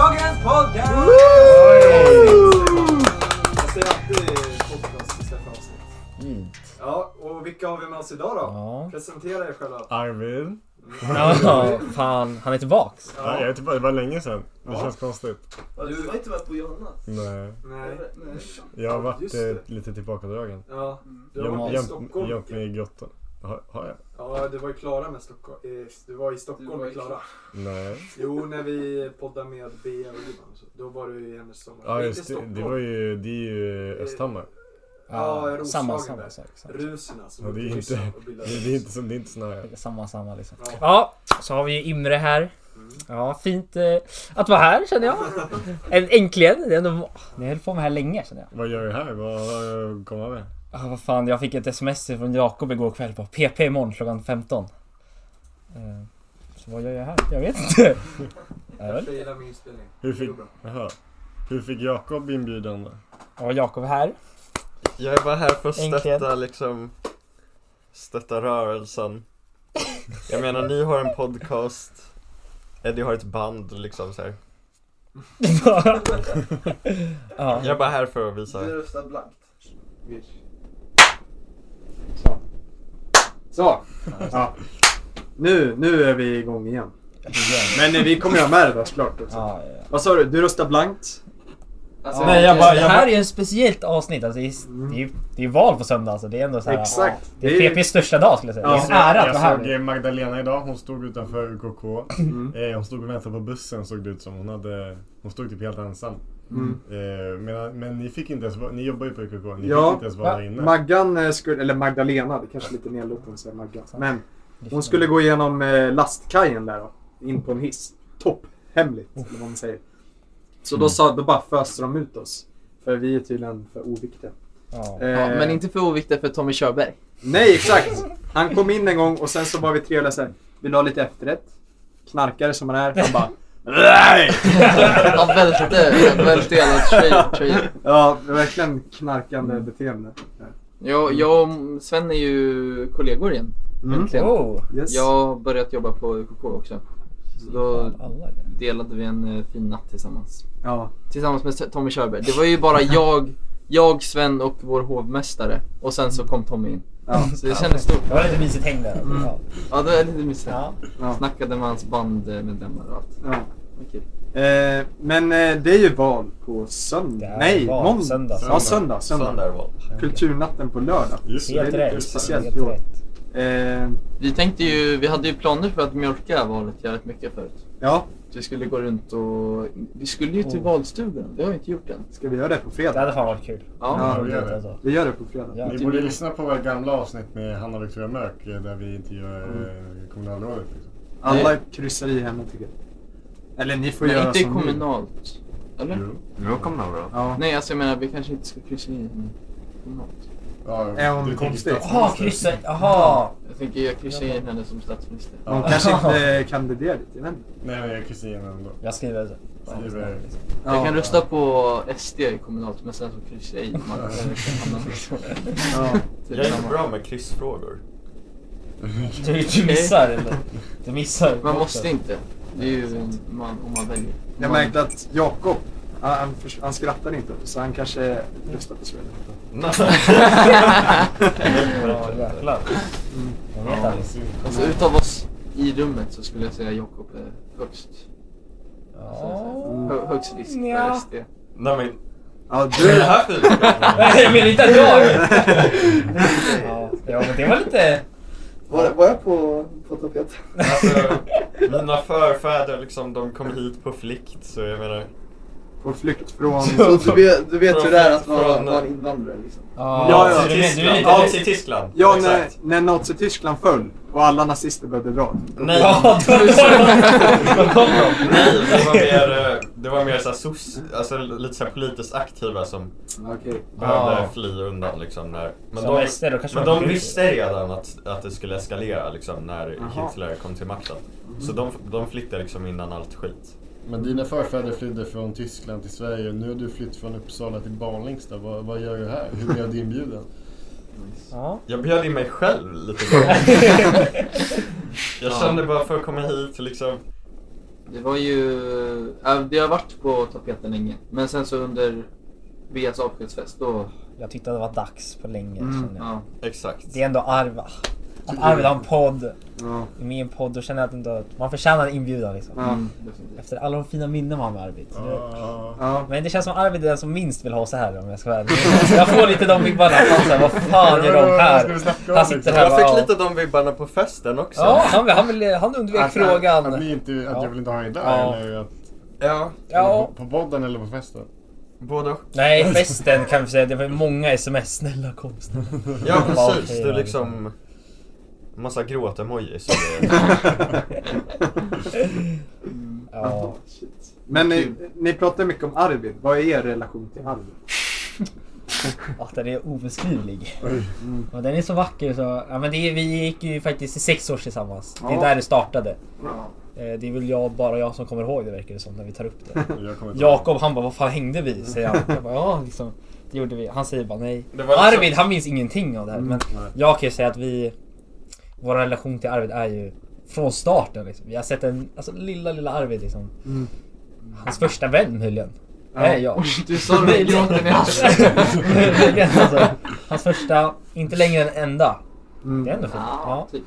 podcast! Jag säger alltid podcast i stället för avsnitt. Mm. Ja, och vilka har vi med oss idag då? Ja. Presentera er själva. Armin. Ja, fan. Han är tillbaks. Ja. Jag vet inte, det var länge sedan. Det Ja. känns konstigt. Du- Du har inte varit på Johannas? Nej. Nej. Nej. Jag har varit Just det. eh, lite tillbakadragen. Ja, Mm. du har Gömt- varit i gömt- Stockholm. Gömt mig i grottan. Har, har jag? Ja, du var ju Klara med Stockholm. eh, Du var i Du Stockholm var med i- Klara. Nej. Jo, när vi poddade med Bea och Ivan och så. Då var du i hennes sommar. Ja Inte just det. Stockholm. Det var ju, det är ju Östhammar. Ja, Roslagen samma, där. samma sak. Samma, Ruserna som Ja, det är åkte inte- Ryssland och Det, bildade det är inte, som- det är inte snarare. samma, samma liksom. Ja. Ja, så har vi ju Imre här. Mm. Ja, fint eh, att vara här känner jag. Än- Äntligen. Det är ändå... Ni höll på med det här länge känner jag. Vad gör du här? Vad eh, kommer han med? Ah, vad fan, jag fick ett sms från Jakob igår kväll på PP imorgon klockan 15. Eh, så vad gör jag här? Jag vet inte. Ja, väl. Jag gillar min inspelning. Hur Det fick, går bra. jaha. Hur fick Jakob inbjudan då? Ja, Jakob är här. Jag är bara här för att stötta Äntligen. liksom Stötta rörelsen Jag menar ni har en podcast Eddie har ett band liksom så här. ja. Jag är bara här för att visa Du röstar blankt. Så. Så. Ja. Nu, nu är vi igång igen. Men eh, vi kommer ju ha med det där såklart också. Ja, ja. Vad sa du? Du röstar blankt? Alltså, Nej, jag bara- det här är ju ett speciellt avsnitt. Alltså, det, är, det, är, ju- det är val på söndag. Alltså, det är ändå så här, Exakt. Det är PPs största dag skulle jag säga. Ja. det är en ära att jag vara här. såg nu. eh, Magdalena idag. Hon stod utanför UKK. Mm. Eh, Hon stod och väntade på bussen såg det ut som. Hon, hade, hon stod typ helt ensam. Mm. Eh, Men, men ni fick inte ens vara- ni jobbar ju på UKK, ni Ja. fick inte ens vara Va? där inne. Maggan eh, skulle, eller Magdalena, det kanske är lite nedlåtande att säga Maggan. Men hon skulle gå igenom eh, lastkajen där då, in på en hiss. Topphemligt, eller vad man säger. Så då, sa, då bara föste de ut oss. För vi är tydligen för oviktiga. Ja. Ja, Eh, men inte för oviktigt för Tommy Körberg. Nej, exakt. Han kom in en gång och sen så var vi trevliga såhär. Vill du ha lite efterrätt? Knarkare som han är. Han bara. Nej! Han välte, han välte hela tjejen. tjejen. Ja, verkligen knarkande Mm. beteende. Jag, jag och Sven är ju kollegor igen. Mm. Äntligen. Oh. Yes. Jag har börjat jobba på UKK också. Så då Fan, alla det. delade vi en eh, fin natt tillsammans. Ja. Tillsammans med Tommy Körberg. Det var ju bara jag, jag, Sven och vår hovmästare. Och sen så kom Tommy in. Ja. Så det kändes stort. Det var lite mysigt häng där. Mm. Ja. Ja, det var lite mysigt. Ja. ja. Snackade med hans bandmedlemmar och allt. ja. Okej. Eh, men eh, det är ju val på söndag. Det är Nej, val måndag. söndag. Ja, söndag. söndag. Sönderval Kulturnatten på lördag. Just det är Helt lite rätt. speciellt Helt i år. rätt. Eh, Vi tänkte ju, vi hade ju planer för att mjölka valet jävligt mycket förut. ja, Vi skulle gå runt och... Vi skulle ju till Oh. valstugan, det har vi inte gjort än. ska vi göra det på Det fredag? hade fan varit kul. Ja. Ja. vi gör det. Alltså. Vi gör det på fredag. Ja. Ni borde lyssna på våra gamla avsnitt med Hanna och Victoria Mörk eh, där vi intervjuar Mm. eh, kommunalrådet. Liksom. Alla kryssar i henne tycker jag. Eller ni får Men göra inte som ni vill. kommunalt. Eller? Jo. Nu kommer några bra Ja. Nej, alltså jag menar vi kanske inte ska kryssa i men kommunalt. Ja, Är hon du tänker konstig? statsminister. Jaha, krysset. Jaha. Jag tänker jag kryssar in henne som statsminister. Hon kanske inte Eh, kandiderar dit, jag vet inte. Nej, men jag kryssar igenom ändå. Jag skriver alltså. så. Skriver- Jag kan rösta på SD i kommunalt men sen så kryssar jag i. Man, Ja. Ja. Jag är inte bra med kryssfrågor Du, du missar. eller? Du missar. Man måste inte. Det är ju man, om man väljer. Jag Man- märkte att Jakob, han, han, förs- han skrattar inte, så han kanske röstar på Sverige. Nej. Ja, jäklar. Jag vet aldrig. Alltså utav oss i rummet så skulle jag säga Jakob är högst. Ja. Hö, högst risk Nja. för SD. Nej men Ja, du är du, här för Nej, men inte att jag... Ja, ja, men det var lite... Var, var jag på, på tapeten? alltså, Mina förfäder liksom de kom hit på flykt så jag menar på flykt från... Du vet, du vet hur det är att vara- vara invandrare liksom. Ja, Ja, ja. så du, men- du är lite... Ja, till Tyskland Ja, när, exakt. när Nazityskland föll och alla nazister började dra. Nej Ja, då var de- då kom de. Nej, det var mer, eh, det var mer så här sos, alltså lite så här politiskt aktiva som Okej. behövde Ja. fly undan liksom när, men Som de, SD, då kanske men man de blir- visste redan att, att det skulle eskalera liksom när Jaha. Hitler kom till makten. Så de, de flyttade liksom innan allt skit. Men dina förfäder flydde från Tyskland till Sverige. Nu har du flytt från Uppsala till Barlingsta. Vad, vad gör du här? Hur blev du inbjuden? Ja. Jag bjöd in mig själv lite grann. Jag kände bara för att komma hit liksom Det var ju... ja, Det har varit på tapeten länge. Men sen så under Beas avskedsfest då... Jag tyckte det var dags på länge. Mm, kände jag. Ja. Exakt. Det är ändå Arvid. Att Arvid har en podd, Ja. är med i en podd, då känner jag att ändå, man förtjänar en inbjudan liksom. Ja. Mm, definitivt. Efter alla de fina minnen man har med Arvid. Så det- Ah, Ja. Men det känns som Arvid är den som minst vill ha så här om jag ska vara ärlig. Jag får lite de vibbarna. Fan, så här, vad fan gör de Vad ska vi här? snacka om, Han sitter liksom? här Jag bara, fick ja. lite de vibbarna på festen också. Ja, han, han, vill, han undvek Att- Att, Alltså, att, frågan. vi inte, att Ja. jag vill inte ha er där Ja. eller att, ja Ja. på podden eller på festen. både och. Nej, festen kan vi säga. Det var många sms. Snälla kom snälla. Ja Ja, precis, okej, det är ja, liksom massa gråtemojis. Ja. Shit. Men ni, ni pratar mycket om Arvid. Vad är er relation till Arvid? Att ah, den är obeskrivlig. Oj. Och den är så vacker så... Ja, men det är, vi gick ju faktiskt i sex år tillsammans. Det är Ja. där det startade. Ja. Eh, Det är väl jag, bara jag som kommer ihåg det verkar det som när vi tar upp det. Jag kommer inte Jakob han bara vad fan hängde vi? Säger han. Jag bara, ja, liksom, det gjorde vi. Han säger bara nej. Det var liksom- Mm, Arvid han minns ingenting av det här. Men nej. jag kan ju säga att vi... Vår relation till Arvid är ju från starten. Liksom. Vi har sett en alltså, lilla, lilla Arvid liksom. Mm. Hans första vän möjligen. Ja. Är jag. Du sa det med gråten i halsen. Möjligen, alltså, hans första, inte längre den enda. Det är Mm. ändå fint. Ja, Ja, typ.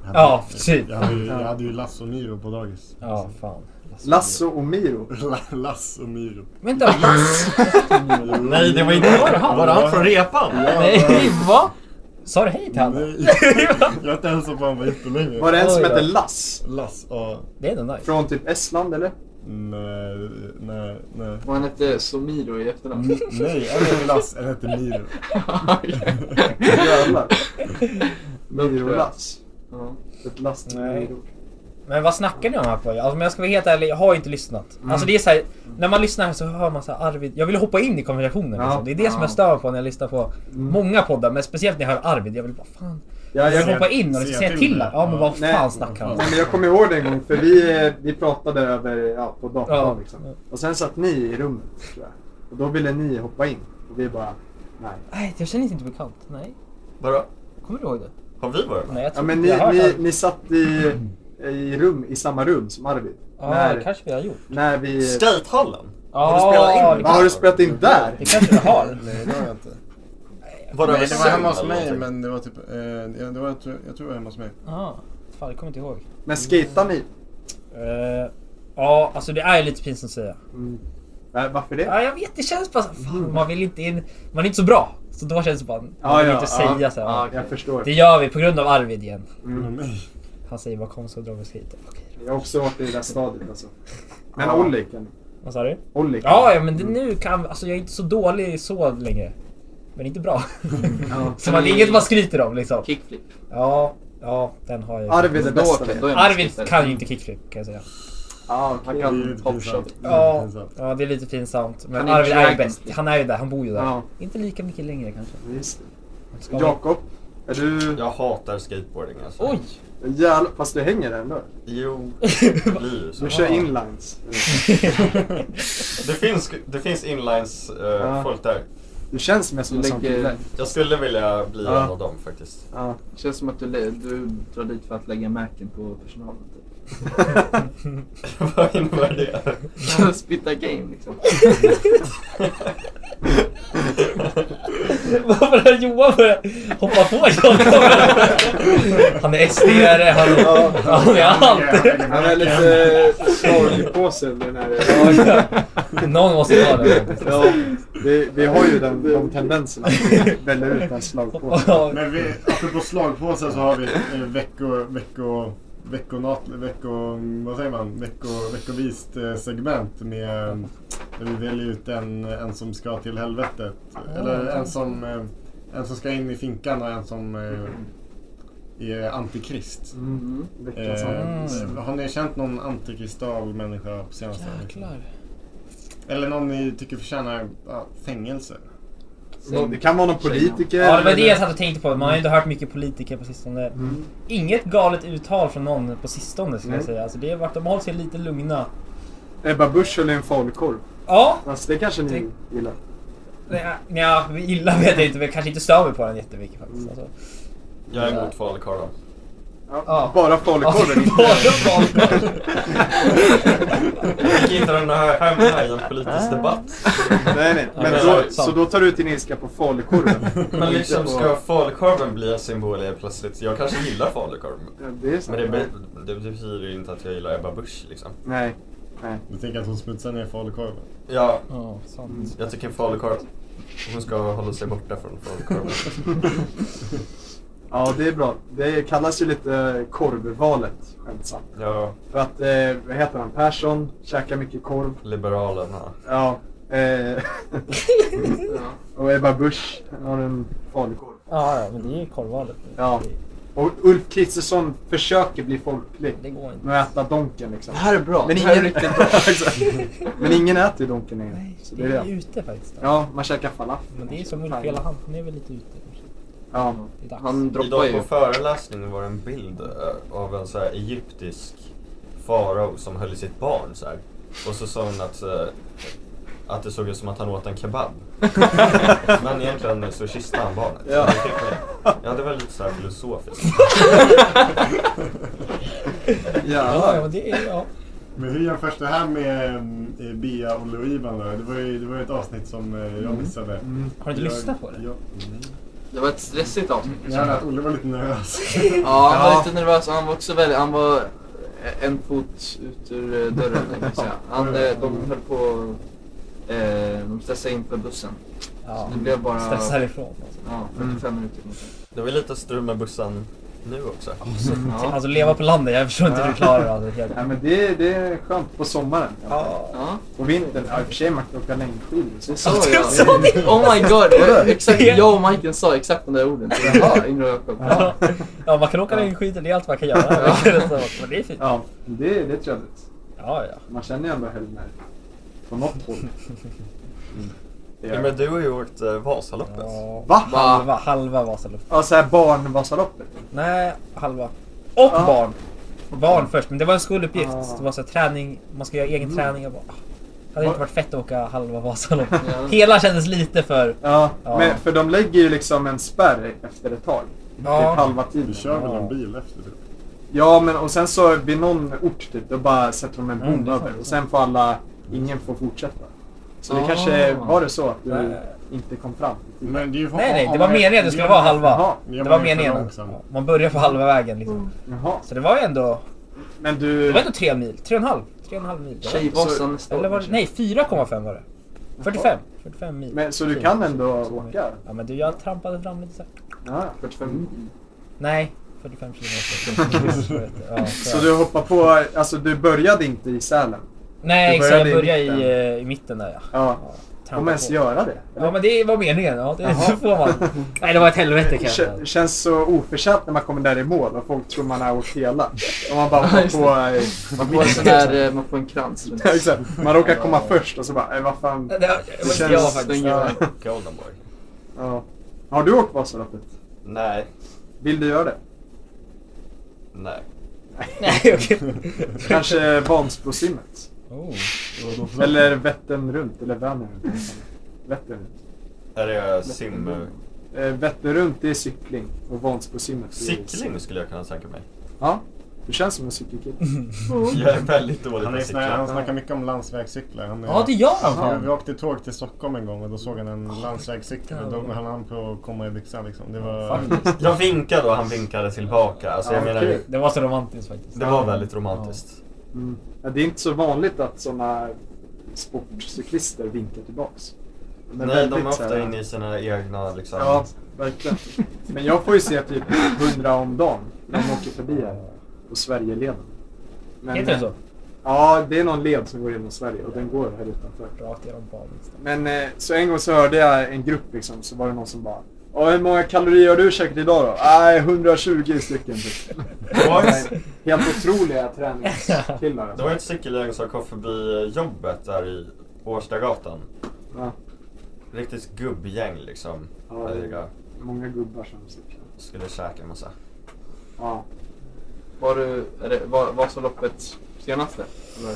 Jag hade- ja precis. Jag hade, ju, jag hade ju Lasse och Miro på dagis. Ja, fan. Lasso och Miro. La- Lasse och Miro. Vänta, Lasse? Nej det var inte han. Var det han från repan? Nej, va? Sa du hej till honom? Nej. Jag har inte hälsat på honom på jättelänge. Var det en som Oj då. hette Lass? Lasse, ja. Det är ändå nice. Från typ Estland eller? Nej, nej, nej. Och han hette Somiro i efternamn. Mm. Nej, en heter Lasse, en heter Miro. Jävlar. Miro och Lass. Ja. Ett last Nej. Miro. Men vad snackar ni om här på? Alltså om jag ska vara helt ärlig, jag har inte lyssnat. Alltså det är så här, när man lyssnar här så hör man så här Arvid. Jag vill hoppa in i konversationen Ja. liksom. Det är det som jag Ja. stör mig på när jag lyssnar på många poddar. Men speciellt när jag hör Arvid. Jag vill bara fan. Ja, Jag jag, vill Se- hoppa in och se liksom säga till till det. här. Ja men vad Nej. fan snackar han om? Nej, men jag kommer ihåg det en gång för vi, eh, vi pratade över, ja, på datorn Ja. liksom. Och sen satt ni i rummet tror jag. Och då ville ni hoppa in. Och vi bara, nej. Nej, jag känner inte bekant. Nej. Vadå? Kommer du ihåg det? Har vi varit med? Nej, jag Ja tror men inte jag ni, har hört ni, Arvid. ni satt i, i, rum, i samma rum som Arvid. Ja, det när, kanske vi har gjort. när vi... Skatehallen? Har du Ja, spelat in? det Ja, har du spelat in där? Det kanske vi har. Nej, det har jag inte. Var det, Nej, över det var Zoom hemma hos eller mig, någonting? men det var typ... Eh, ja, det var, jag, tror, jag tror det var hemma hos mig. Ah, fan, jag kommer inte ihåg. Men skejtar ni? Eh, ja, alltså det är ju lite pinsamt att säga. Mm. Nej, varför det? Ja, jag vet, det känns bara så- fan, man vill inte in, man är inte så bra. Så då känns det bara, man Ja, vill ja, inte ja, säga så här, ja. "Ja, Jag förstår. Det gör vi på grund av Arvid igen. Men mig. Han säger bara kom så drar vi oss hit. Okej. Jag har också varit i det där stadiet alltså. Men Ja. Olli kan ni? Vad sa du? Olli kan Ja, ja men det, nu kan alltså jag är inte så dålig så längre. Men inte bra. Mm. Ja. så man, det är inget man skryter om liksom. Kickflip. Ja, ja, den har jag. Arvid är Men då- bäst. då är eller? man Arvid skejtare. kan ju inte kickflip kan jag säga. Ja, Han okej. Det är ju kan lite hoppshot. pinsamt. Det är Ja, pinsamt. ja det är lite pinsamt. Men Han är Arvid är ju dragon. bäst. Han är ju där, han bor ju där. Ja. Inte lika mycket längre kanske. Just Man ska- det. Jakob, är du... Jag hatar skateboarding alltså. Oj! Jävlar, fast du hänger ändå. Jo, blir ju så. Du kör inlines. Det finns, det finns inlines eh, Ja. folk där. Du känns mer som en sån Lägger- kille. Jag skulle vilja bli Ja. en av dem faktiskt. Ja. Känns som att du, lä- du drar dit för att lägga märken på personalen. Typ. Vad innebär det? Spitta game liksom. Varför har Johan börjat hoppa på Jakob? Han är SD-are, han, han är allt. Han är lite sorglig på sig den här. Någon måste ta det. Ja, vi, vi har ju den, de tendenserna att välja ut en slagpåse. Men vi, apropå slagpåsar så har vi eh, vecko, vecko, veckonat, vecko, vad säger man, vecko, veckovist eh, segment med, eh, där vi väljer ut en, en som ska till helvetet. Eller en som, eh, en som ska in i finkan och en som eh, är antikrist. Mm. Veckans Eh, användelse. Mm. har ni känt någon antikristal människa på senaste Jäklar. Eller någon ni tycker förtjänar ja, fängelse? Mm. Det kan vara någon politiker. Ja, det var det jag eller- satt och tänkte på. Man har ju inte hört mycket politiker på sistone. Mm. Inget galet uttal från någon på sistone skulle jag Nej. säga. Alltså det har varit, de har hållit sig lite lugna. Ebba Busch eller en falukorv. Ja, Alltså, det kanske ni gillar. nej, nej, illa vet jag inte men jag kanske inte stör mig på den jättemycket faktiskt. Alltså, Jag är emot falukorv. Ja. Bara falukorven. Fick inte den här hamna i en politisk debatt. nej, nej. Men Ja, då, sant. så då tar du ut din ilska på falukorven. Men liksom ska falukorven bli en symbol helt plötsligt? Jag kanske gillar falukorv. Ja, det är sant. Men det, be- det betyder ju inte att jag gillar Ebba Busch liksom. Nej. Du tänker att hon smutsar ner falukorven? Ja, Ja, sant. jag tycker falukorv... Hon ska hålla sig borta från falukorven. Ja, det är bra. Det kallas ju lite korvvalet, skämtsamt. Ja, För att, eh, vad heter han, Persson käkar mycket korv. Mm. Liberalerna. Ja. Eh, och Ebba Busch har en falukorv. Ja, ja, men det är ju korvvalet. Ja. Och Ulf Kristersson försöker bli folklig Det går inte. med att äta Donken liksom. Det här är bra. Men det här är ingen, riktigt bra. Exakt. men ingen äter ju Donken längre. Nej, Så det det är är ju det. ute faktiskt. Ja, man käkar falafel. Men det är som Man Ulf, käkar hela paj. han, han är väl lite ute kanske. Ja. Det är dags. Han droppar Idag ju. på föreläsningen var det en bild eh, av en så här egyptisk farao som höll i sitt barn så här. Och så sa hon att, eh, att det såg ut som att han åt en kebab. Men egentligen så kysste han barnet. Så Ja. det fick mig- Ja, det var lite så här filosofiskt. Ja, ja, Jävlar. men det är ja. Men hur jämförs det här med eh, Bea och Lo-Ivan då? Det var ju det var ju ett avsnitt som eh, jag missade. Mm. Har du inte Jag- lyssnat på det? Jag, Det var ett stressigt avsnitt. jag kände att Olle var lite nervös. Ja, han var Ja. lite nervös och han var också väldigt, han var en fot ut ur eh, dörren kan jag säga. Han, eh, de höll på, eh, de stressade in på bussen. ja. Det blev bara Stressar ifrån. Alltså. ja, 45 minuter ungefär. Det var lite strul med bussen nu också. Ja. alltså leva på landet, jag förstår inte hur du klarar det. Alltså, helt. Nej, men det, det är skönt på sommaren. Ja. Ja, På vintern, ja i och för sig man kan åka längdskidor. Så så Du ja. sa det! Oh my god, exakt, jag och Majken sa exakt de där orden. Jaha, Ingrid och Jakob. Ja. ja, man kan åka längdskidor, det är allt man kan göra. Men det är fint. Ja, det, det är trevligt. Ja, ja. Man känner ju ändå Hellner. På något håll. Det Ja, gör men jag. du har ju åkt eh, Vasaloppet. ja. Va? Halva, halva Vasaloppet. Ja, så här barnvasaloppet. Nej, halva. Och Ah. barn! Barn först, men det var en skoluppgift. Ah. Det var så här, träning, man ska göra egen träning. Jag bara, ah. hade det inte varit fett att åka halva Vasaloppet? Ja. Hela kändes lite för... Ja, Ja. Men, för de lägger ju liksom en spärr efter ett tag. Typ Ja, halva Du tiden. kör väl Ja. en bil efter det? Ja, men och sen så vid någon ort typ, då bara sätter de en bom Mm, det är sant, över. det är Och sen får alla, ingen får fortsätta. Så det Ah. kanske var det så att du Nej. inte kom fram i tid. Men det är ju- nej, nej, om det var man- meningen att det skulle vara halva. Jaha. Ja, Det man är var för meningen. långsam. Ja, Man börjar på halva vägen liksom. Jaha. Så det var ju ändå, Men det du... var ändå tre mil. Tre och en halv. Tre och en halv mil. Tjejvasan nästa år Eller var det, kanske. nej, 4,5 var det. 45. 45 mil. Men, så du kan ändå åka? Ja men du, jag trampade fram lite så här. Ja. 45 Nej, 45 kilometer. ja, Så du hoppar på, alltså du började inte i Sälen? Nej, Du exakt. Jag började började i i, eh, i mitten där ja. Ja. Får man Trampa ens på. göra det? Ja men det var meningen. Ja, det Jaha. får man. Nej det var ett helvete kan jag Kän- säga. Känns så oförtjänt när man kommer där i mål och folk tror man har åkt hela. Och man bara hoppar på... eh, Man får en sån här, eh, man får en krans runt. Ja, exakt. Man råkar komma först och så bara, eh, vad fan. Det, det, var inte jag känns- faktiskt. Ja. Golden Boy. Ja. Har du åkt Vasaloppet? Nej. Vill du göra det? Nej. Nej okej. Kanske Vansbrosimmet? Oh. Eller Vättern runt, eller Vänern runt. Vättern runt. Är det sim... Eh, Vättern runt det är cykling och Vansbrosimmet är Cykling skulle jag kunna tänka mig. Ja. Du känns som en cykelkille. Jag är väldigt dålig Han, på är att sån här, cykla. han snackar mycket om landsvägscyklar. Han är, Ja det gör han Ja, vi fan. åkte tåg till Stockholm en gång och då såg han en landsvägscykel och då höll han på att komma i byxan liksom. Det var... Faktiskt. Jag vinkade och han vinkade tillbaka. Alltså jag Ja, menar, kul. det- Det var så romantiskt faktiskt. det var väldigt romantiskt. Mm. Ja, det är inte så vanligt att sådana sportcyklister vinkar tillbaks. Men Nej, de är väldigt så ofta här- inne i sina egna liksom... Ja, verkligen. Men jag får ju se typ 100 om dagen när de åker förbi här på Sverigeleden. Men, eh, Heter det så? Ja, det är någon led som går genom Sverige och den går här utanför. Rakt genom Balista. Men eh, så en gång så hörde jag en grupp liksom, så var det någon som bara "Ja, hur många kalorier har du käkat idag då? Nej, 120 stycken typ. What? Helt otroliga träningskillar. Det Alltså. var ett cykelgäng som kom förbi eh, jobbet där i Årstagatan. Ja, Riktigt gubbgäng liksom. Ja. Där många gubbar som cyklar. jag skulle käka massa. Ja. Var du, är det, var, var så loppet senaste? Eller?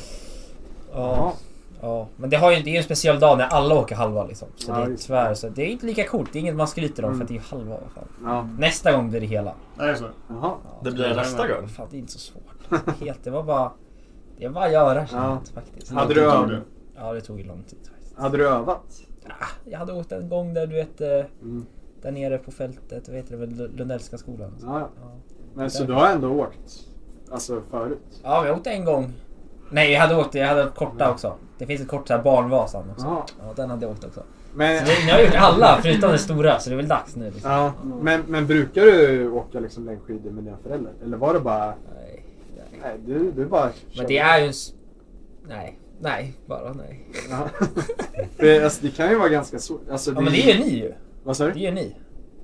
Ja. Ja, men det, har ju, det är ju en speciell dag när alla åker halva liksom. Så Ja, det är just tyvärr så. Det är inte lika coolt. Det är inget man skryter om Mm. för att det är ju halva. vad Fan. Ja. Nästa gång blir det hela. Nej, så. Jaha. Ja, Det blir nästa gång. Fan, det är inte så svårt. alltså. Helt, det var bara... Det var bara att göra Ja. ja. faktiskt. Hade du, Jag tror öv- det. Ja, det tog ju lång tid faktiskt. hade du övat? Jag hade åkt en gång där du vet... eh, Mm. Där nere på fältet, vad heter det, väl, Lundellska skolan? Ja, ja. Ja. Men, så du har ändå åkt alltså, förut? Ja, men jag åkte en gång. Nej, jag hade åkt, jag hade korta Mm. också. Det finns ett kort så här barnvasan också. Jaha. Ja, den hade jag åkt också. Så Men, nu, nu har jag gjort alla förutom den stora, så det är väl dags nu liksom. ja, men, men brukar du åka liksom, längdskidor med dina föräldrar? Eller var det bara... Nej, nej. Nej, du, du bara Men det är ju en... s- Nej, nej, bara nej. Ja. det, alltså, det kan ju vara ganska svårt. Alltså, Ja, men det är ju ni ju. Vad sa Det du? är ju ni.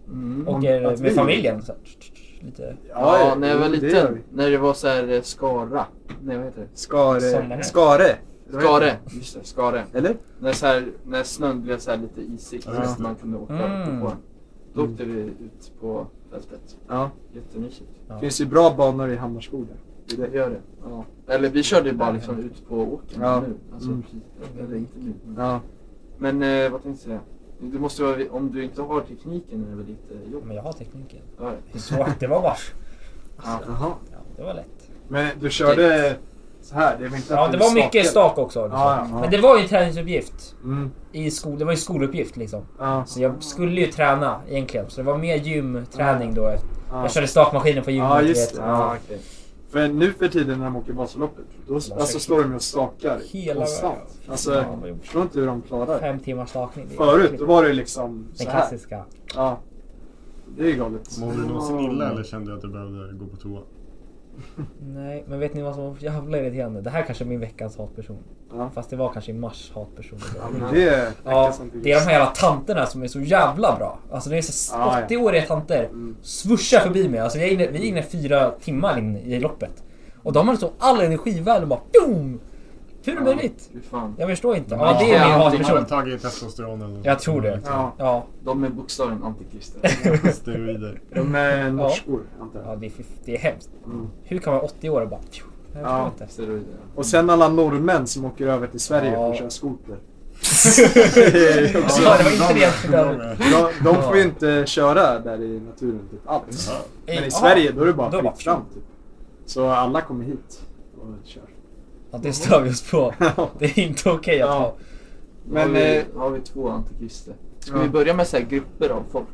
Mm. Åker Att vi- med familjen. Så här, tch, tch, tch, lite. Ja, när jag var jo, det gör liten. vi. När det var så här eh, Skara. Nej, vad heter det? Skare. Sommaren. Skare. Skare. Just det, Skare. Eller? När, så här, när snön blev så här lite isig Ja, så just att det. man kunde åka Mm. på den. Då åkte vi ut på fältet. Ja. Jättemysigt. Det finns ju bra banor i Hammarskog där. Det är Det det. gör det. Ja. Eller vi körde ju bara liksom ut på åkern Ja. nu. Alltså, Mm. precis. Eller inte nu. men- Ja. Men eh, vad tänkte jag säga? Det måste vara, om du inte har tekniken är det väl lite jobbigt? Men jag har tekniken. Ja, Det är svårt, det var bara... Ja. Jaha. Ja, det var lätt. Men du körde så här? Det var inte att Ja, du det var mycket stakade. stak också. Liksom. Ja, ja, ja. Men det var ju en träningsuppgift. Mm. I skol, det var ju skoluppgift liksom. Ja. Så jag skulle ju träna egentligen. Så det var mer gymträning då. ja. Jag körde stakmaskinen på gymmet. Ja, just vet. det. Ja, Ja. okej. För nu för tiden när de åker Vasaloppet, då alltså, står de ju och stakar Hela konstant. vägen. Alltså, Ja, vad jag gjort. förstår inte hur de klarar det. Fem timmars stakning. det är Förut, verkligen- då var det liksom Den så här. klassiska. Ja. Det är ju galet. Mådde du någonsin illa eller kände du att du behövde gå på toa? Nej, men vet ni vad som var jävla irriterande? Det här kanske är min veckans hatperson. Ja. Fast det var kanske i mars hatperson. Ja, men det Ja, det är de här. här jävla tanterna som är så jävla bra. Alltså det är så Ja, ja. 80-åriga tanter. Mm. Svuschar förbi mig. Alltså vi är inne, vi är inne fyra timmar in i loppet. Och de har så all energi i världen bara boom! Hur är det möjligt? Fy fan. Jag förstår inte. Ja, Ja, det är ja, min Du har hatperson. väl tagit testosteron eller något? Jag tror det. Ja, Ja. De är bokstaven antikrister. Steroider. de är norskor antar Ja, jag. det är, fiff- det är hemskt. Mm. Hur kan man vara 80 år och bara... pju, Jag förstår Ja. inte. Steroider. Och sen alla norrmän som åker över till Sverige Ja. för att köra skoter. Det är Eh, också- Ja, det var inte det för den. de, de får ju Ja. inte köra där i naturen typ alls. Ja. Men Ja. i Sverige då är det bara Då bara- fritt fram typ. Så alla kommer hit och kör. Ja, det stör vi oss på. Det är inte okej att Ja. ha. Men Men har vi, eh, har vi två antikrister. Ska Ja. vi börja med så här grupper av folk?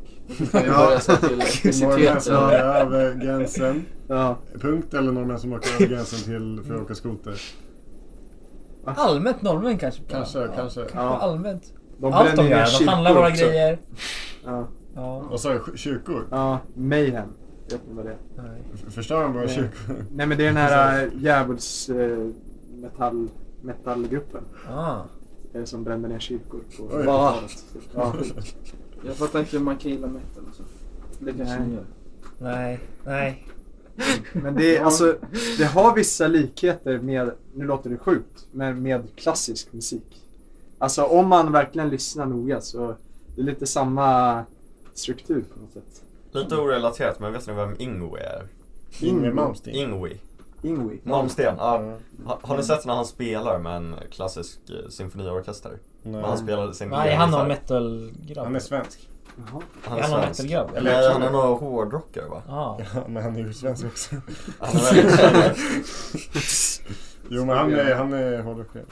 Ska vi Ja. börja så här till Norrmän etnicitet? som eller? åker över gränsen. ja. Punkt eller norrmän som åker över gränsen till för att åka skoter. Allmänt norrmän kanske. bara. Kanske, kanske. Ja. Allmänt. De Allt de bränner ner gör. De kyrkor handlar våra också. grejer. Ja. Ja. Och så är det kyrkor. ja, mayhem. Vet ni vad det är? Nej. F- Förstör de våra Nej. kyrkor? Nej men det är den här äh, djävuls eh, metall, metallgruppen Ah. eh, som brände ner kyrkor på Oj. 80-talet. Ja. Jag fattar inte hur man kan gilla metal alltså. Det kanske Nej. ni gör. Nej. Nej. Men det, är, alltså, det har vissa likheter med, nu låter det sjukt, men med klassisk musik. Alltså om man verkligen lyssnar noga så det är lite samma struktur på något sätt. Lite orelaterat, men vet ni vem Ingwe är? Ingrid Mm. Malmsteen. Ingwe? Ingwi. Malmsten, Mm. ja. Ha, har ni sett när han spelar med en klassisk eh, symfoniorkester? När han Nej. spelade sin Nej, egen han har gitarr. metalgrabb. Han är svensk. Jaha. Han är han har svensk. metalgrabb, eller? Nej, han är nog hårdrockare va? Ah. Ja, men han är ju svensk också. Han är väldigt känd. Jo men han är, han är hårdrockare.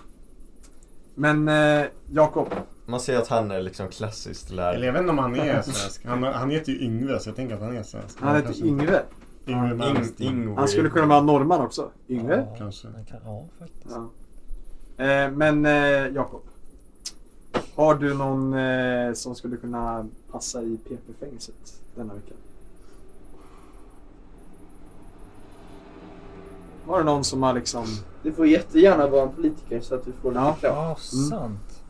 Men eh, Jakob. Man ser att han är liksom klassiskt Eller lärd. jag vet inte om han är svensk. Han, han heter ju Yngve så jag tänker att han är svensk. Han heter Kanske. Yngve. Yngve Ing- Malmsteen. Ingwe. Han skulle kunna vara norrman också. Yngve. Ja, Kanske. han kan- Ja, faktiskt. Ja. Eh, men eh, Jakob. Har du någon eh, som skulle kunna passa i PP-fängelset denna vecka? Har du någon som har liksom... Du får jättegärna vara en politiker så att du får lite Ja. kraft. Ja, sant.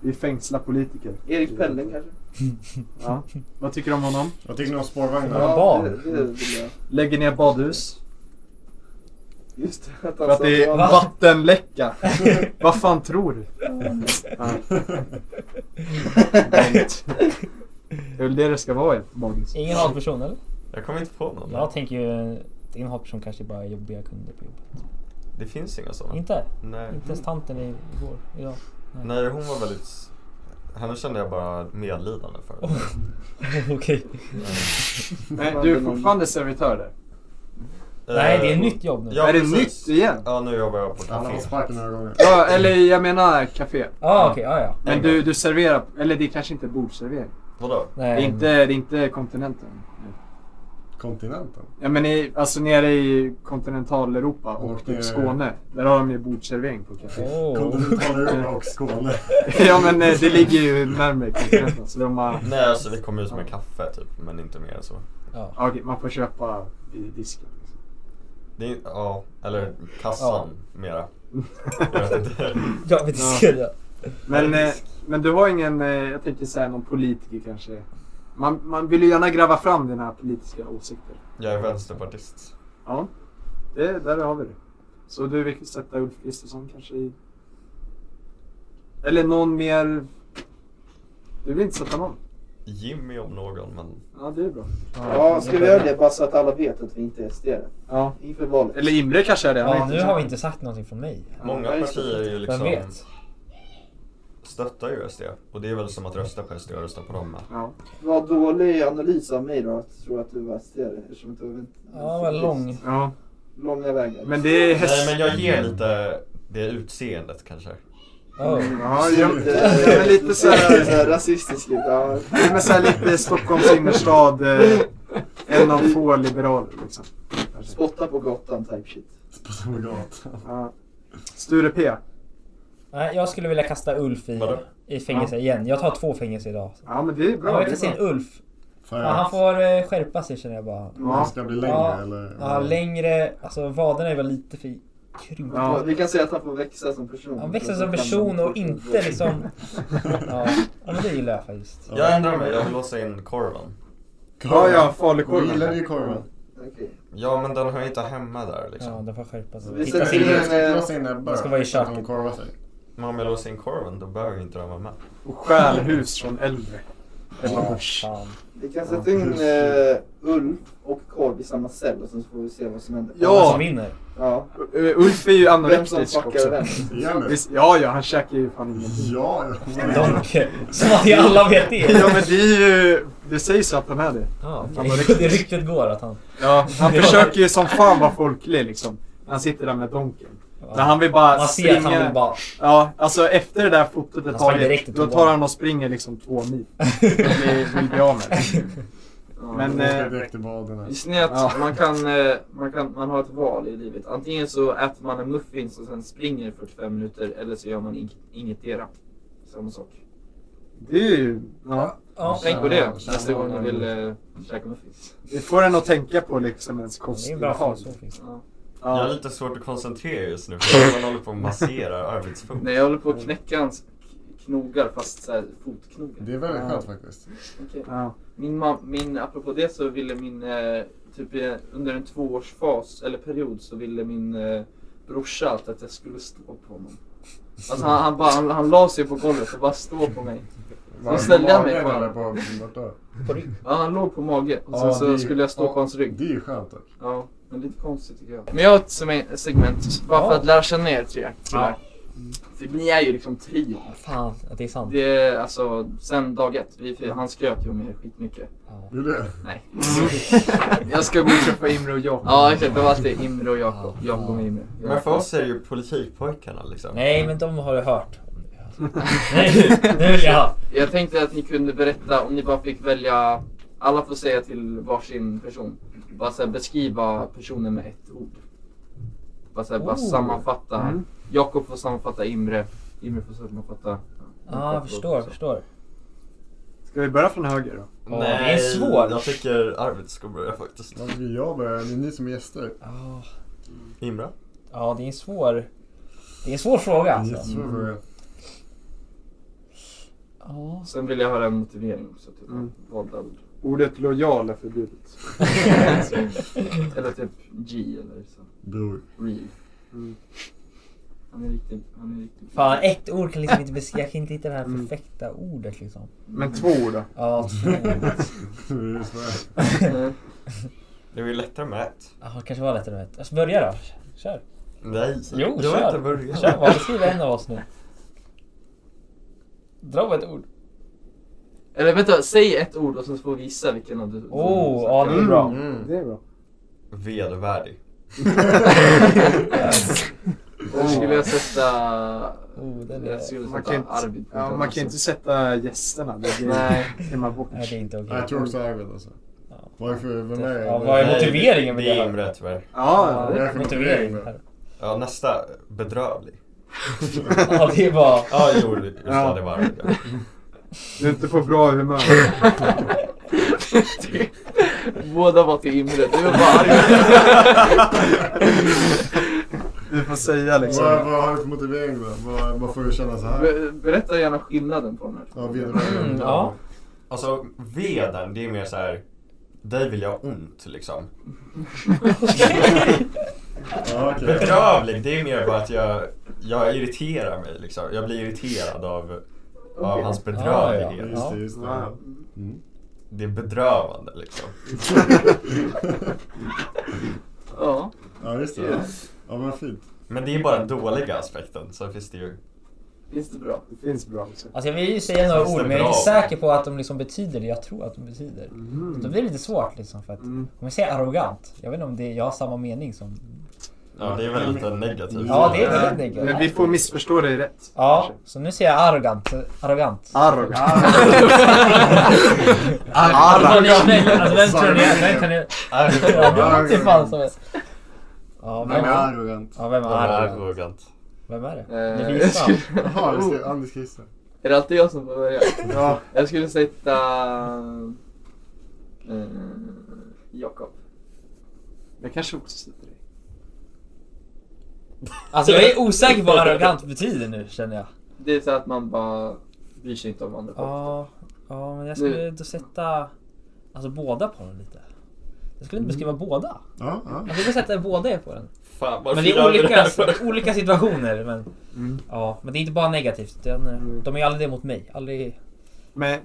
Vi fängslar politiker. kanske? Ja. Vad tycker du om honom? Vad tycker ni om Ja, spårvagnar? Ja. barn. Det, det vill jag. Lägger ner badhus. Just det, att För han att det sa- är vattenläcka. Vad fan tror du? Ja. Det är väl det det ska vara i badhus. Ingen hatperson eller? Jag kommer inte på någon. Jag tänker ju... Din hatperson kanske bara är jobbiga kunder på jobbet. Det finns inga sådana. Inte? Nej. Inte ens tanten igår, idag. Nej, hon var väldigt... Henne kände jag bara medlidande för. Oh, Okej. Nej, du är fortfarande servitör där. Nej, Eh, det är ett nytt jobb nu. Ja, är det precis. nytt igen? Ja, nu jobbar jag på Han har café. fått sparken några gånger. Ja, eller jag menar café. Ah, okej, ja, ja. Men du, du serverar, eller det är kanske inte är bordservering. Vadå? Det är Nej, inte, det är inte kontinenten. Kontinenten. Ja men i, alltså nere i kontinentaleuropa och Och typ eh, det- Skåne. Där har de ju bordservering på café. Åh. Kontinentaleuropa och Skåne. ja men eh, det ligger ju närmare kontinenten så de har... Nej, alltså det kommer ju som en kaffe typ, men inte mer än så. Ja. Ja, Okej, man får köpa i disken. Det är, ja, eller kassan mera. Jag vet inte. Jag vet inte. Ja. Men, eh, men du har ingen, eh, jag tänker säga någon politiker kanske. Man, man vill ju gärna gräva fram dina politiska åsikter. Jag är vänsterpartist. Ja, det, där har vi det. Så du vill sätta Ulf Kristersson kanske i... Eller någon mer... Du vill inte sätta någon? Jimmy om någon, men Ja, det är bra. Ja, ska vi göra det bara så att alla vet att vi inte är sd Ja. Inför valet. Eller Imre kanske är det. han är Ja, inte nu så- har vi inte sagt någonting från mig. många Ja, just det. partier är ju Vem liksom vet? stöttar ju SD. Och det är väl som att rösta på SD och rösta på dem med. Ja. Vad dålig analys av mig då, att tro att du var sd eftersom du var Ja, vad lång. ja. långa vägar. Men det är Nej, häst... men jag ger lite det utseendet kanske. Oh. Ja, ja. Lite, Ja, men lite så här- så här rasistiskt lite. Ja. Det är med så här lite Stockholms innerstad. Eh, en av få liberaler liksom. Spotta på gatan type shit. På gatan. Ja. Sture P. Nej, jag skulle vilja kasta Ulf i, Vadå? i fängelse igen. Jag tar två fängelse idag. Ja, men det är bra. Ja, jag det är kastar in bra. Ulf. För Ja, han att får eh, skärpa sig känner jag bara. han Ja. ska bli längre Ja. eller? Ja, längre. Alltså vaderna är väl lite för krympta. Ja. Vi kan säga att han får växa som person. Han växer som person och inte liksom... Ja, ja men det gillar jag faktiskt. Jag ändrar mig, jag vill låsa in korven. Ja, ja, Du gillar falukorven. ju korven. Okej. Ja, men den hör inte hemma där liksom. Ja, den får skärpa Vi sig. sätter Hitta Jag tycker sin... jag ska låsa in Ebba Man ska vara i så att hon köket. korvar sig. Men om jag låser in korven, då behöver ju inte den vara med. Och stjälhus från äldre. Ja, fan. Vi kan sätta in uh, Ulf och korv i samma cell och sen så får vi se vad som händer. Ja. Alla som vinner. ja. Eh, Ulf är ju Vem som anorektisk fuckar också. vem. Ja, nu. Visst, ja, ja, han käkar ju fan ingenting. Ja, ja. Donk. Som att vi alla vet Ja, det. men det är ju... Det sägs ju att han är det. Ja, Han det, var det ryktet går att han... Ja, han försöker ju som fan vara folklig liksom. Han sitter där med donken. Men han vill bara Man ser att han springa- vill bara... Ja, alltså efter det där fotot är Han sprang direkt taget, till då toan. tar han och springer liksom två mil. Vi vill bli av med det. Hon Men ska eh, direkt i baden. här. Visste ni att Ja. man, kan, eh, man, kan, man har ett val i livet? Antingen så äter man en muffins och sen springer i 45 minuter eller så gör man ing- ingetdera. Samma sak. det är ju... Ja, Ja. Tänk på det nästa Ja. gång ni vill eh, käka muffins. det får en att tänka på liksom ens Det är bra kostinval. filosofisk. Ja. Jag har Ja. lite svårt att koncentrera just nu för man håller på och masserar arbetsfot. Nej, jag håller på att knäcka hans k- knogar, fast så här, fotknogar. Det är väldigt skönt faktiskt. Okej. Ja. Min mam- min, apropå det så ville min, eh, typ eh, under en tvåårsfas eller period så ville min eh, brorsa alltid att jag skulle stå på honom. Alltså han, han, bara, han, han la sig på golvet och bara stå på mig. Var det ställde jag mig magen på- eller på borta? Ja, han låg på mage och Ja, sen så det- skulle jag stå ja, på hans rygg. Det är ju skönt dock. Ja, men lite konstigt tycker jag. Men jag har ett seme- segment bara för Ja. att lära känna er tre killar. Typ, ni är ju liksom trio. Fan, att det är sant. Det är alltså sen dag ett. Vi, han skröt ju om er skitmycket. Ja. Gjorde det? Nej. Jag ska gå och träffa Imre och Jakob. Ja exakt, det var alltid Imre och Jakob. Jakob och Imre. Men för oss är det ju politikpojkarna liksom. Nej, men de har du hört. om nu, alltså. Nej, nu vill jag ha. Jag tänkte att ni kunde berätta om ni bara fick välja, alla får säga till varsin person. Bara så här, beskriva personen med ett ord. Bara, så här, bara Oh. sammanfatta. Mm. Jakob får sammanfatta Imre, Imre får sammanfatta. Ja, jag förstår, jag förstår. Ska vi börja från höger då? Ja, det är svårt. Mm. Jag tycker Arvid ska börja faktiskt. Vad ska jag börja? Det är ni som är gäster. Ja. Imra? Ja, det är en svår... Det är en svår fråga Det är alltså. jättesvårt att börja. Ja. Sen vill jag höra en motivering också till Mm. valda ord. Ordet lojal är förbjudet. Eller typ G eller så. Bror. Real. Mm. Han är riktigt, han är riktigt. Fan, ett ord kan liksom inte beskriva... Jag kan inte hitta det här Mm. perfekta ordet liksom. Men två ord då? Ja, två ord. Hur är det svårt? Mm. Det är ju lättare med ett. Ja, kanske var lättare med ett. Alltså, börja då. Kör. Nej, Jo, jag kör. har inte börjat. Kör bara, beskriv en av oss nu. Dra ett ord. Eller vänta, säg ett ord och sen får vi gissa vilken av du... Oh, ja det är bra. Mm. Det är bra. Vedervärdig. Där Mm. skulle jag sätta... Oh, den är... Jag skulle Man sätta kan inte- Arvid. på Ja, den man kan också. inte sätta gästerna. Det är, Nej. det är man bort. Nej, det är inte Nej, okej. jag tror också Arvid alltså. Ja. Varför, vem är Ja, vad är Nej, motiveringen det- vill Det jag är höra? Imre tyvärr. Ja, det är för Motivering. motivering. här. Ja, nästa. Bedrövlig. Ja, det är bara... Ja, jo, just Ja. det. Det var Arvid. du är inte på bra humör. Båda var till Imre, du var bara arg. Du får säga Vad, liksom. vad har du för motivering då? Vad, vad får du känna så här? Be- Berätta gärna skillnaden på de här. Ja, vedervärdig. Mm, ja. Alltså, veden, det är mer så här. Dig vill jag ha ont liksom. Ja, okej. Bedrövlig, det är mer bara att jag, jag irriterar mig liksom. Jag blir irriterad av, av hans Ah, bedrövlighet. ja. Just det, just det. Ja. Mm. Det är bedrövande liksom. Ja. Ja, just det. Ja, men fint. Men det är bara den dåliga aspekten. Sen finns det ju... Finns det bra? Det finns bra liksom. också. Alltså jag vill ju säga några Känns det ord men jag är inte bra? säker på att de liksom betyder det jag tror att de betyder. Då Mm. blir det lite svårt liksom för att om Mm. jag säger arrogant, jag vet inte om det, jag har samma mening som... Ja, det är väl lite negativt. Ja, det är Ja, väldigt negativt. Men vi får missförstå dig rätt. Ja, så nu säger jag arrogant. Arrogant. Arrogant. Alltså, ni- alltså, vem tror ni är? Vem kan ni... Arrogant. Arrogant är fan som är... Ja, Nej, vem, men arrogant. ja, vem är arrogant? Arrogant. Vem är det? Eh, Ni jag visar. skulle- Jaha, just det. Anders Christer. Är det alltid jag som får börja? Ja. Jag skulle sätta... Eh, Jakob. Jag kanske också sitter dig. Alltså jag är osäker på vad arrogant betyder nu känner jag. Det är så att man bara bryr sig inte om andra folk. Ja, ja men jag Nu. skulle då sätta... Alltså båda på den lite. Jag Mm. skulle inte beskriva båda. Alltså, Ja, ja. Jag skulle sätta båda på den. Fan, varför Men det gör är vi olika, här för? olika situationer. Men, Mm. ja, men det är inte bara negativt. Den, Mm. De är ju aldrig det mot mig. Aldrig... Men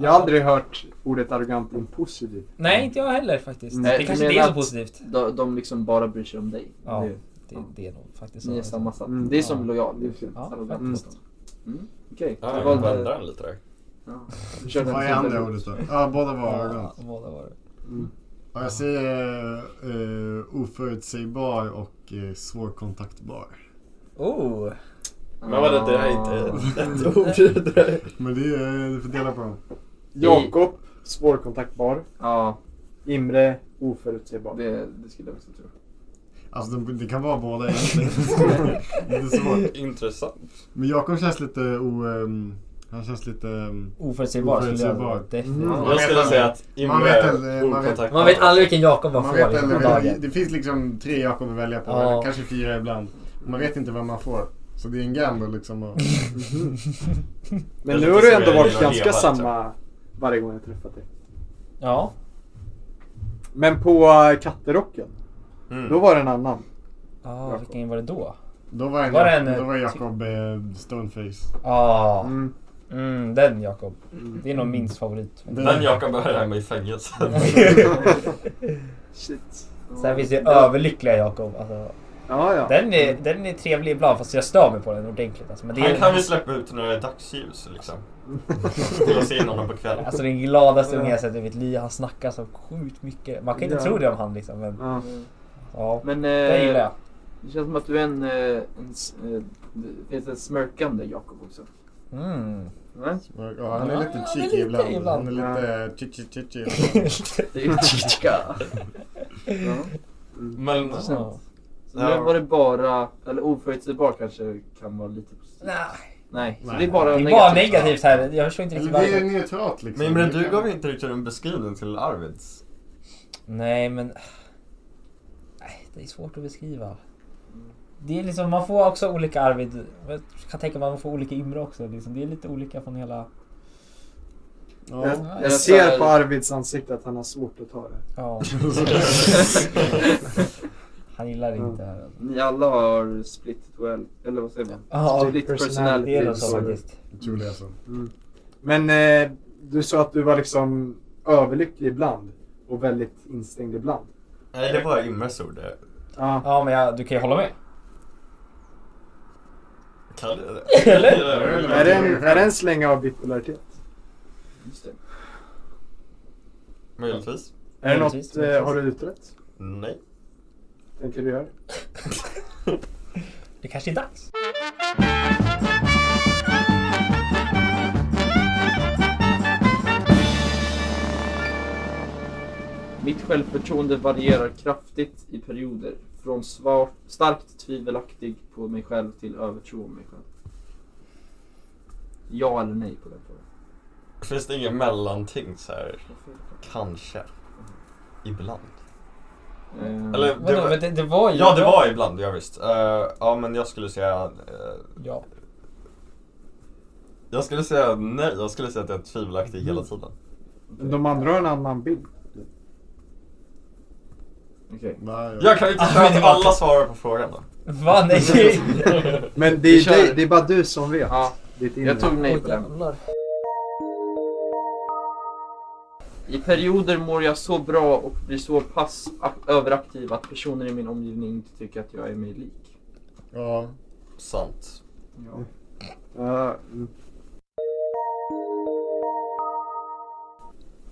jag har aldrig hört ordet arrogant i en positiv. Nej, inte jag heller faktiskt. Mm. Nej, Det du kanske inte menar är så att positivt. De, de liksom bara bryr sig om dig. Ja. Det- Det, det är nog faktiskt Ni är så. sammansatt. Mm. Det är som Ja. lojal. Det är fint. Ja, Arrogant. faktiskt. Mm. Okej, Ja, jag jag valde... vänder den lite där. Ja. Du körde en Vad är sån liksom där andra ord. ordet då? Ja, båda var Ja, arrogant. båda var det. Ja, jag säger eh, oförutsägbar och eh, svårkontaktbar. Oh! Men vadå, det här är inte ett ord. det där är- Men det är, du får dela på dem. Jakob, svårkontaktbar. Ja, Imre, oförutsägbar. det, det skulle jag också tro. Alltså det, det kan vara båda egentligen. det är svårt. Intressant. Men Jakob känns lite o... ehm, han känns lite... ehm, Oförutsägbar skulle Oförutsägbar. jag definitivt. Mm. Jag skulle säga att Imre vet aldrig- är man vet- okontaktbar. Man vet aldrig vilken Jakob man Man får vet liksom, på aldrig, det, dagen. det finns liksom tre Jakob att välja på. Ja. eller Kanske fyra ibland. Man vet inte vad man får. Så det är en gamble liksom. Och, Men nu har du ändå varit ganska samma liksom. varje gång jag träffat dig. Ja. Men på äh, katterocken, Mm. då var det en annan. Ah, vilken var det då? då var, en, Var det en- då var Jakob eh, Stoneface. Ah. Mm. Mm, den Jakob. Det är nog min favorit. Den Jakob är hemma i fängelset. Shit. Sen finns det ju överlyckliga Jakob. Alltså, Ja, ja. den, är, den är trevlig ibland fast jag stör mig på den ordentligt. Alltså, men det Han är, kan vi släppa ut när det är dagsljus liksom. Jag ser in honom på kvällen. alltså den gladaste ungen jag sett i mitt liv. Han snackar så sjukt mycket. Man kan inte Ja. tro det om han liksom. Men, Ja. ja, Men den gillar eh, jag. det känns som att du är en... eh, en s- eh, det finns en smörkande Jakob också. Mm. Nej? Ja, han är Ja, lite han är cheeky lite ibland. ibland. Han är lite chichi chichi. Det är ju chichka. ja. Men Ja. Så nu var det bara... Eller oförutsägbar kanske kan vara lite positivt. Nej, Nej, så Nej. det är bara det är negativt. bara negativt här. Jag förstår inte Eller riktigt det är varför. neutralt liksom. men, men du Det gav inte riktigt en beskrivning till Arvids. Nej, men... Nej, det är svårt att beskriva. Det är liksom, man får också olika Arvid. Jag kan tänka mig att man får olika Imre också. Liksom. Det är lite olika från hela... Ja. Jag ser på Arvids ansikte att han har svårt att ta det. Ja, han gillar Mm. inte det här. alltså. Ni alla har split well, eller vad säger man? Ja, split personality. Det är nog personality. så faktiskt. Tror det alltså. Men eh, du sa att du var liksom överlycklig ibland och väldigt instängd ibland. Nej, det var Imres ord. det. Ja. Ja, men jag, du kan ju hålla med. kallar jag det. Eller? Är det, en, är det en släng av bipolaritet? Just det. Möjligtvis. Är det Precis, något, eh, har du utrett? Nej. Tänker du göra? Det kanske är dags. Mitt självförtroende varierar kraftigt i perioder. Från svar, starkt tvivelaktig på mig själv till övertro om mig själv. Ja eller nej på den frågan? Finns det inget mellanting så här? Kanske. Ibland. Eh, Eller det Vadå, men var, det, det var ju... ja, det var ibland, ja visst. Eh, ja, men jag skulle säga... eh, Ja. jag skulle säga nej. Jag skulle säga att jag är tvivlaktig hela tiden. De andra har en annan bild. Okej. Nej, Jag kan inte säga att alla svarar på frågan då. Va? Nej. Men det Vi är, kör. dig, det är bara du som vet. Ja, Ditt inre. jag tog nej på Åh, den. jävlar. I perioder mår jag så bra och blir så pass ak- överaktiv att personer i min omgivning inte tycker att jag är mig lik. Ja. Sant. Ja. Ja, mm.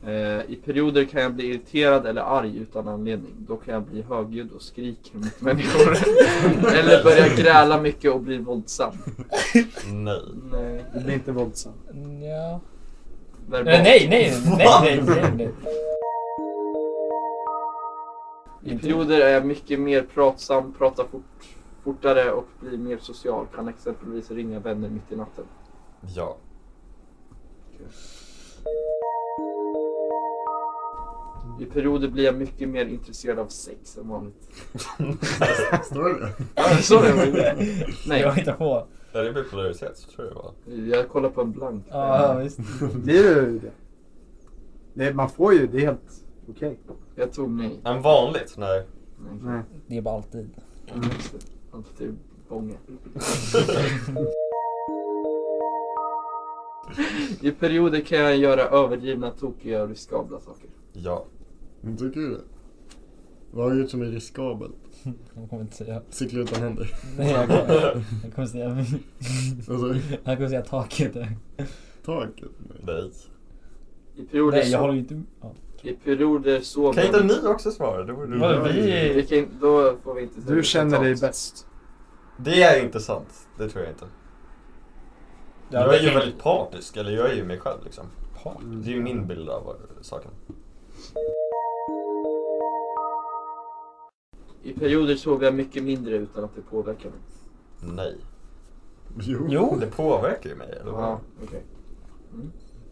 Eh, I perioder kan jag bli irriterad eller arg utan anledning. Då kan jag bli högljudd och skrika mot människor. eller börja gräla mycket och bli våldsam. eh, Nej. Nej. du blir inte våldsam. Ja. Verbal. Nej, Eh, nej, nej, nej, nej, nej, nej. I perioder är jag mycket mer pratsam, pratar fort, fortare och blir mer social. Kan exempelvis ringa vänner mitt i natten. Ja. I perioder blir jag mycket mer intresserad av sex än vanligt. Står det det? Ja, så är det. Nej, jag Nej, hittar på. Är det bipolaritet så tror jag det var. jag kollar på en blank. Ja, visst. Blir du det? det? Man får ju, det är helt okej. Jag tog nej. Men vanligt? Nej. nej. Nej. Det är bara alltid. Alltid bånge. I perioder kan jag göra överdrivna, tokiga och riskabla saker. Ja. Men Tycker du det? Vad har du gjort som är riskabelt? Han kommer inte säga... Cykla utan händer. Nej, jag kommer, jag kommer säga... Alltså, Han kommer säga taket. där. taket. Nej. I perioder, Nej, jag so- håller ju inte... Ja. I perioder sover... Kan inte ni också svara? Det, borde Vadå, du... vi- Vi kan in- Då får vi inte säga Du känner dig resultat. bäst. det är inte sant. Det tror jag inte. jag är ju väldigt partisk, eller jag är ju mig själv liksom. Det är ju min bild av saken. I perioder sover jag mycket mindre utan att det påverkar mig. Nej. Jo. Jo! Oh, Det påverkar ju mig. Eller? vad? Ja, okej.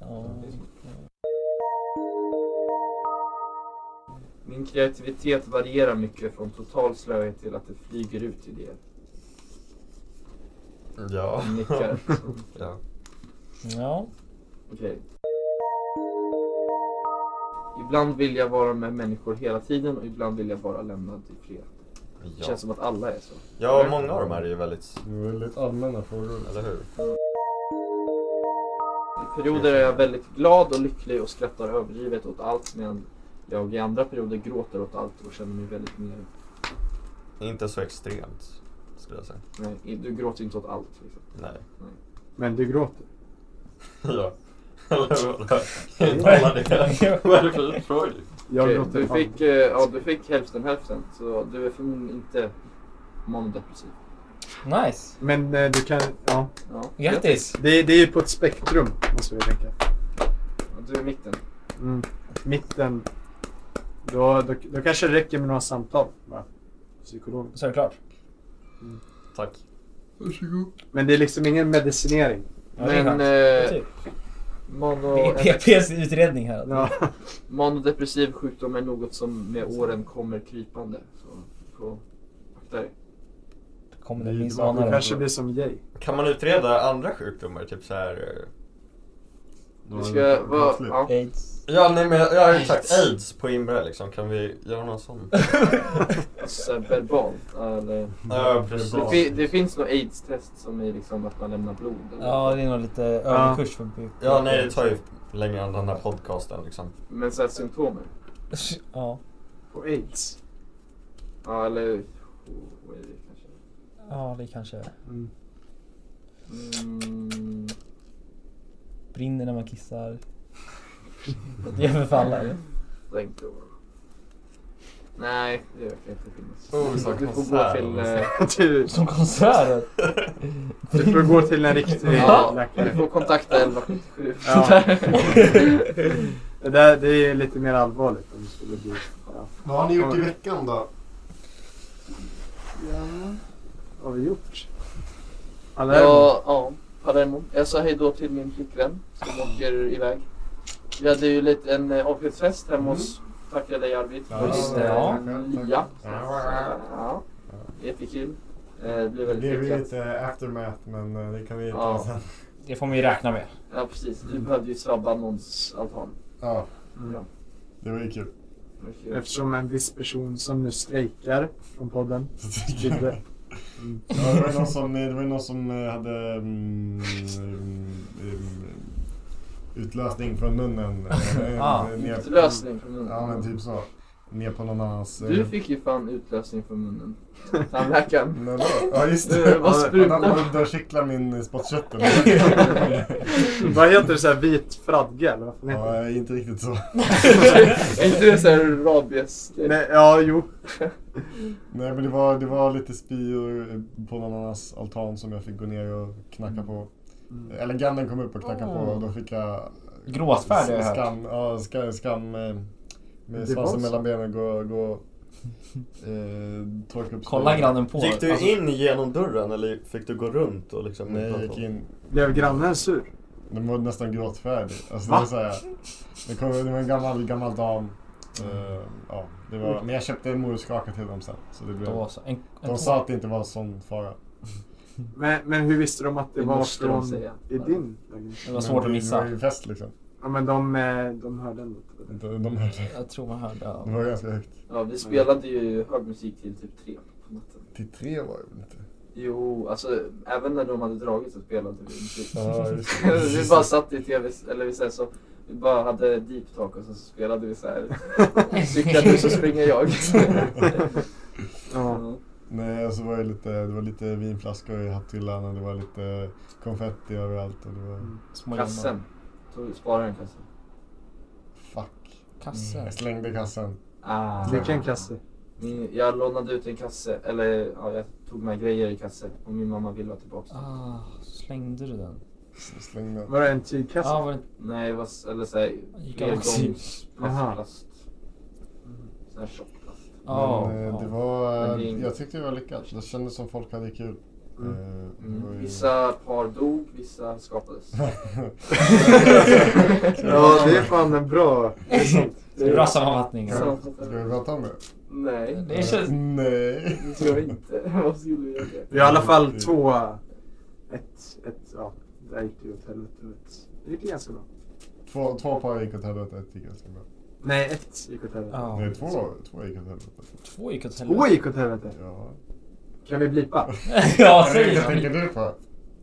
Ja. Min kreativitet varierar mycket från total slöhet till att det flyger ut idéer. Ja. Nickar. ja. Ja. Okej. Ibland vill jag vara med människor hela tiden och ibland vill jag vara lämnad i fred. Det Ja. känns som att alla är så. ja, många av de här är ju väldigt, Det var väldigt allmänna frågor. eller hur? I perioder är jag väldigt glad och lycklig och skrattar överdrivet åt allt medan jag i andra perioder gråter åt allt och känner mig väldigt mer... Inte så extremt, skulle jag säga. Nej, du gråter inte åt allt liksom. Nej. Men du gråter. Ja. Eller vad? Kan inte alla det? Vad är det för utfrågning? Jag Okej, gråter du, fan. fick, eh, ja, du fick hälften hälften, så du är förmodligen inte manodepressiv. Nice! Men eh, du kan, ja. Ja. Grattis! Det, det är ju på ett spektrum, måste vi tänka. Ja, Du är i mitten. Mm. Mitten. Då, då, då kanske det räcker med några samtal. Bara. Psykolog. Så är det klart. Tack. Varsågod. Men det är liksom ingen medicinering. Ja, det är Men skönt. eh, Typ. mono, eh, Det är PPs utredning här. Ja. manodepressiv sjukdom är något som med åren kommer krypande. Så du får akta dig. Kommer det Det är minst ju- man ana Du det. kanske blir som Jay. Kan man utreda andra sjukdomar? Typ så här... eh, Du ska vara... Ja. Aids. Ja, nej men jag har ju sagt aids på Imre liksom. Kan vi göra någon sån? Alltså verbalt. Eller, Ja, precis. det, fi, det finns nog aids-test som är liksom att man lämnar blod. Eller? Ja, det är nog lite överkurs för PP. Ja, nej det tar ju längre än den här podcasten liksom. Men så här symptomer. Ja. Och aids. Ja, eller... HIV kanske. Ja, det kanske... Mm. Mm. Brinner när man kissar. Det är förfallare. Tänk då. Nej, det gör jag inte finnas. Oh, så du får gå konsert. till... eh, Du, Som konsert. du får gå till en riktig Ja. Du läkare. får kontakta 1177. Ja. Det, där, det är lite mer allvarligt om det skulle bli... Ja. Vad har ni gjort i veckan då? Vad har vi gjort? Alla Ja, ja. Palermo. Jag sa hej då till min flickvän som åker iväg. Vi hade ju lite en eh, avskedsfest Mm. hemma hos Tacka dig Arvid. Ja, just det. Ja. Ja. Ja. ja. Jättekul. Eh, Det blev Det väldigt blev ju lyckat. lite aftermath men eh, det kan vi ta Ja. sen. Det får man ju räkna med. Ja precis, du behövde ju svabba någons altan. Ja, Ja. det var ju kul. det var kul. Eftersom en viss person som nu strejkar från podden. Kidde. Mm. Ja, det var ju någon som, det var ju någon som eh, hade mm, mm, mm, utlösning från munnen. eh, Ah. eh, ner- Utlösning från munnen. Ja men typ så. Ner på någon annans... eh, Du fick ju fan utlösning från munnen. Tandläkaren. men vadå? Ja just Det det. var spruta. Då kittlar min eh, spottkött Vad heter det? Så här vit fradga eller vad fan heter Ja, det? eh, inte riktigt så. Är inte det såhär rabies? Nej, ja, jo. Nej men det var, det var lite spyor eh, på någon annans altan som jag fick gå ner och knacka på. Mm. Eller grannen kom upp och knackade Ah. på och då fick jag... Gråtfärd har jag hört. Skam, ja, skam, skam eh, Det med var så. svansen mellan benen gå, gå eh, torka upp Kolla spyor. grannen på. Gick du Alltså, in genom dörren eller fick du gå runt och liksom... Nej, jag gick in. Blev grannen sur? Den var nästan gråtfärdig. Alltså, Va? det, var så här, det, kom, det var en gammal, gammal dam. Mm. Eh, ja, det var, men jag köpte en morotskaka till dem sen. Så det blev, Då så. En, en de sa att det inte var sån fara. Men, men hur visste de att det Det var måste de från... säga. I din lägenhet? Det var Men svårt att det- Det missa. var ju fest liksom. Ja, men de, eh, de hörde ändå. inte det. De, de hörde. Jag tror man hörde. Det Ja. var ganska högt. Ja, vi spelade ju hög musik till typ tre på natten. Till tre var det väl inte? Jo, alltså även när de hade dragit så spelade vi musik. Ja, just vi bara satt i tv, eller vi säger så, vi bara hade deep talk och sen så spelade vi så här. Cyklar du så springer jag. Ja. Nej, och så var det lite, det var lite vinflaskor i hatthyllan och det var lite konfetti överallt och det var... Mm. Små Kassen. Tog- Sparade den kassen. Fuck. Kassen. Jag slängde kassen. Ah. Vilken kasse? Min, jag lånade ut en kasse, eller ja, jag tog med grejer i kasse och min mamma ville ha tillbaka den. Ah, slängde du den? Så slängde Var det en tygkasse? Ja, var det Nej, det var, s- eller såhär, Gick av också. Aha. plast. Sån här alltså. tjock plast. Ja, Men, eh, ja. det var, Men det är inget- jag tyckte det var lyckat. Det kändes som folk hade kul. Mm. Eh, det var Mm. ju- Vissa par dog, vissa skapades. Ja, det är fan en bra... Det är sant. Det är bra sammanfattning. eh, Så- Ska vi prata om det? Nej, Det Mm. känns... Nej. det tror jag inte. Vad skulle vi göra det? Vi har i alla fall två... Ett, ett, ja. Det här gick ju åt helvete. Ett. Det gick ju ganska bra. Två, två par gick åt helvete, ett gick ganska bra. Nej, ett gick åt helvete. Ja. Nej, två, två gick åt helvete. Två gick åt Två helvete. gick åt helvete. Ja. Kan vi blipa? Ja, säg Vad tänker det. du på?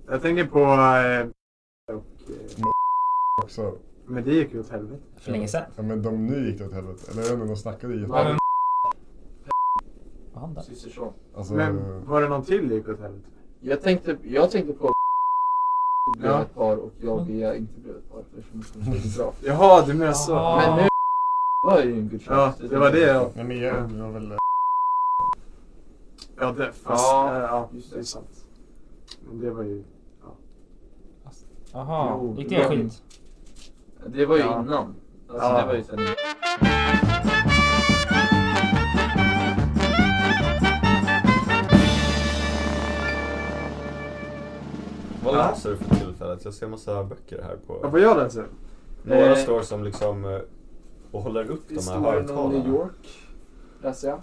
Jag tänker på... eh, Och, eh, Också. men det gick ju åt helvete. För länge sedan. Ja, men de nu gick det åt helvete. Eller jag vet inte, de snackade ju Ja, men... jätte... Var han där? Systerson. Alltså, Men var det någon till gick åt helvete? Jag tänkte, jag tänkte på blev Ja. Mm. ett par och jag och Bea inte blev ett par. eftersom det inte gick bra. Jaha, du menar så. Jaha. Men nu var ju en good Ja, chance. det var det jag... Nej men jag det var väl... Ja, det, fast, Ja, ja, ja just det är det. sant. Men det var ju... Jaha, Jo, gick det det var- skit? Det var ju Ja. innan. Alltså Ja. det var ju sen. Vad läser du för tillfället? Jag ser massa böcker här Ja, på... vad gör den sen? Några Eh, står som liksom eh, och håller upp de här Historien om New högtalarna. York läser jag.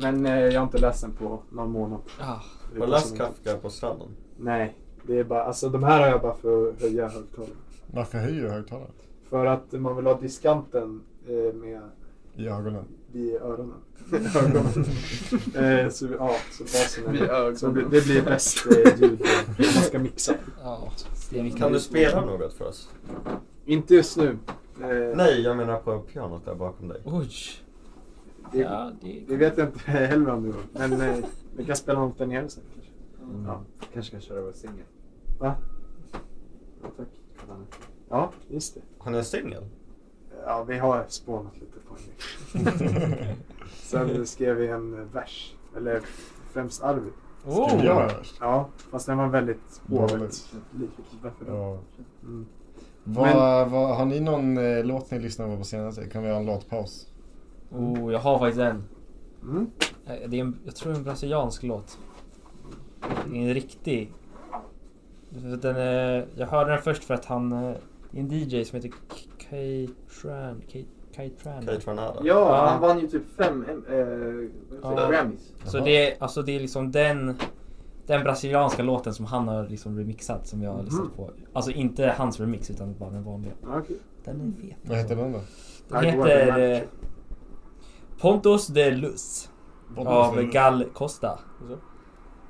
Men eh, jag har inte läst den på någon månad. Ah, Har du läst Kafka på stranden? Nej, det är bara... Alltså de här har jag bara för att höja högtalarna. Varför höjer du högtalaren? För att man vill ha diskanten eh, med I ögonen. vid öronen. ögonen. eh, så ja, så basen Vid är... Så det, ögonen. det blir bäst eh, ljud när man ska mixa. ja. Kan du spela något för oss? Inte just nu. Eh, Nej, jag menar på pianot där bakom dig. Oj. Det, Ja, det... det vet jag inte heller om det var. Men eh, vi kan spela något där nere sen kanske. Mm. Ja, kanske kan köra vår singel. Va? Ja, tack. Ja, just det. Han är singel? Ja, vi har spånat lite på henne. Sen skrev vi en eh, vers. Eller främst Arvid. Oh. Skrev jag överst? Ja, fast den var väldigt Dåligt. hovet lik. Varför då? Ja. Mm. Vad, vad, har ni någon eh, låt ni lyssnat på på senaste? Kan vi ha en låtpaus? Oh, jag har faktiskt en. Mm. Eh, Det är en, jag tror det är en brasiliansk låt. Det är en riktig. Den är, jag hörde den först för att han... eh, Det är en DJ som heter K- Kay Tran. Kay, Kay Tran. Kate Ranada? Mm. Ja. Ja, han vann ju typ fem eh, eh, vad Ja. heter det, Grammys. Så det är, alltså det är liksom den... Den brasilianska låten som han har liksom remixat som jag Mhm. har lyssnat på. Alltså inte hans remix utan bara den vanliga. Ja, okej. Den är fet. Vad heter den då? Den I want a heter manager. eh, Pontos de Luz av Gal Costa.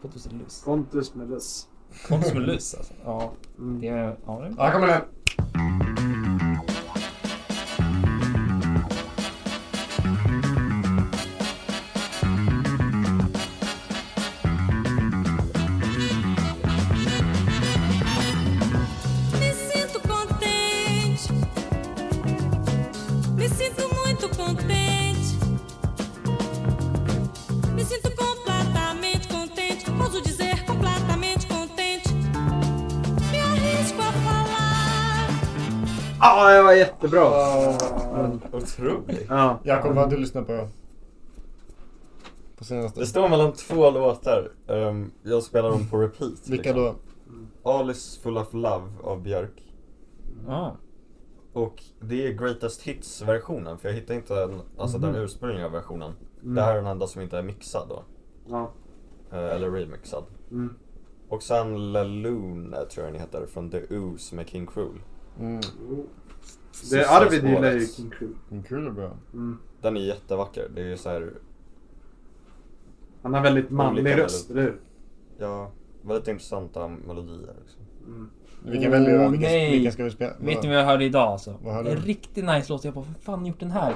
Pontos de Luz. Pontus med löss. Pontus med Luz alltså. Ja, Mm. det är... Ja, det är Ja, kommer den! Me sinto contente. Me sinto muito contente. Me sinto completamente contente. Ouso dizer completamente contente. Me arrisco a falar. Ja, det var jättebra! Otrolig. Ja. Jakob, vad har du lyssnat på? På senaste? Det står mellan två låtar. Ehm, jag spelar dem på repeat. Vilka liksom. då? Alice Full of Love av Björk. Ja. Och det är Greatest Hits-versionen, för jag hittar inte den, alltså den ursprungliga versionen. Det här är den enda som inte är mixad då. Mm. Ja. Eh, Eller remixad. Mm. Och sen La Luna tror jag den heter, från The Ooze med King Cruel. Mm. Det, Sista Arvid gillar ju spåret. King Crew. Kul och bra. Mm. Den är jättevacker. Det är ju så här, Han har väldigt manlig Olika röst, eller hur? ja, väldigt intressanta melodier. Liksom. Mm. Vilken väljer Åh, du? Vilken, nej. vilken ska vi spela? Vet ni vad jag hörde idag alltså? Vad hörde en du? riktigt nice låt. Jag bara, vad fan har gjort den här?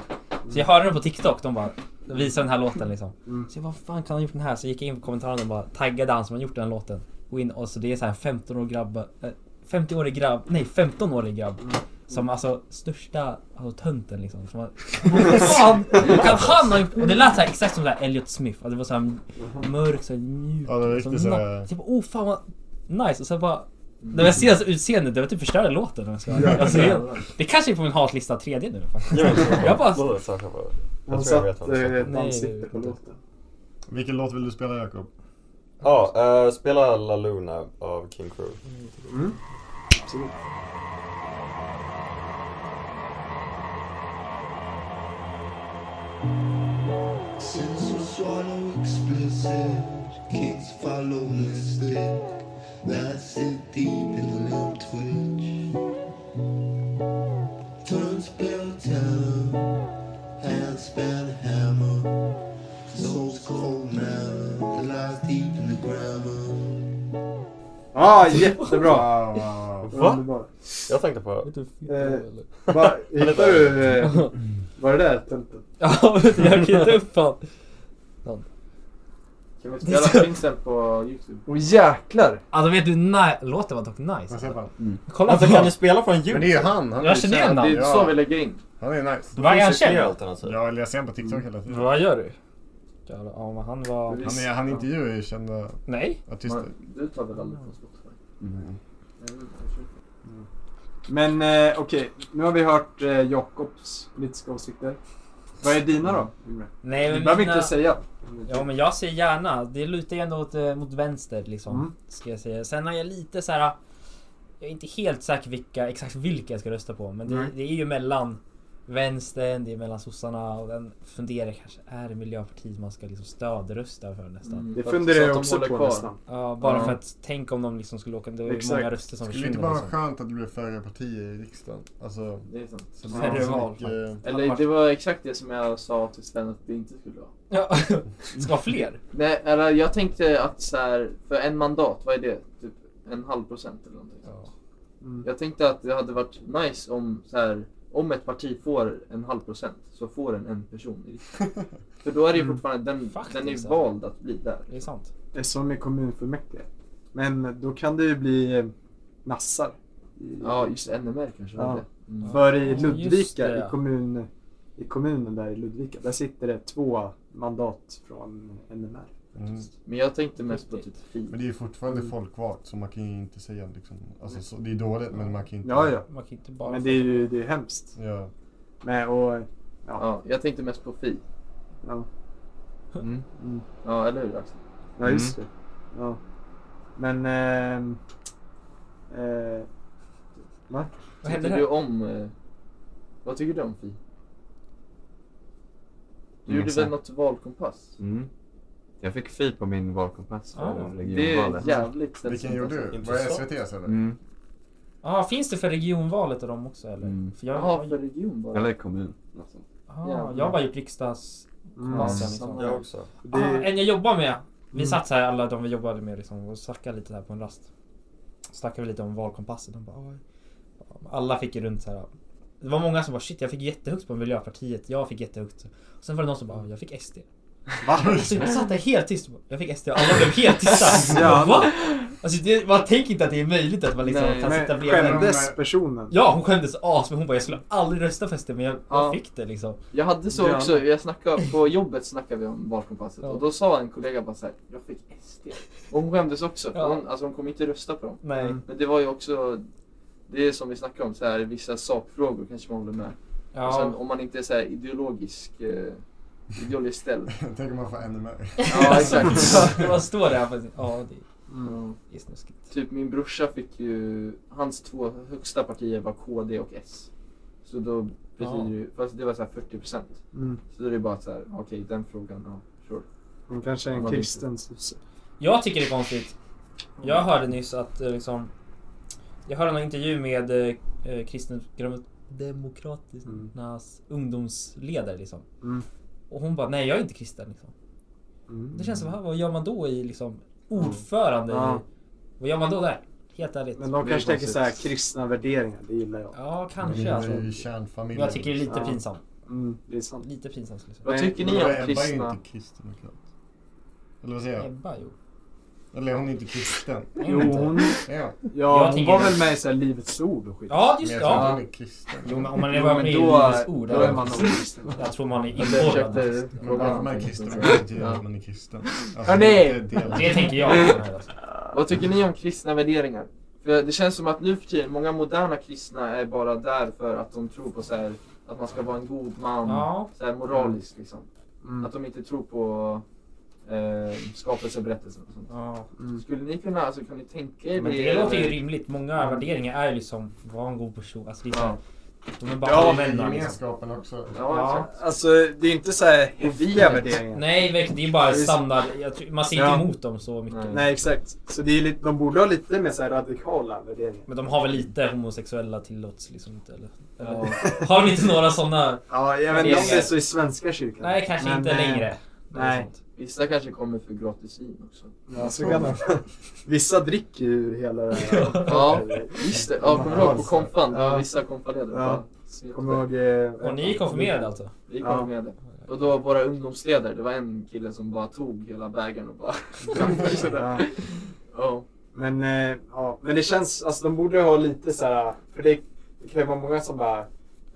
Så jag hörde den på TikTok. De bara, de visade den här låten liksom. Mm. Så jag bara, vad fan kan han ha gjort den här? Så gick jag in på kommentarerna och bara taggade han som har gjort den låten. Och, in, och så det är så här 15 år grabb, äh, 50-årig grabb, nej 15-årig grabb. Mm. Som alltså största alltså, tönten liksom. Som har, vad fan kan han ha gjort? Och det lät så här, exakt som så här Elliot Smith. Alltså, det var så här Mm. mörkt, så här mjukt. Ja, det var riktigt så så na- här- så jag bara, Alltså, oh fan vad nice. Och sen bara när jag ser hans utseende, det var typ förstörda låten om jag ska vara alltså, jag- Det kanske är på min hatlista tredje nu faktiskt. Jag vet inte. Jag bara- Låt oss söka på det. Han Jag tror jag vet satt vad det eh, är. ett Nej, ansikte det på vet jag låten. Vilken låt vill du spela Jakob? Ja, eh, spela La Luna av King Cruel. Absolut. Since you swallow explicit, kids follow instead. That's it deep in the lip twitch. Turns pale time, hands span hammer. Soul's cold matter that lies deep in the grammar. Ja, jättebra! Wow, wow, wow. Va? Underbar. Jag tänkte på... Eh, va, hittade du... Eh, var det där tältet? Ja, men jag kan inte upp fan. Kan vi spela Vincent på Youtube? Åh jäklar! Alltså vet du, nej, låten var dock nice. Vad säger man? Kolla Alltså på kan den. ni spela från Men ljud? det är ju han. han är Jag ju känner känd. igen Det han. är så vi Ja, lägger in. han är nice. Vad är han Finns det fler känd? alternativ? Ja, eller jag ser honom på TikTok hela tiden. Vad gör du? Jävlar, Ja, men han var... Han, är, han intervjuar ju kända Nej? artister. Du tar väl aldrig från Spotify? Mm. Men eh, okej, nu har vi hört eh, Jakobs politiska åsikter. Vad är dina då? Yngve? Nej, Du men behöver Eh, mina... inte säga. Ja, men jag ser gärna. Det lutar ju ändå åt, eh, mot vänster liksom. Mm. Ska jag säga. Sen har jag lite så här. Jag är inte helt säker vilka, exakt vilka jag ska rösta på. Men det, Nej. det är ju mellan vänstern, det är mellan sossarna och den funderar jag kanske. Är det Miljöpartiet man ska liksom stödrösta för nästan? Det För att- funderar så att jag de också håller på kvar. nästan. Ja, bara Ja. för att tänk om de liksom skulle åka. Det är ju Exakt. många röster som Skulle det inte försvinner. bara vara Liksom. skönt att det blev färre partier i riksdagen? Alltså, Det är sant. så blir Färre det så val, mycket... Eller det var exakt det som jag sa till Sven att det inte skulle vara. liksom. Ja. Det ska vara fler. Nej, eller jag tänkte att så här, för en mandat, vad är det? Typ en halv procent eller någonting. Mm. Jag tänkte att det hade varit nice om så här, om ett parti får en halv procent så får den en person i riksdagen. För då är det ju Mm. fortfarande, den, den är ju Faktiskt, ja. vald att bli där. Det är sant. Det är som i kommunfullmäktige. Men då kan det ju bli eh, nassar. i- Ja, just ännu mer kanske. Ja. eller? Mm. För i just Ludvika, det. i, kommun, i kommunen där i Ludvika, där sitter det två mandat från NMR. Mm. Men jag tänkte mest på typ Men fint. det är ju fortfarande folkvalt så man kan ju inte säga liksom. Alltså, så, det är dåligt men man kan ju inte... Ja, ja. Man kan inte bara... Men det är ju det är ju hemskt. ja. Men, och, Ja, jag tänkte mest på fi. ja. Mm. Mm. Ja, eller hur Axel? Ja, just Mm. det. Ja. Men... ehm, eh, va? Vad Tycker händer du här? om... eh, Vad tycker du om fi? Du Mm, gjorde väl exakt. något valkompass? Mm. Jag fick fi på min valkompass för Ah. Det regionvalet. är jävligt alltså. Vilken gjorde du? Var det Intressant. SVT's eller? Mm. Ah, finns det för regionvalet av dem också eller? Mm. För jag, Jaha, för region bara. Eller kommun. Alltså. ah, jag har bara gjort riksdags... Mm. Ja, Alltså, liksom. samma. Jag också. Det, Ah, en jag jobbar med. Vi Mm. satt så här alla de vi jobbade med liksom, och snackade lite här på en rast. Så snackade vi lite om valkompasset. De bara, "Oj." alla fick ju runt så här. Det var många som bara shit jag fick jättehögt på Miljöpartiet. Jag fick jättehögt. Och sen var det någon som bara jag fick SD. Så jag satt där helt tyst. och bara, Jag fick SD och alla blev helt tysta. Ja. Jag bara, Va? Alltså, det, man tänker inte att det är möjligt att man liksom Nej. kan men sitta bredvid. skämdes personen? Ja hon skämdes as men hon bara jag skulle aldrig rösta för SD men jag, Ja. jag fick det liksom. Jag hade så Ja. också, jag snackade, på jobbet snackade vi om valkompasset Ja. och då sa en kollega bara såhär, jag fick SD. Och hon skämdes också, för Ja. hon, alltså hon kommer inte rösta på dem. Nej. Mm. Men det var ju också, det är som vi snackade om, så här, vissa sakfrågor kanske man håller med. Och sen Ja. om man inte är så här ideologisk, eh, ideologiskt ställd. Tänk om man får ännu mer. ja exakt. Vad står det här faktiskt? Ja det, Mm. det är snuskigt. Typ min brorsa fick ju, hans två högsta partier var KD och S. Så då betyder Ja. ju, fast det var så här 40%. Mm. Så då är det bara så här, okej den frågan, ja sure. Hon kanske är en Vad kristen sosse. Jag tycker det är konstigt. Jag hörde nyss att eh, liksom... Jag hörde en intervju med eh, eh, Kristdemokraternas ungdomsledare liksom. Mm. Och hon bara, nej jag är inte kristen liksom. Mm. Det känns som, "Va, vad gör man då i liksom ordförande? i- Ja. Vad gör man då där? Helt ärligt. Men de Det är kanske tänker konstigt. så här, kristna värderingar, det gillar jag. Ja, Det kanske är alltså. ju Men kärnfamiljen. jag tycker det är lite Mm. Ja. pinsamt. Mm, det är sant. Lite pinsamt skulle jag säga. Vad Nej, tycker Men ni då om är Ebba är ju kristna? inte kristdemokrat. Eller vad säger jag? Ebba, jo. Eller hon är inte kristen. Nej, Jo, inte. hon, Ja, ja, hon tänker var det. väl med i så här, Livets Ord och skit. Ja, men just jag det. tror inte Ja. hon är kristen. Jo, men om man är Jo, med men i då- Livets Ord. Då är ja. man nog kristen. Jag tror man är Jag inbordad. försökte Men varför fråga man är någonting. kristdemokrat betyder Ja. att man är kristen. Alltså, Hörni! det är inte en del. Det tänker jag. Vad tycker ni om kristna värderingar? För det känns som att nu för tiden, många moderna kristna är bara där för att de tror på så här, att man ska vara en god man, Ja. så här moralisk liksom. Mm. Att de inte tror på eh, skapelseberättelsen och sånt. Ja. Mm. Skulle ni kunna, alltså kan ni tänka er Men det låter ju eller? rimligt. Många värderingar är ju liksom, var en god person. Alltså det är så här, Ja. de är bara Ja, allmänna men liksom. gemenskapen också. Ja, exakt. Alltså, det är inte så här häftiga vi- värderingar. Nej, verkligen, det är bara Det är- standard. Jag tror, man ser inte Ja. emot dem så mycket. Nej. Nej, exakt. Så det är lite, de borde ha lite mer så här radikala värderingar. Men de har väl lite homosexuella tillåts liksom inte eller? Ja. Har de inte några sådana? Ja, jag vet inte om Värderingar. det är så i Svenska kyrkan. Nej, kanske Men, inte eh, längre. nej. Vissa kanske kommer för gratis vin också. Ja, så kan de. Vissa dricker ju ur hela det här. Ja, visst det. Ja, kommer du ihåg på konfan? Det var Ja. vissa konfaleder. Ja. Kommer ihåg... eh, Och ni är konfirmerade alltså? Vi Ja. kom med det. Och då våra ungdomsledare, det var en kille som bara tog hela bägaren och bara... Ja. Ja. Men, eh, ja, men det känns, alltså de borde ha lite så här, för det, det kan ju vara många som bara,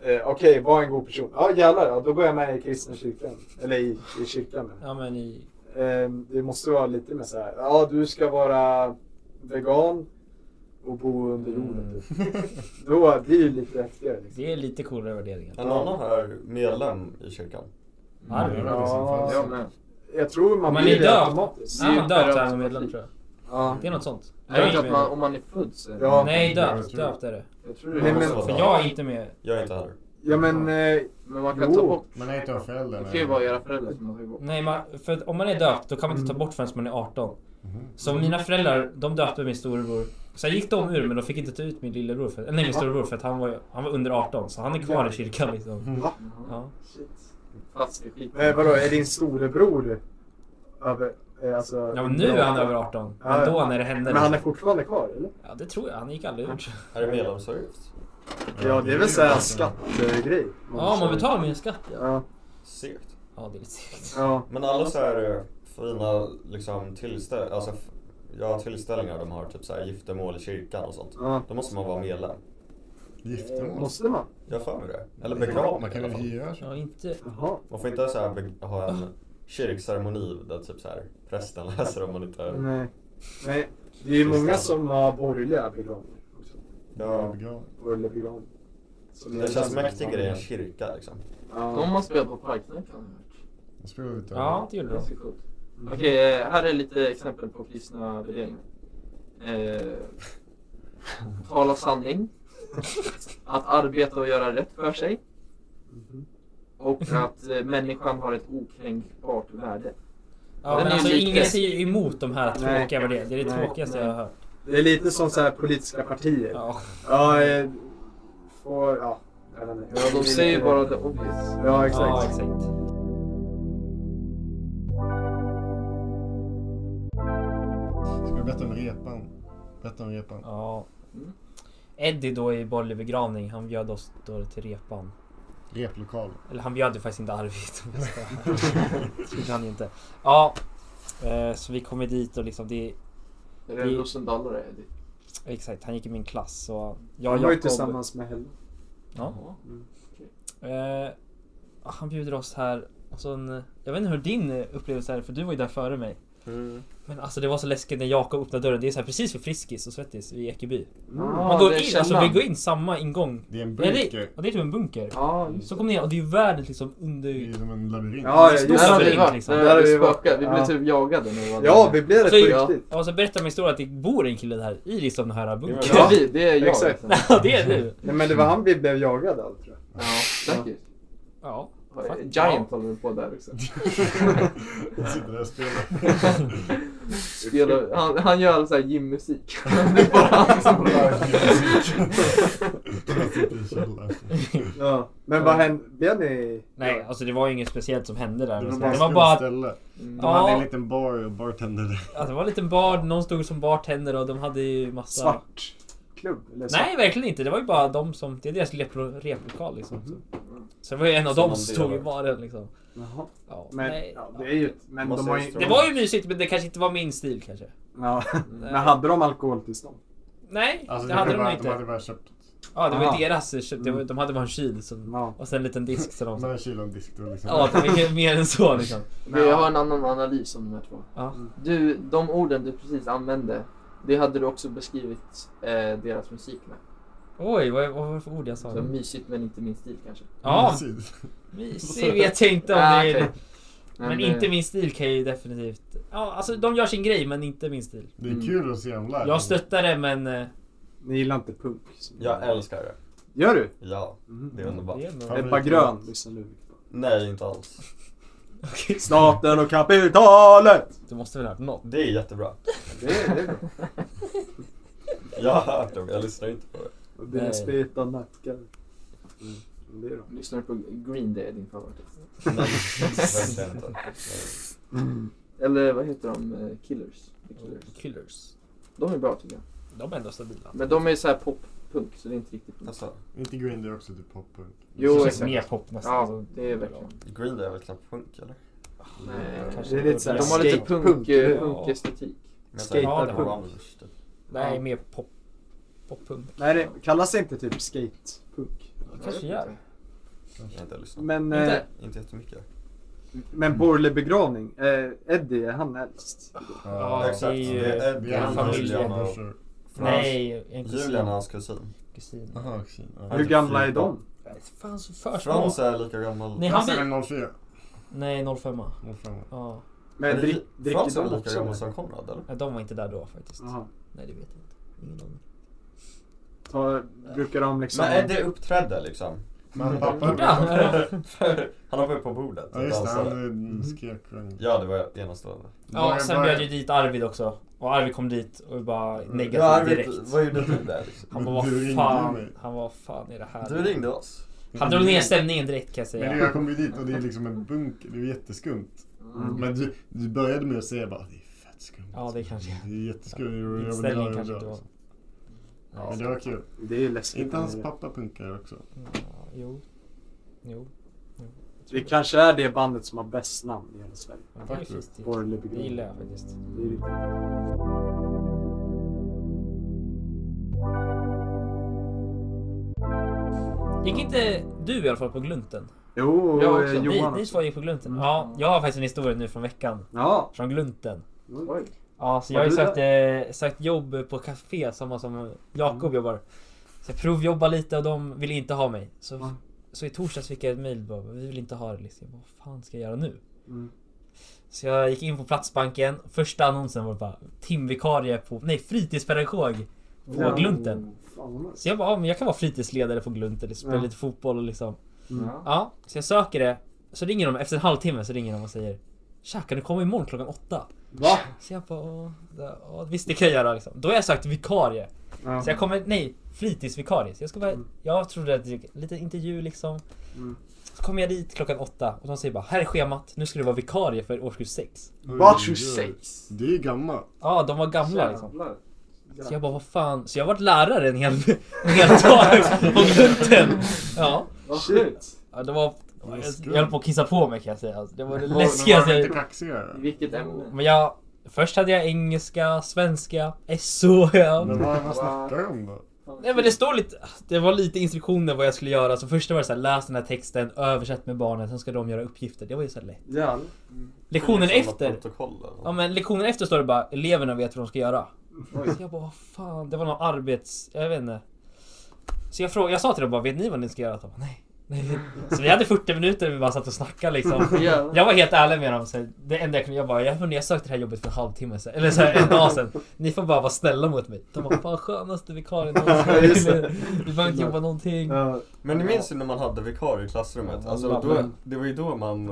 eh, okej, var en god person. Ja jävlar, ja, då går jag med i kristna kyrkan. Eller i, i kyrkan. men. Ja men i... Eh, det måste vara lite mer så här, ja du ska vara vegan och bo under jorden. Mm. Typ. Då blir det ju lite häftigare. Liksom. Det är lite coolare värderingar. En annan är medlem i kyrkan. Ja, det är bra. Ja. Jag med. Jag tror man, Man blir är det döpt. automatiskt. Nej, man döpt Super- är man medlem tror jag. Ja. Det är något sånt. Jag vet inte att man, med. om man är född så är det... Ja. Nej, Jag döpt. tror det. Döpt är det. Jag tror det Nej, är men- men, För jag är inte med. Jag är inte heller. ja men, eh, men man kan Jo. ta bort. Man är inte av Det föräldrarna. kan ju vara era föräldrar som har tagit bort. Nej, man, för att om man är döpt då kan man inte ta bort förrän man är 18. Så mina föräldrar, de döpte min storebror. Sen gick de ur men de fick inte ta ut min lillebror, för, nej min storebror för att han var, han var under 18 så han är kvar i kyrkan liksom. va? Ja. Fast i skit. Eh, vadå, är din storebror över, eh, alltså... ja men nu är han över 18. Men då när det liksom. hände. Men han är fortfarande kvar eller? Ja det tror jag, han gick aldrig ur. Är det medlemsavgift? Ja, det är väl såhär skattegrej. Ja man betalar min skatt ja. Ja, Segt. Ja det är lite segt. ja. Men alla så här eh, fina liksom tillställ... Alltså f- ja, tillställningar de har, typ så här giftermål i kyrkan och sånt. Ja. Då måste man vara medlem. Giftermål? Måste man? Jag har för mig det. Eller begravning Man i kan alla väl fall. hyra sig? Ja, inte... Jaha. Man får inte så här be- ha en kyrkceremoni där typ så här prästen läser om man inte... Nej. Nej. Det är ju många som har borgerliga begravningar också. Ja. Begravning. Borgerliga begravningar. Så Det känns mäktigare i en kyrka liksom. De Ja. har spelat på Parknack har jag hört. Jag spelar ut det. Ja, det gjorde de. Ganska coolt. Okej, eh, här är lite exempel på kristna värderingar. Eh, tala sanning. Att arbeta och göra rätt för sig. Mhm. Och att eh, människan har ett okränkbart värde. Ja, Den men är alltså lite- ingen säger ju emot de här tråkiga värderingarna. Det är det Nej. tråkigaste jag har hört. Det är lite som så här politiska partier. Ja. Ja. eh, får, ja. Jag vet inte. Ja, de säger bara the obvious. Ja, exakt. Ja, exakt. Ska vi berätta om repan? Berätta om repan. Ja. Mm. Eddie då i Borgerlig begravning, han bjöd oss då till repan. Replokal. Eller han bjöd ju faktiskt inte Arvid om jag ska vara ärlig. Det gjorde han ju inte. Ja. eh, Så vi kommer dit och liksom det... Är det en Rosendallare, Eddie? Exakt, han gick i min klass så... Jag Jag och var ju Jakob... tillsammans med Helle. Ja. Mm. Eh, han bjuder oss här. Och så en, jag vet inte hur din eh, upplevelse är för du var ju där före mig. Men alltså det var så läskigt när Jakob öppnade dörren. Det är så här precis vid Friskis och Svettis vid Ekeby. Ja, Man går det är in, alltså källan. vi går in samma ingång. Det är en eh, Ja, det, bunker. ja, det är typ en bunker. Ja, just Så kom ni ner och det är ju världens liksom Det är under... som en labyrint. Ja, just Där har vi det. Stor varit. liksom. Där Där har har vi vi varit. spökat. Vi blev Ja. typ jagade när vi var Ja, där. vi blev Så- det på Alltså, ja. riktigt. Och så berättar min historia att det bor en kille här i liksom den här bunkern. Det Ja. är vi, det är jag. Exakt. Liksom. Ja, det är du. Nej, men det var han vi blev jagade av tror jag. Ja, säkert. Ja. Ja. Giant håller på där också. Jag sitter där och spelar. Spelar, han, han gör all så här gymmusik. Det är bara han som Jag sitter i källaren. Ja. Men vad hände? Blev ni... Nej, alltså det var ju inget speciellt som hände där. Alltså, Det Det var var bara att ställe. De Ja. hade en liten bar och bartender. alltså, det var en liten bar, någon stod som bartender och de hade ju massa... Svart klubb? Eller svart? Nej, verkligen inte. Det var ju bara de som... Det är deras replo- replokal liksom. Mhm. Mm. Så det var ju en av Som dem de som stod i delar. baren liksom. Jaha. Ja, Men, nej, ja, det är ju... ett- Men Måste de har ju ju... stå- Det var ju mysigt men det kanske inte var min stil kanske. Ja. Men hade de alkoholtillstånd? Nej, Alltså, det hade de bara, inte. De hade bara köpt Ja, det var Aha. ju deras. köp- det var- Mm. De hade bara en kyl som, Ja. och sen en liten disk. Så de, några kilo disk. då Liksom. ja, det var inget mer än så liksom. Men jag har en annan analys om de här två. Ja. Du, de orden du precis använde, det hade du också beskrivit eh, deras musik med. Oj, vad, vad var det för ord jag sa? Så mysigt men inte min stil kanske. Ja, Precis. mysig vet jag inte om Ah, det är... okej. Men, eh, inte min stil kan jag ju definitivt... Ja, alltså de gör sin grej men inte min stil. Det Mm. är kul att se dem live. Jag stöttar det men... eh, Ni gillar inte punk? så- Jag älskar det. Gör du? Ja, Mm. det är underbart. Det är nog... Ja. Ebba Grön, lyssna nu. Nej, inte alls. Okej, Staten och kapitalet! Du måste väl ha hört något? Det är jättebra. Det är det. är bra. Jag har hört det, men jag lyssnar inte på det. Och dina Nej. speta nackar. Mm. men Det är bra. Lyssnar du på Green Day, din favorit? Nej, verkligen inte. Nej. Eller vad heter de? Eh, Killers. The Killers. Killers. De är bra tycker jag. De är ändå stabila. Men de är så här pop-punk så det är inte riktigt punk. Alltså, Inte Green Day också typ poppunk. Jo, det känns exakt. mer pop nästan. Ja, Alltså, det är verkligen. Green Day är väl knappt punk eller? Nej, kanske Det är lite så här De har lite skate- punk, eh, ja. punk-estetik. Men Skater- jag tänker på punk. Rammstein, typ. Nej, mer pop. Poppunk. Nej, det kallas inte typ skatepunk. kanske gör. Jag har inte lyssnat. Men, eh, Inte? Inte jättemycket. men borgerlig begravning. Eh, Eddie, är han äldst? Ja, det är ju... Det är Vi har en Edvin, familj. Julian och... familjebrörsor. Nej, en kusin. Julian och hans kusin. kusin. Jaha, kusin. Ja, Hur typ gamla fyra. är de? Nej, Fan så för små. Frans är lika gammal. Nej, han Klass blir- är väl 04? Nej, 05. 05. Ja. Men drick, dricker Frans är de väl lika också? gammal eller? som Konrad eller? Nej, De var inte där då faktiskt. Jaha. Nej, det vet jag inte. Ingen aning. Ta, brukar de liksom... Mm. Men Eddie uppträdde liksom. Mm. Men pappa... han hoppade upp på bordet Ja och just det, dansade. han eh, skrek. och- Ja, det var enastående. Ja, sen Bara- bjöd ju dit Arvid också. Och Arvid kom dit och bara negativ Ja, Arvid, direkt. Vad gjorde du där liksom? Han Men bara, vad du ringde mig. fan, han var fan är det här? Du ringde oss. Han drog ner stämningen direkt kan jag Men det- säga. jag kom ju dit och det är liksom en bunker, det är jätteskumt. Mm. Men du, du började med att säga bara det är fett skumt. Mm. Ja, det kanske Det är jätteskumt. Jag vill Inställningen göra kanske det. inte var... Ja, men det var kul. Det är ju läskigt. Inte hans pappa punkar också. Ja, Jo. Jo. Det kanske är det bandet som har bäst namn i hela Sverige. Men det är Faktiskt. fint. Borgerlig Det begravning. gillar jag faktiskt. Det är riktigt. Gick inte du i alla fall på Glunten? Jo, Jag jag också. Johan Ni, ni också. två gick på Glunten. Ja, jag har faktiskt en historia nu från veckan. Ja. Från Glunten. Oj. Ja, så jag Var har ju du sökt, eh, sökt jobb på café samma som Mm. Jakob jobbar. Så jag provjobbar lite och de vill inte ha mig. Så, Ja. så i torsdags fick jag ett mail bara, vi vill inte ha det liksom. Vad fan ska jag göra nu? Mm. Så jag gick in på Platsbanken. Första annonsen var bara timvikarie på, nej fritidspedagog på Ja. Glunten. Fan, vad nice. Så jag bara, ja, men jag kan vara fritidsledare på Glunten, liksom, spela Ja. lite fotboll och liksom. Mm. Ja, så jag söker det. Så ringer de, efter en halvtimme så ringer de och säger Tja, kan du komma imorgon klockan åtta? Va? Så jag bara, "Åh, det- åh, visst det kan jag göra liksom. Då har jag sökt vikarie. Ja. Så jag kommer, nej, fritidsvikarie. Så jag ska bara, Mm. jag trodde att det lite intervju liksom. Mm. Så kommer jag dit klockan åtta och de säger bara, här är schemat, nu ska du vara vikarie för årskurs sex. Va? 26? Det är ju gammalt. Ja, de var gamla liksom. Jävlar. Så jag bara, vad fan. Så jag har varit lärare en hel, en hel dag liksom, på gluten. Ja. Vad sjukt. ja, det var... Jag, jag höll på att kissa på mig kan jag säga. Alltså, Det var det Var- Var läskigaste de jag inte kaxigare? I vilket ämne? Men jag... Först hade jag engelska, svenska, SO. Ja. Men vad, vad snackar de om då? Nej men det står lite... Det var lite instruktioner vad jag skulle göra. Så första var det så här, läs den här texten, översätt med barnen, sen ska de göra uppgifter. Det var ju så här lätt. Jävlar. Lektionen Samma efter. Protokoll eller Ja något. men lektionen efter står det bara eleverna vet vad de ska göra. Så jag bara vad fan, det var någon arbets... Jag vet inte. Så jag, frågade, jag sa till dem bara vet ni vad ni ska göra? De bara, nej. nej. Så vi hade 40 minuter vi bara satt och snackade liksom. Jävlar. Jag var helt ärlig med dem. Så det enda jag kunde, jag bara jag, hörni, jag sökte det här jobbet för en halvtimme sedan. Eller så här, en dag sedan. Ni får bara vara snälla mot mig. De bara fan skönaste vikarien Just någonsin. det. Vi behöver inte jobba någonting. Ja. Men ni minns ju när man hade vikarie i klassrummet? Ja, Alltså, man- då, det var ju då man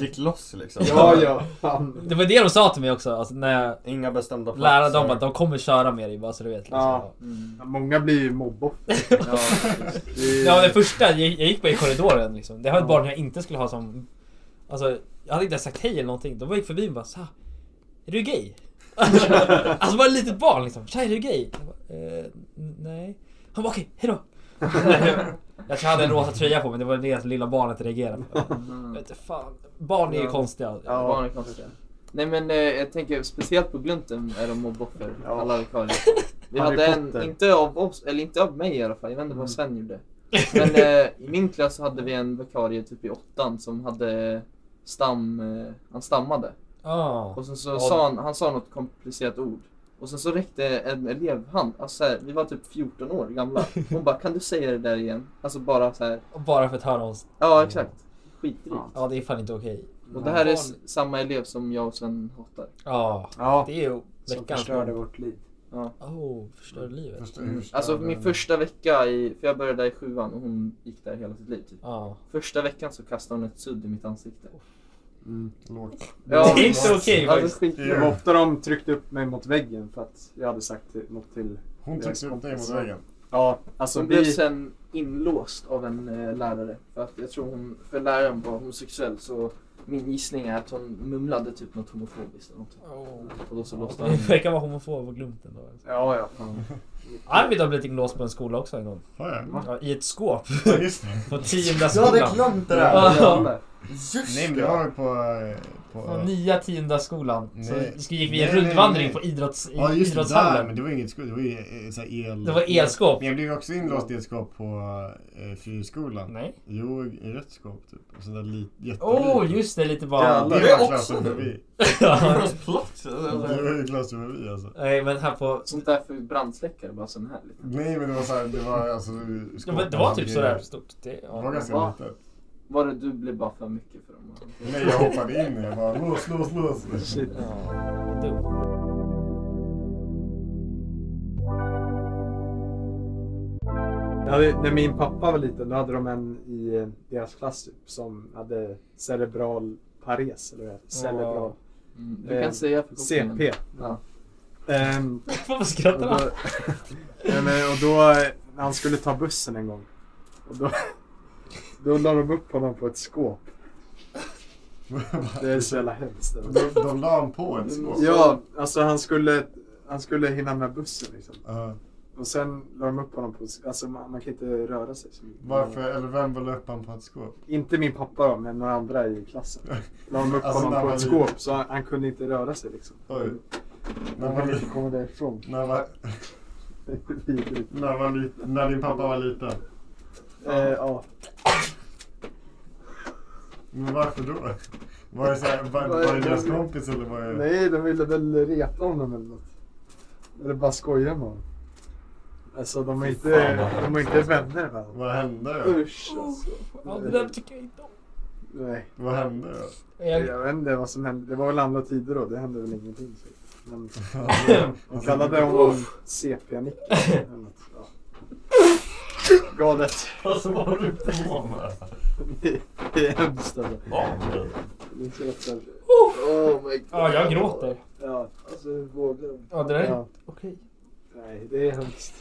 gick loss liksom. Ja, ja. Fan. Det var det de sa till mig också. Alltså, när jag Inga bestämda lärde dem att de kommer köra med dig bara så du vet. Liksom. Ja. Många blir ju mobboffer. Ja, det första, jag, jag gick bara i korridoren liksom. Det var ett Ja. barn jag inte skulle ha som... Alltså, jag hade inte ens sagt hej eller någonting. De bara gick förbi och bara såhär. Är du gay? alltså alltså, bara ett litet barn liksom. Tja, är du gay? Jag bara, eh, n- nej. Han bara okej, hejdå. jag hade en rosa tröja på mig, det var det lilla barnet reagerade på. Jag vet inte fan. Barn är ju Ja. konstiga. Ja. Barn är konstiga. Nej men eh, jag tänker speciellt på Glunten är de mobboffer, Ja. alla vikarier. Vi Harry hade en, Potter. inte av oss, eller inte av mig i alla fall, jag vet inte Mm. vad Sven gjorde. Men eh, i min klass hade vi en vikarie typ i åttan som hade stam, eh, han stammade. Ja. Och sen så Ja. sa han, han sa något komplicerat ord. Och sen så räckte en elevhand, alltså så här, vi var typ 14 år gamla. Hon bara kan du säga det där igen? Alltså bara så här. Och Bara för att höra oss. ja exakt. Skitdrygt. Fan. Ja, det är fan inte okej. Och det här är s- samma elev som jag och Sven hatar. Ja. Ja. Det är ju Som veckans... förstörde vårt liv. Oh, förstörde livet. Förstår du hur störd Alltså den- min första vecka i, för jag började där i sjuan och hon gick där hela sitt liv typ. Ja. Första veckan så kastade hon ett sudd i mitt ansikte. Lågt. det är inte okej alltså, faktiskt. skit. Det var ofta de tryckte upp mig mot väggen för att jag hade sagt till- något till... Hon tryckte upp dig mot väggen. Ja, alltså Hon blev vi... sen inlåst av en eh, lärare. För att jag tror hon, för läraren var homosexuell så min gissning är att hon mumlade typ något homofobiskt eller någonting. Och då så låste han in. Det verkar vara homofob och glömt ändå. Ja, ja. Fan. Arvid har blivit inlåst på en skola också en gång. Har jag? Ja, I ett skåp Ja, just det. på tionde skolan. glömt det Ja, Nej, men det har vi på... eh, på på nya tionde skolan. Så Nej. vi gick vi en Nej, nej, rundvandring nej. på idrotts, i, ja, just det. Där, men idrottshallen. det var inget skåp. Det var ju eh, så här el... Det var elskåp. Men jag blev också inlåst i ett skåp på eh, fyrskolan. Nej. Jo, i rätt skåp typ. Och så där lit, jättelitet. Oh, just det. Lite bara... Det Det är var också klassen det. förbi. Ja. Plott! Det var ju klassen förbi alltså. Nej, men här på... Sånt där för brandsläckare, bara sån här. Liksom. Nej men det var såhär, det var alltså Ja, skåp men det var med typ grejer. sådär stort. Det, Det var ja. ganska Va? litet. Var det du blev bara för mycket för dem? Nej jag hoppade in och jag bara lås, lås, lås. Shit. Ja, dumt. Jag hade, när min pappa var liten då hade de en i eh, deras klass typ, som hade cerebral pares, eller vad det heter. Cerebral. Mm, du Eh, kan säga förkortningen. CP. Ja. Ehm, Varför och skrattar då, han? Nej, men, och då, eh, när han skulle ta bussen en gång, och då, då la de upp honom på ett skåp. Det är så jävla hemskt. De, de la han på ett skåp. Ja, alltså han skulle, han skulle hinna med bussen liksom. Ja. Och sen la de upp honom på Alltså man, man kan inte röra sig så mycket. varför, eller vem la upp han på ett skåp? Inte min pappa då, men några andra i klassen. La de upp Alltså, när honom på man ett är skåp så han, han kunde inte röra sig liksom. Oj. När Han man, kunde inte li- komma därifrån. när man, Vidrigt. när man, li- när din pappa var liten. Eh, ja. Men varför då? Var det, så här, var, var det deras kompis eller var det... Nej, de ville väl reta honom eller något. Eller bara skoja med honom. Alltså de är inte, de är inte vänner va? Vad hände då? Usch alltså. Ja, det där tycker jag inte om. Nej, Vad hände då? Jag, jag vet inte vad som hände. Det var väl andra tider då. Det hände väl ingenting. Så. Men de Alltså, kallade honom CP-Nicke. eller något. Ja. Galet. Alltså vad har du på med? Det är hemskt alltså. Mm. Barn. Det är så lätt att- Oh my god. ja, jag gråter. Ja, Alltså hur vågar de? Ja, det där är ja. okej. Nej, det är hemskt.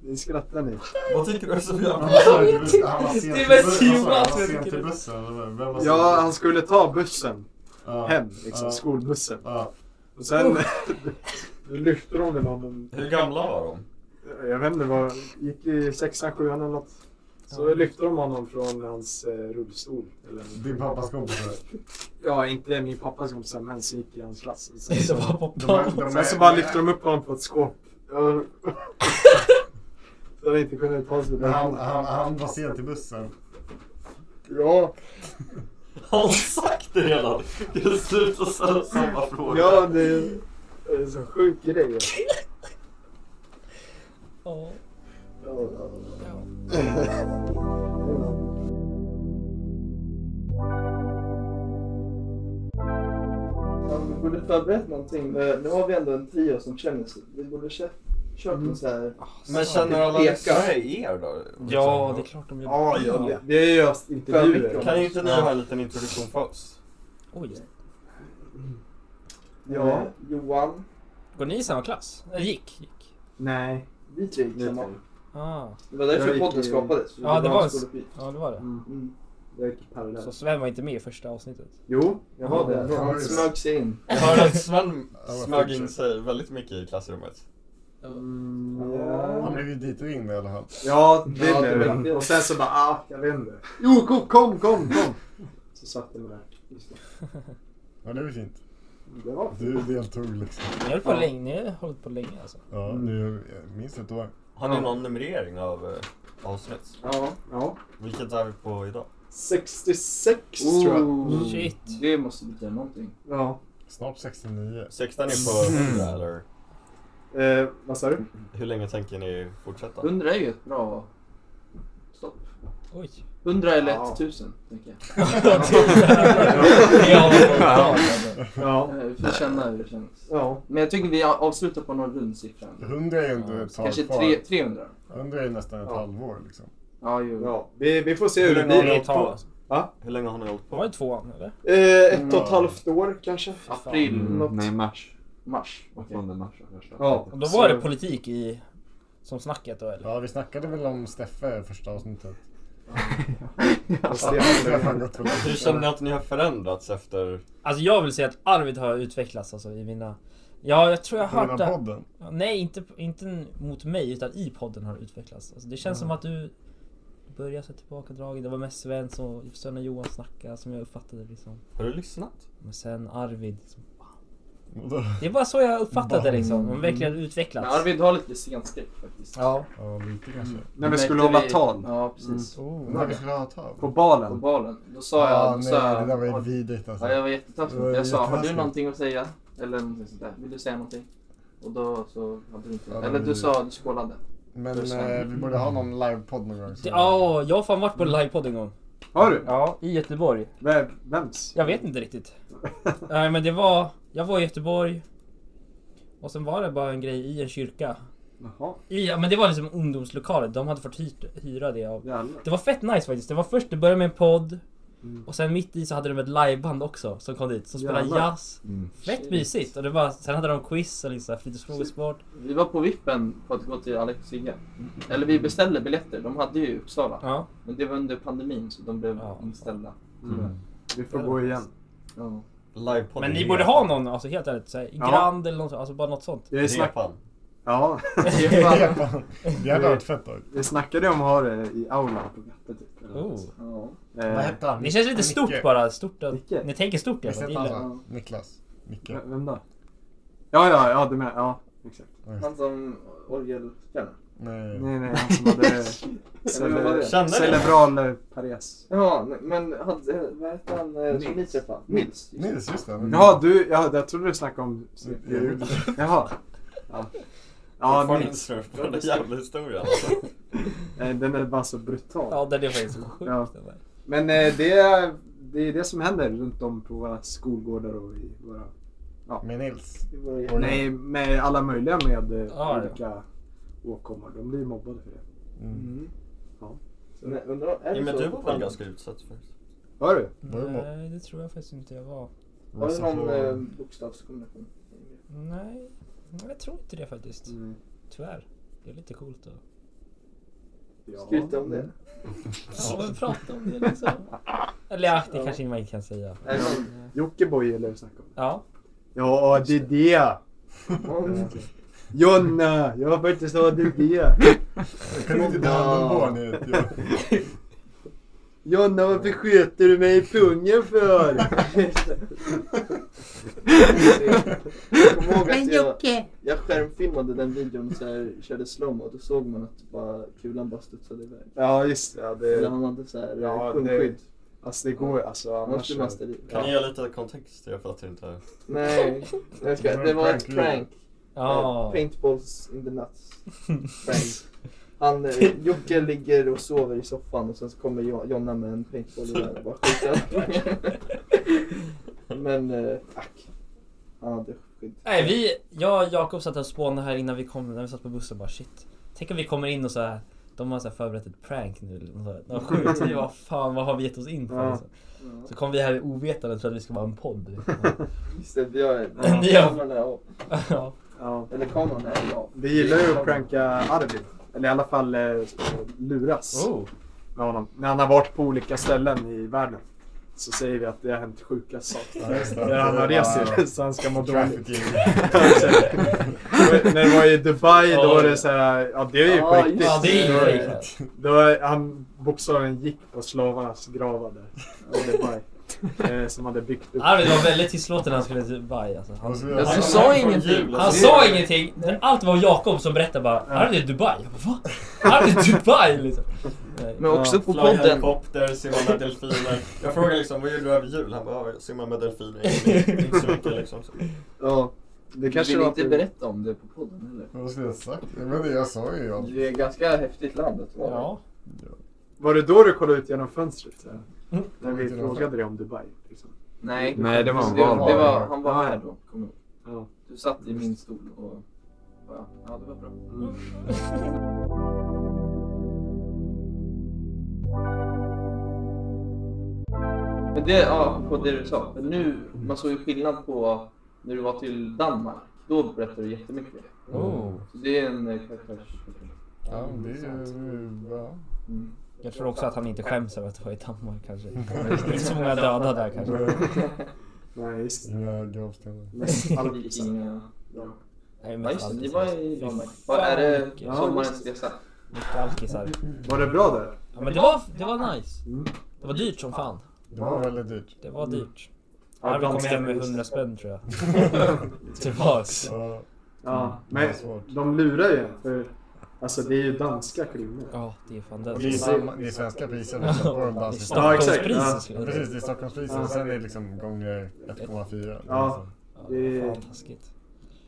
Ni skrattar ni. Vad tycker du är så jävla... Alltså, Han var sent till bussen. Det är väl Vad sa du? Han var sent till Jonas, jag tycker det. bussen, eller vem var Ja, sent? han skulle ta bussen Ja. hem, liksom, Ja. skolbussen. Ja. Och sen lyfter hon väl honom. Hur gamla var de? Jag vet inte vad, gick i sexan, sjuan eller något. Så Ja. lyfter de honom från hans eh, rullstol. Eller, Din pappas kompisar. ja, inte min pappas kompisar, men som gick i hans klass. Det Sen är så så, bara på De är- plan. de sen är- så alltså, bara lyfter de upp honom på ett skåp. Ja. Så han inte kunde ta sig Han, därifrån. han, han var sent till bussen. Ja, Har du sagt det redan? Kan du sluta ställa samma fråga? ja, det är det är en så sjuk grej. Ja. Ja, ja. Ja. Man borde förberett någonting. men Nu har vi ändå en trio som känner sig. Vi borde kö- kört Mm. någon så här. Men känner alla Eka. lyssnare er då? Liksom? ja, det är klart de gör. Ja, ja, vi- vi har ju haft intervjuer. Kan inte ni ha en liten introduktion för oss? Oj, just det. Ja. Johan. Går ni i samma klass? Eller gick? gick. Nej. Vi tre gick samma. Ah. Det var Jag därför gick podden i- skapades. Ja, det var en- skådespel. Ja, det var det. Mm. Jag gick Så parallellt. Sven var inte med i första avsnittet. Jo, Jag var där. Ja, Han just. smög sig in. Jag hörde att Sven Ja, smög in fortsätt. sig väldigt mycket i klassrummet. Mm, Han ja. blev ju dit och in i alla fall. ja, det Ja, det blev blev det. det. Och sen så bara, ah, jag vet inte. Jo, kom, kom, kom, kom. Så satt den där. Just det. Ja, det var fint. Det var Du deltog liksom. Ni har hållit på länge, ni har hållit på länge alltså. Ja, Mm. nu, minst ett år. Har ni någon numrering av eh, avsnitt? Ja. Ja. Vilket är vi på idag? 66 tror jag. Ooh. Mm. Shit. Det måste betyda någonting. Ja. Snart 69. 16 är på Mm. 100 eller? Eh, vad sa du? Hur länge tänker ni fortsätta? Mm. 100 är ju ett bra stopp. Oj. 100 eller Ja. 1000, tänker jag. Ja, ja, Ja. Eh, Vi får känna hur det känns. Ja. Men jag tycker vi avslutar på någon rund siffra. 100 är ju ändå ett tag Kanske kvar. tre, 300? 100 är ju nästan ett Ja. halvår liksom. Ja, jo. ja. Vi, vi får se hur Hur det länge har blir. det ni hållit tar på? alltså. Va? Hur länge har ni hållit Var på? det tvåan eller? Eh, ett och ett halvt år kanske. April, Mm, nej, mars. mars. Okej. 8 mars. var första. Ja. Och Då var det politik i... Som snacket då eller? Ja, vi snackade väl om Steffe i första avsnittet. Fast Det det- har fan gått för långt. Hur känner ni att ni har förändrats efter... Alltså jag vill säga att arvet har utvecklats alltså i mina... Ja, jag tror jag har hört På den här det. podden. Ja, Nej, inte, inte mot mig utan i podden har det utvecklats. Alltså, det känns som att du börjar se tillbakadragen. Det var mest Sven och Sven och Johan snackade som jag uppfattade det liksom. Har du lyssnat? Men sen Arvid. Liksom. Vadå? Det var så jag uppfattade det liksom. De har verkligen Men utvecklats. Arvid har lite scenskräck faktiskt. Ja. Ja, lite kanske. När vi Märkte skulle hålla vi- tal. Ja, precis. Mm. När vi skulle ha tal. På På balen. balen. Då sa jag... ah, då nej, sa jag det där var ju "Har- vidrigt alltså. Ja, jag var jättetaskig. Det var Jag sa, har du jättetaskigt. någonting att säga? Eller någonting sånt där. Vill du säga någonting? Och då så hade du inte Ja, Eller men- du sa, du skålade. Men Det är sant. eh, vi borde ha någon livepodd någon gång. så- Det- Ja, jag har fan varit på en livepodd en gång. Har du? Ja, i Göteborg. Vem, vems? Jag vet inte riktigt. Nej men det var, jag var i Göteborg. Och sen var det bara en grej i en kyrka. Jaha. I, ja, men det var liksom ungdomslokaler, de hade fått hyrt, hyra det av. Jävlar. Det var fett nice faktiskt. Det var först, det började med en podd. Mm. Och sen mitt i så hade de ett liveband också som kom dit, som spelade Jävlar. jazz. Mm. Fett mysigt! Och det var, sen hade de quiz och liksom fritidsfrågesport. Vi var på vippen på att gå till Alex och Sigge. Eller vi beställde biljetter. De hade ju i Uppsala. Ja. Men det var under pandemin så de blev Ja. inställda. Mm. Vi får gå igen. Ja. Men Livepodden ni i borde Japan. ha någon, alltså helt ärligt. Så här, Ja. Grand eller något, alltså bara något sånt. Vi, snack... Repan. ja, Stefan. Fan, Det hade varit fett Eh, dock. vi snackade om att ha det i aulan på Gatta typ. eller något. Oh. Ja. Vad Eh, hette han? Det känns lite Micke. stort bara. Stort att, Micke. ni tänker stort i alla Visst fall. Det hette gillar han jag. så? Niklas? Micke? v- vem då? Ja, ja, ja, du menar. Ja, exakt. Han som orgelspelare. Nej. Nej, nej, han som hade vem var det? cele- Kände ni? cerebral pares. Ja, men hade, eh, vad hette han eh, som Nils i alla fall? Nils. Nils, just det. Jaha, du, ja, jag trodde du snackade om... Jag gjorde Jaha. Ja, ja Fan, Nils. Den jävla historien alltså. Eh, Den är bara så brutal. Ja, den är faktiskt så sjuk. Ja. den där. Men eh, det, är, det är det som händer runt om på våra skolgårdar och i våra... Med Nils. Det var ju- Nej, med alla möjliga med eh, Ah, Ja, ja. olika åkommor. De blir mobbade för det. Mm. Men undrar, är det Ja, men så du var fortfarande? väl ganska utsatt faktiskt? Hör du? Var det bra? Nej, det tror jag faktiskt inte jag var. Var det någon Massa eh, frågor. bokstavskombination? Nej, nej, jag tror inte det faktiskt. Mm. Tyvärr. Det är lite coolt att... Ja. Skryta om det. Ja, men prata om det liksom. Eller ja, det kanske man inte kan säga. Nej, Jockiboi eller hur snackar om? Ja, Ja, det är det. men- Jonna, jag har inte så det är det. Jag kan inte ta hand om barn i ett jobb. Jonna, varför sköter du mig i pungen för? Jag kommer ihåg att jag, jag skärmfilmade den videon och så här, körde slowmo och då såg man att bara, kulan bara studsade iväg. Ja, just det. Ja, Eller det han hade så här eh, Ja, ja, det- punktskydd. alltså det går ju. Alltså, Annars annars... skulle man ställa dit. Kan ni ge lite kontext? Jag fattar inte. Nej, jag Det ska, var det en var ett prank-video. prank. ja. Eh, Paintballs in the nuts. Prank. Han, eh, Jocke ligger och sover i soffan och sen så kommer Jo- Jonna med en paintball i den och bara skjuter. Men, eh, ack. Han hade skydd. Nej, vi, jag och Jakob satt och spånade här innan vi kom, när vi satt på bussen bara shit. Tänk om vi kommer in och så här, de har så här förberett ett prank nu. eller något sånt. De har skjutit, vi bara fan vad har vi gett oss in på? Ja. Liksom. Så kom vi här ovetande och trodde att vi skulle vara en podd. liksom. Just det, eh, vi har Ja. kameran är av. ja. Ja. Eller kameran är av. Vi gillar ju att pranka Arvid. Eller i alla fall eh, luras Oh. med honom. När han har varit på olika ställen i världen. Så säger vi att det har hänt sjuka saker. Ja, just det. När han har Det rest var- sig, så han ska må dåligt. Trafficking. Exakt. När det var i Dubai då var det så här, ja det är ju på Ja, riktigt. Ja, det är ju Då- fejkat. Då var, han bokstavligen gick på slavarnas gravar där i Dubai. eh, som hade byggt upp. Arvid var väldigt tystlåten när han skulle till Dubai alltså. Och han, så- Han- du han- sa han- ingenting. jul, han alltså. sa ingenting. men Allt var Jakob som berättade bara Arvid är i Dubai. Jag bara va? Arvid är i Dubai liksom. Nej. Men också på Flög podden. helikopter, simma med delfiner. Jag frågade liksom, vad gjorde du över jul? Han bara, "Ja, jag simmar med delfiner. Inte inte så mycket liksom. Så. Ja, det Du kanske vill var inte på- berätta om det på podden eller? Vad skulle jag sagt? Jag vet inte, jag sa ju allt. Det är ganska häftigt land att vara Ja. Var det då du kollade ut genom fönstret? Så här? Mm. När vi frågade dig om Dubai. Liksom. Nej, Nej, det var en det, val. det var, han var här då. Kom ihåg. Ja. Du satt i min stol och... Ja, ja det var bra. Mm. Men det, ja, på det du sa. Men nu, man såg ju skillnad på när du var till Danmark. Då berättade du jättemycket. Oh. Så det är en eh, karaktärs... Ja, det är ju... Ja. Mm. Jag tror också att han inte skäms över att det var i Danmark kanske. Det är så många döda där kanske. Nej, just det. Dina gravstenar. Mest alpisar. Vikinga... Nej, Ja men just det, ni alkisar. var i Danmark. Fy Vad är fan, det mycket- sommarens resa? Mycket alkisar. Var det bra där? Ja, men det var, det var nice. Mm. Det var dyrt som fan. Det var väldigt dyrt. Det var dyrt. Ja, Arvid kom danska hem med priser. 100 spänn tror jag. Tillbaks. Ja, Ja, Mm. det men var svårt. de lurar ju. För, alltså det är ju danska kronor. Ja, det är fan Det är, den. samma, det är svenska priser liksom, på de danska Ja, exakt. Stockholmspriser Ja. skulle Ja, jag säga. precis, det är Stockholmspriser. Sen är det liksom gånger 1,4. Ja. Liksom. Ja, det är fan taskigt.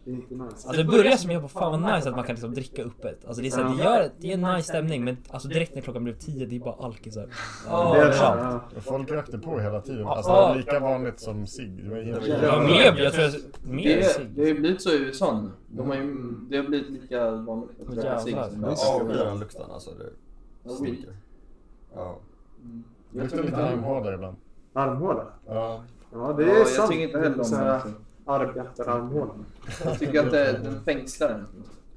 Det är inte nice. Ja, Alltså, det börjar som jag bara, fan vad nice att man kan liksom dricka öppet. Alltså det är, så, här, det gör, det är en nice stämning men alltså direkt när klockan blev 10 det är bara alkisar. det är överallt. ja. Och Folk rökte på hela tiden. Alltså, det var lika vanligt som cigg. Det var helt Ja, Ja, mer, jag tror jag, Det, mer är- det har cigg. ju blivit så i USA nu. De har ju, det har blivit lika vanligt att Åh, röka cigg jävlar. som Jag det avskyr den lukten alltså. Det Ja, weed. stinker. Ja. Det luktar lite armhåla ibland. Armhåla? Ja. Ja, Ja, det är jag sant. tycker inte Det är heller om så här det. Arbetararmhålan. Jag tycker att det, den fängslar en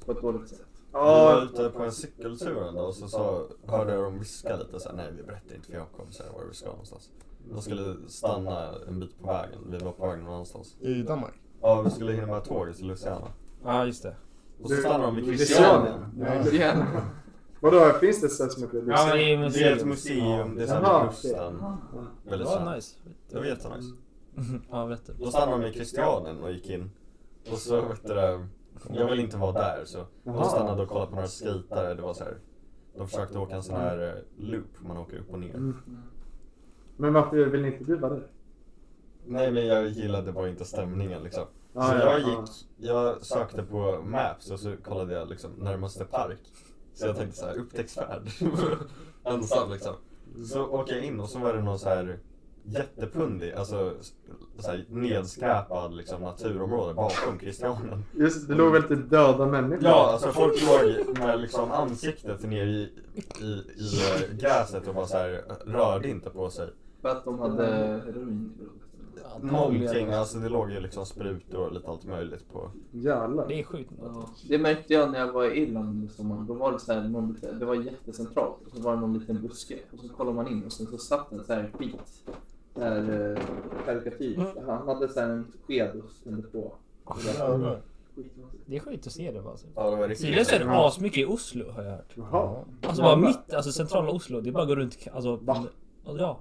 på ett dåligt sätt. Vi var Ja, ute på en cykeltur en dag och så, så hörde jag dem viska lite så här, nej vi berättar inte för Jakob så här, var vi ska någonstans. De skulle stanna en bit på vägen, vi var på väg någon annanstans. I Danmark? Ja, vi skulle hinna med tåget till Luciana. Ja, just det. Och så stannade de vid Christiania. Christiania. Ja. Ja. Vadå, finns det ett ställe som heter Ja, men det Lucia? är Det är ett museum. museum, det är såhär Jaha, vid kusten. Det Väldigt var känt. nice. Det var jättenice. Ja, berätta. Då stannade de i Christianen och gick in. Och så vet du det, Jag vill inte vara där så de Jaha. stannade och kollade på några skejtare. Det var så här, de försökte åka en sån här eh, loop, man åker upp och ner. Men varför vill ni inte bjuda det? Nej men jag gillade bara inte stämningen liksom. Så Ja, ja, jag ja. gick, jag sökte på Maps och så kollade jag liksom närmaste park. Så jag tänkte så här, upptäcktsfärd. Ensam liksom. Så åker jag in och så var det någon så här jättepundig, alltså så här nedskräpad liksom naturområde bakom Christianen. Just det, det låg väl typ döda människor? Ja, alltså folk låg med liksom ansiktet ner i, i, i eh, gräset och bara så här rörde inte på sig. För att de hade heroin i blodet. Någonting, alltså det låg ju liksom sprutor och lite allt möjligt på Jävlar. Det är sjukt. Ja. Det märkte jag när jag var i Irland i sommar. Då var det så här, någon, det var jättecentralt och så var det någon liten buske. Och så kollade man in och sen så satt en så här skit. Så här eh, karikatyr. Mm. Han hade så här en sked och ställde på. Det är sjukt att se det bara. Alltså. Ja, det var riktigt. Tydligen så är det asmycket i Oslo har jag hört. Jaha. Alltså bara mitt, alltså centrala Oslo. Det bara går runt, alltså... alltså ja.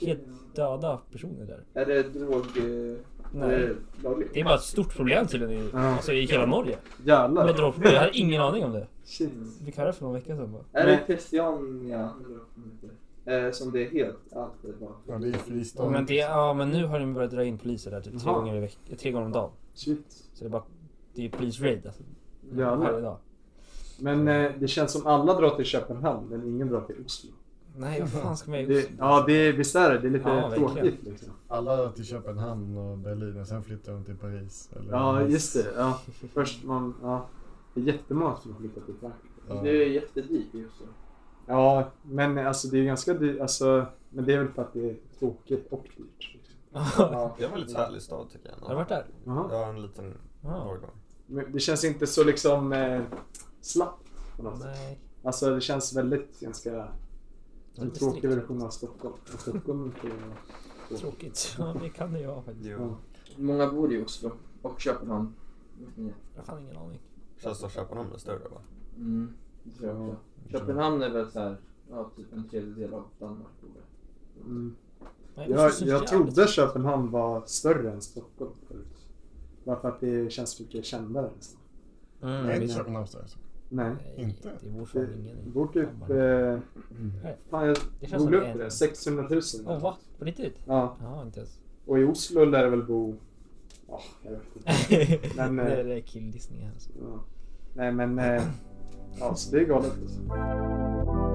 Helt döda personer där. Är det drog... eh, Nej. är det lagligt? Det är bara ett stort problem tydligen i, Ja. alltså, i hela Norge. Med Jävlar. dropp. Jag hade ingen aning om det. Shit. Vi fick höra för någon vecka sedan bara. Är det Christiania eh, som det är helt allt det var? Ja, det är ju fristånd. Men, det, ja, men nu har de börjat dra in poliser där typ tre, Jaha. gånger, i veck- tre gånger om dagen. Shit. Så det är bara... Det är police raid alltså. Varje Jävlar. dag. Men eh, det känns som alla drar till Köpenhamn, men ingen drar till Oslo. Nej, vad fan ska man göra i Det, Oslo? ja, det är, visst är det? Det är lite Ja, verkligen. tråkigt liksom. Alla till Köpenhamn och Berlin och sen flyttar de till Paris. Eller Ja, just det. Ja. Först man... Ja. Det är jättemånga som har flyttat till Frankrike. Ja. Det är jättedyrt just nu. Ja, men alltså det är ganska dyrt. Alltså, men det är väl för att det är tråkigt och dyrt. liksom. Har Det var en lite härlig stad tycker jag. du varit där? Jaha. Ja, en liten Ja. årgång. Men det känns inte så liksom eh, slappt på något sätt. Nej. Alltså det känns väldigt ganska... En Lite tråkig strikt. version av Stockholm. Och Stockholm är inte- Tråkigt. Ja, det kan det jag faktiskt. Ja. Jo, Många bor i Oslo och Köpenhamn. Vet ni? Jag har fan ingen aning. känns som Köpenhamn är större va? Mm, det tror jag Ja. också. Köpenhamn är väl så här, ja, typ en tredjedel av Danmark. bor där. Mm. Nej, Jag, Oslo känns jag jävligt- trodde Köpenhamn var större än Stockholm förut. Bara för att det känns mycket kändare. Liksom. Mm, Nej, vi- inte Köpenhamn står det så. Nej. Inte. Det bor Det fan ingen i bor typ... Danmark. Eh, fan, Det känns jag som googlade en- upp det. 600 000. Åh va? På riktigt? Ja. Ja, inte ens. Och i Oslo lär det väl bo... Ja, jag vet inte. Men, eh, det det är killdissningar. Alltså. Ja. Nej men... Eh, ja, så det är galet. Alltså.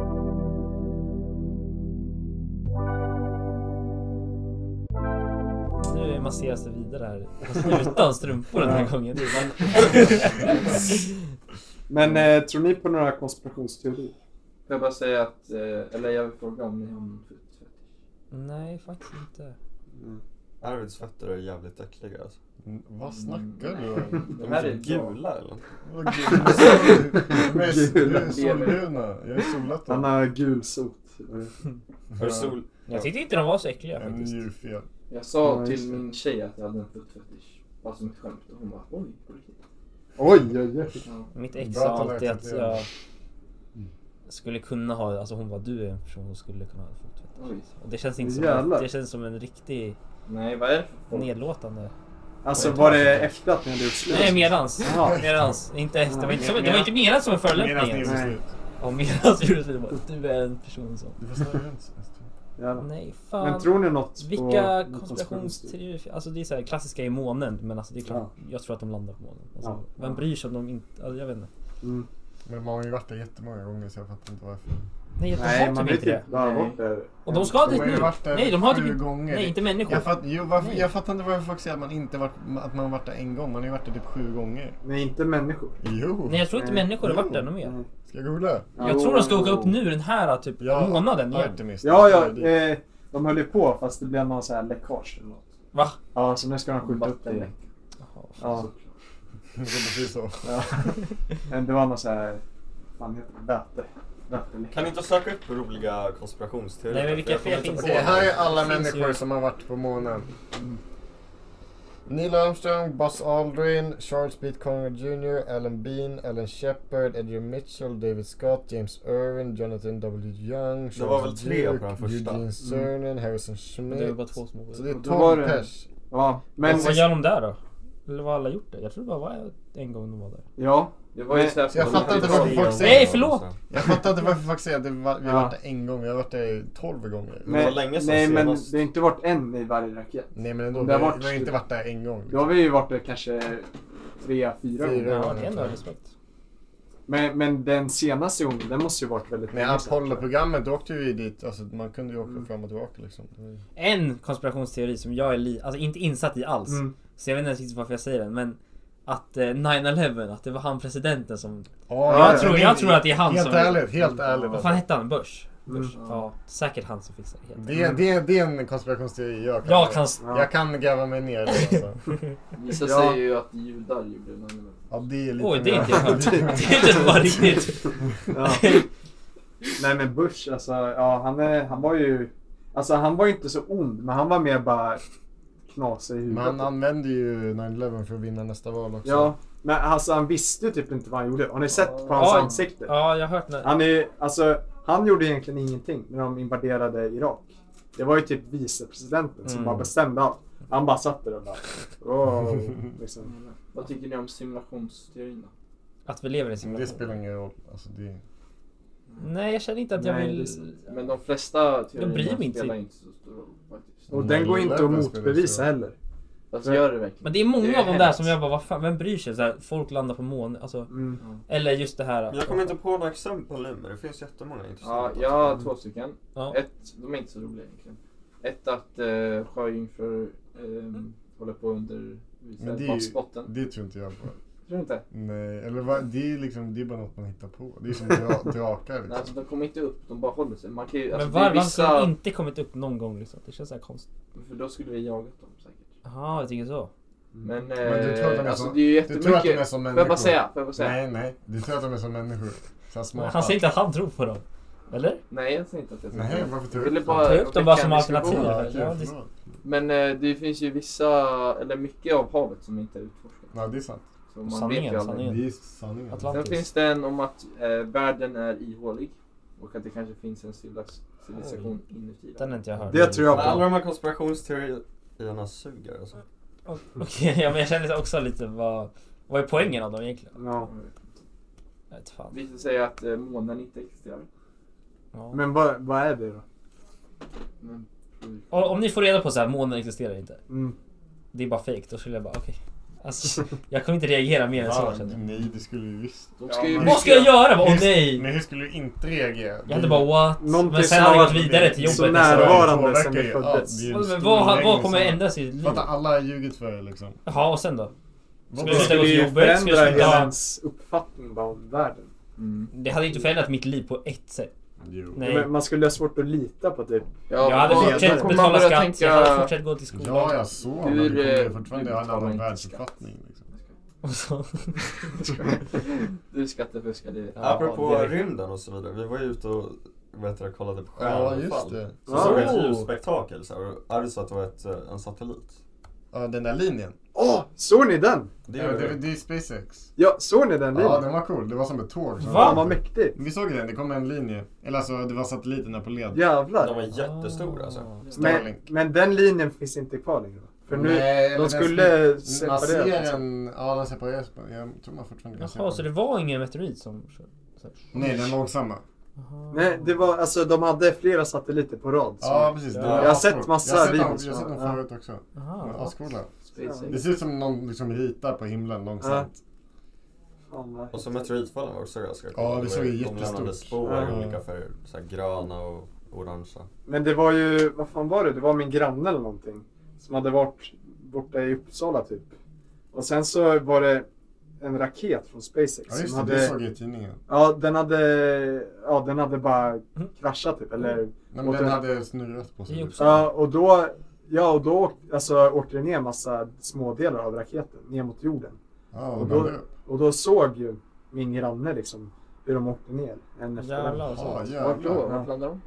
Nu masseras det vidare här. Fast utan strumpor den här gången. Det är bara- Men eh, tror ni på några konspirationsteorier? Får jag bara säga att, eh, eller jag vill fråga om ni har någon fotfetisch? Nej, faktiskt inte. Arvids fötter är jävligt äckliga alltså. Mm, Vad snackar du om? De här är är typ gula eller? Vad gul- De är- de är solbruna. Jag har solat Han dem. har gulsot. Har du sol? Jag tyckte inte de var så äckliga En faktiskt. njurfel. Jag sa Ja, just till det. min tjej att jag hade en fotfetisch. Bara som ett skämt och hon bara oj, på riktigt? Oj, oj, oj. Ja. Mitt ex Bra att sa han alltid att accepterar. jag skulle kunna ha, alltså hon var du är en person som skulle kunna ha en fotvett. Oj. Och det känns inte som, Jävlar. det känns som en riktig Nej, vad är det för folk? nedlåtande. Alltså var det efter att ni hade gjort slut? Nej medans. Jaha. Medans. Inte efter. Det var inte, som, det var inte menat som en Medan ni förolämpning. är så Nej. slut. Ja medans gjorde det bara, du är en person som... Du får snurra runt. så. Jävlar. Nej fan. Men tror ni något Vilka på konspirationsteorier? Alltså det är så här klassiska i månen. Men alltså det är klart, jag tror att de landar på månen. Alltså, Ja. Vem bryr sig om de inte... Alltså, jag vet inte. Mm. Men man har ju varit där jättemånga gånger så jag fattar inte varför. Nej, jag Nej, har man typ vill inte det. typ bara Nej. bort där. Och de ska De dit har ju nu. varit där Nej, de har sju typ... gånger. Nej, inte människor. Jag, fatt, jo, varför, Nej. jag fattar inte varför folk säger att man inte varit, att man varit där en gång. Man har ju varit där typ sju gånger. Nej, inte människor. Jo! Nej, jag tror inte Nej. människor har varit där någon mer. Nej. Ska jag googla? Jag tror de ska åka upp nu den här typ Ja, månaden igen. Artemis. Ja, Det är ja. dit. Eh, de höll ju på fast det blev någon så här läckage eller något. Va? Ja, så nu ska de skjuta upp Batteri. det. Jaha, fan. Ja. eh. Det är precis så. Men det var någon så här... Fan heter det? Bäte. Bäte. Kan ni inte söka upp roliga konspirationsteorier? Nej, men vilka Jag kommer fel inte finns på Det här är någon. alla Finns människor ju. som har varit på månen. Neil Armstrong, Buzz Aldrin, Charles B. Conrad Jr, Alan Bean, Alan Shepard, Edgar Mitchell, David Scott, James Irwin, Jonathan W. Young, Charles Det var väl tre på Duke, den första. Mm. Eugene Cernan, Harrison Det är bara Schmidt. två små. Så det är Då var 12 det- pers. Ja, men... Vad gör de där då? Eller var alla gjort det? Jag tror det bara var en gång de var där. Ja. Det var ju så här Jag fattar inte varför folk säger Nej, förlåt! Jag fattar inte varför folk säger att det var, vi har Ja. varit där en gång, vi har varit där tolv gånger. Men det var länge sedan nej, men senast. det har inte varit en i varje raket. Nej men ändå, Om vi det har har, varit- vi har inte varit där en gång. Då har vi ju varit där kanske tre, fyra Fyra. gånger. Ja, det är ändå respekt. Men, men den senaste gången, den måste ju varit väldigt Med länge sedan. Apollo-programmet, då åkte vi dit. Alltså, man kunde ju åka fram och tillbaka liksom. Det var ju- En konspirationsteori som jag är li- alltså, inte insatt i alls. Mm. Så jag vet inte ens riktigt varför jag säger den. Men att eh, 9-11, att det var han presidenten som... Ja, jag ja, tror- men jag tror att det är han helt som- Ärligt, helt ärligt. Vad alltså. fan hette han? Bush? Mm. Bush. Ja, säkert han som fixade det. helt. Det, är- det, är- det är en konspirationsteori jag kan... Jag kan... Jag kan gräva mig ner i det, alltså. Vissa Ja. säger ju att judar gjorde den. här- Ja, det är lite... Oj, det är inte jag hört. Det är inte bara riktigt. Ja. Nej men Bush, alltså, ja, han, är, han var ju... Alltså han var ju inte så ond, men han var mer bara knasig i huvudet. Man använder ju 9-11 för att vinna nästa val också. Ja, men alltså han visste ju typ inte vad han gjorde. Har ni sett på hans Ja. ansikte? Ja, jag har hört när... Han är ju- alltså, han gjorde egentligen ingenting när de invaderade Irak. Det var ju typ vicepresidenten som Mm. bara bestämde allt. Han bara satt där och bara... Wow, liksom. Vad tycker ni om simulationsteorin då? Att vi lever i Men det simulation. spelar ingen roll. Alltså, det... Nej, jag känner inte att jag Nej, det vill... är sant. Men de flesta bryr teorierna mig inte. spelar inte så stor roll faktiskt. Mm. Och den går inte att motbevisa heller. Alltså gör det verkligen. Men det är många Det är av dem hemskt. där som jag bara, vad fan, vem bryr sig? Så här, folk landar på månen, alltså. Mm. Eller just det här. att- Jag kommer inte på några exempel nu, men det finns jättemånga Ja, intressanta. jag har två stycken. Ja. Ett, de är inte så roliga egentligen. Ett att eh, sjöjungfrur eh, Mm. håller på under Men det är ju- Mm. havsbotten. Det tror inte jag på. Tror du inte? Nej, eller vad, det är liksom, det är bara något man hittar på. Det är som dra, drakar Nej, alltså, liksom. de kommer inte upp, de bara håller sig. Man kan ju, alltså, Men det är varför har de vissa... inte kommit upp någon gång liksom? Det känns så här konstigt. För då skulle vi jagat dem säkert. Jaha, jag tänker så. Men, eh, Mm. Men du tror att de är alltså, som- det är ju Du tror att de är jättemycket... som Får jag bara människor? säga? Får jag bara säga? Nej. Nej, nej. Du tror att de är som människor? Så här smarta. Han säger inte att han tror på dem. Eller? jag säger inte att jag Nej, säger varför Jag tror du ville inte? bara Ta upp dem bara som väcka en diskussion. alternativ. Ja, Ja, okej, det- förlåt. Men eh, det finns ju vissa, eller mycket av havet som inte är utforskat. Ja, det är sant. Så man Sanningen, vet ju aldrig. sanningen. Det är sanningen. Atlant- Sen finns det en om att eh, världen är ihålig och att det kanske finns en civila- civilisation inuti Den har inte jag hört. Det tror jag på. Alla de här konspirationsteorierna suger alltså. Okej, ja, men jag känner också lite vad... Vad är poängen av dem egentligen? Ja. Mm. Jag vet fan. Vissa säger att eh, månen inte existerar. Ja. Men vad, vad är det då? Men, Och om ni får reda på så här, månen existerar inte. Mm. Det är bara fejk. Då skulle jag bara, okej. Alltså, jag kommer inte reagera mer än så Ja, känner jag. nej, det skulle vi visst. de ska ju men- Vad ska jag göra? Åh Hur- nej! Men hur skulle du inte reagera? Jag hade bara what? Någonting men sen som har jag har gått varit vidare till jobbet. så nästa dag. närvarande Påverkar sen vi ju- ja, föddes. det är ju en Vad- stor Vad, vad längd kommer sen. ändras i ditt liv? Fatta, alla har ljugit för er liksom. Jaha, och sen då? Vad- Det Det skulle ju skulle ju förändra förändra hela hela ens uppfattning bara om världen. Mm. Det hade inte förändrat mitt liv på ett sätt. Jo. Nej. Men man skulle ha svårt att lita på typ... Ja, jag hade vad- då fortsatt kommer man betala börja skatt, tänka- jag hade fortsatt gå till skolan. Ja, jag såg men du Hur, kommer eh, ju fortfarande hur ha en betalar annan inte världsuppfattning. Liksom. Och så- Du skattefuskar, det Ja, Apropå direkt. rymden och så vidare. Vi var ju ute och vad heter det, kollade på Ja, just stjärnfall. det. Så såg vi Oh. ett ljusspektakel. Så här, och Arvid sa att det var ett, eh, en satellit. Ja, den där linjen. Åh! såg ni den? Det Det är, gjorde det, vi. är SpaceX. Ja, såg ni den? Ja, Ja, den var cool. Det var som ett tåg. som Va? Fan åkte. vad mäktigt! Vi såg ju den. Det kom en linje. Eller alltså, det var satelliterna på led. De Jävlar! var jättestora alltså. Men, Starlink. men den linjen finns inte kvar längre va? För nu, Nej, eller de den skulle skulle- Man ser separera. en... Ja, den separeras. men Jag tror man fortfarande kan se Jaha, så den. det var ingen meteorit som... så- Nej, den långsamma. Jaha. Nej, det var alltså de hade flera satelliter på rad. så- Ja, precis. Den Jag har var ascool. sett massa jag har sett dem- videos. Jag har sett dem Ja. förut också. De är Jaha. Ascoola. Det SpaceX. ser ut som någon liksom ritar på himlen långsamt. Fan, vad- Och så meteoritfallen var också ganska coola. Ja, vi Det såg var- ju De lämnade jättestort. spår i Ja. olika färger. Så här gröna och orangea. Men det var ju, vad fan var det? Det var min granne eller någonting. Som hade varit borta i Uppsala typ. Och sen så var det en raket från SpaceX. Ja, just som det. hade, Det såg jag i tidningen. ja, den hade, ja, den hade bara Mm. kraschat typ. Eller, Nej, men den hade snurrat på Det är sig. också- ja, och då, ja, och då åk- alltså, åkte det ner massa smådelar av raketen ner mot jorden. Ja, Och och då- då... Och då såg ju min granne liksom hur de åkte ner. En efter en. Jävlar Ja, alltså. Vart då? jävlar. Vart landar de?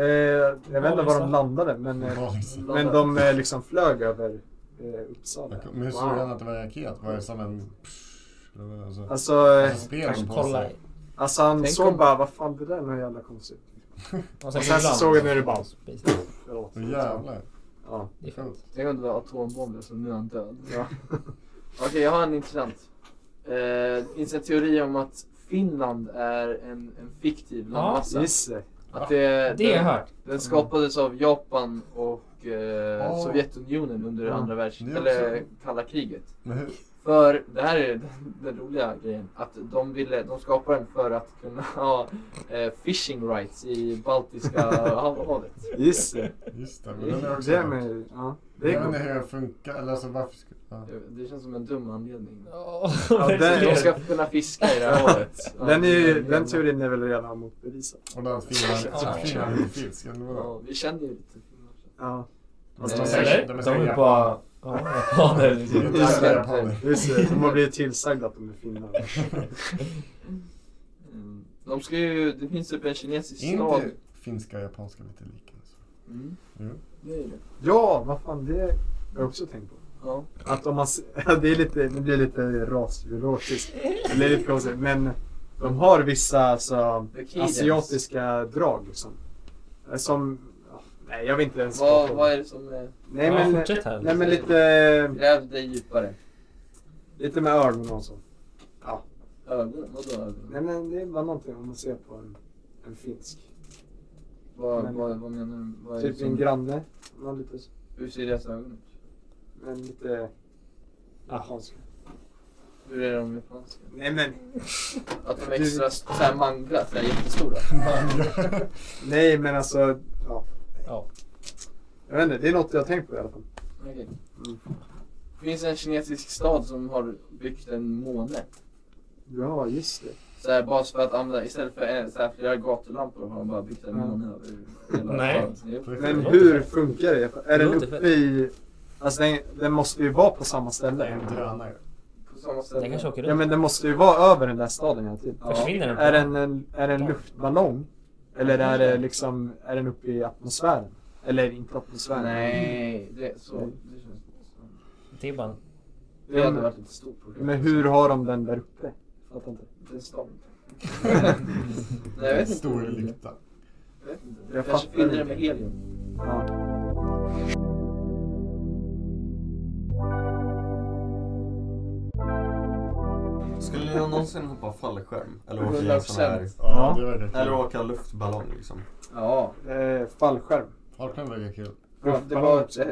Eh, jag vet inte var de landade men, eh, Ja, liksom. men de eh, liksom flög över eh, Uppsala. Men hur såg han att det var en raket? Var det som en... Eller vad- Alltså, Alltså, eh, alltså spel Kanske på kolla. sig. alltså han Tänk såg om- bara, vad fan det där är något jävla konstigt. Och sen så ibland- såg jag när det bara- Space. Förlåt. Åh, jävlar. Ja. Det är fint. Tänk om det var atombomber, så nu är han död. Ja. Okej, jag har en intressant. Eh, det finns en teori om att Finland är en, en fiktiv landmassa. Gissa. Att det, Det har jag den, hört. den skapades av Japan och eh, Sovjetunionen under Ja. andra världskriget, Det är också- eller kalla kriget. Men hur- För, det här är den, den roliga grejen, att de ville, de skapade den för att kunna ha eh, fishing rights i Baltiska hav- havet. Gissa. Just det, men den är också... Det med... Ja, det jag vet är gott. inte hur den funkar, eller alltså varför skulle... Ja. Det- Det känns som en dum anledning. Ja, den- De ska kunna fiska i det här havet. Ja, Den, är, ju- det- den teorin är väl redan motbevisad. Och då att Finland Ja. att Finland inte finsk, eller vadå? Ja, vi känner ju lite finnar. så. Ja, Fast de Eller? säger- De de är säger bara... Ja, japaner Det är liksom. inte alla Tackar. japaner. just det. De har blivit tillsagda att de är finnar. Mm. De ska ju, det finns typ en kinesisk Är stad. inte finska och japanska lite lika? alltså? Mm. Jo. Det är det. Ja, vad fan det har jag också tänkt på. Ja. Att om man... s- Det, är lite, det blir lite rasbiologiskt. Det blir lite konstigt. Men de har vissa alltså, The Kiddens. asiatiska drag. Liksom. Som... ja, Nej, jag vet inte ens. Vad, vad är det som är, Nej, Ja, men, fortsätt här. nej, men lite, gräv dig djupare? lite med ögonen och så. Ögonen? Vadå ögonen? Nej, men det var någonting om man ser på en, en finsk. Vad, Men- vad, vad menar du? Vad är det Typ en som, granne. Man har lite, hur ser deras ögon ut? men lite japanska. Hur är de japanska? Nej men. Att de är extra såhär mangla, såhär jättestora? Nej men alltså. Ja. Ja. Jag vet inte, det är något jag har tänkt på i alla fall. Okej. Det finns en kinesisk stad som har byggt en måne. Ja, just det. Så här, bara för att använda, istället för en, så här, flera gatulampor har de bara byggt en Ja. måne över hela Nej. staden. Jo. Men Det låter hur fett. funkar det? Är Det den låter fett. uppe i... Alltså den, den måste ju vara på samma Det är ställe. en drönare. På samma ställe. Den kanske åker Ja runt. men den måste ju vara över den där staden hela tiden. Ja. Försvinner den? Är den en, är den en luftballong? Eller är det liksom, är den uppe i atmosfären? Eller inte atmosfären? Nej, det, så, det känns Det är bara en... Det hade varit ett stort problem. Men hur har de den där uppe? Fattar inte. Det är stånd. Nej, jag En vet inte. stor lykta. Jag vet inte. Jag kanske fattar fyller det inte. med helium. Ja. Skulle jag någonsin hoppa fallskärm? Eller åka i en sån 100%. här... Ja, det var det. Eller kul. åka luftballong liksom. Ja, Eh, fallskärm. Falkland verkar kul. ja det var ett, eh,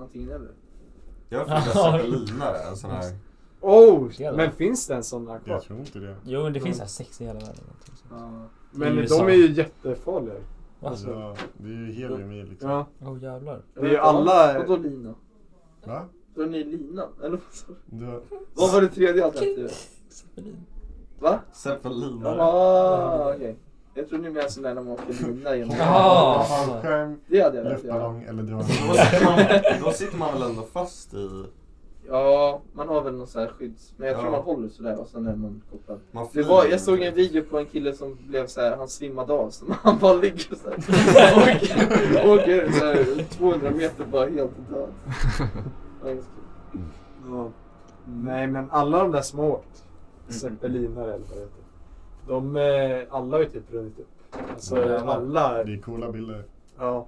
antingen eller. Jag har försökt sätta linare, en sån här. Oh! Det är det. Men finns det en sån där kvar? Jag tror inte det. Jo, men det Mm. finns såhär sex i hela världen. Ja. Men I de USA. är ju jättefarliga. Alltså. Ja, det är ju helium i liksom. Ja. Åh jävlar. Det är ju alla... Vadå lina? Va? Drar ni linan? Eller vad sa du? Du har... vad var det tredje alternativet? Va? Zeppelinare. Jaha, okej. Jag tror ni menar sån där när man åker lina genom... Jaha. Fallskärm, Det hade jag velat göra. luftballong eller Då drönare. sitter, man, då sitter man väl ändå fast i... Ja, man har väl någon sån här skydds... Men jag tror Ja. Mm. man håller sådär och sen är man kopplad. Man Det flyger. var, jag såg en video på en kille som blev så här, han svimmade av så han bara ligger så här. Åker, åker så här, 200 meter bara helt död. Ja, just det. Ja. Nej men alla de där som har åkt, zeppelinare eller vad det heter. De, eh, alla har ju typ runnit upp. Alltså alla... Det är coola bilder. Ja.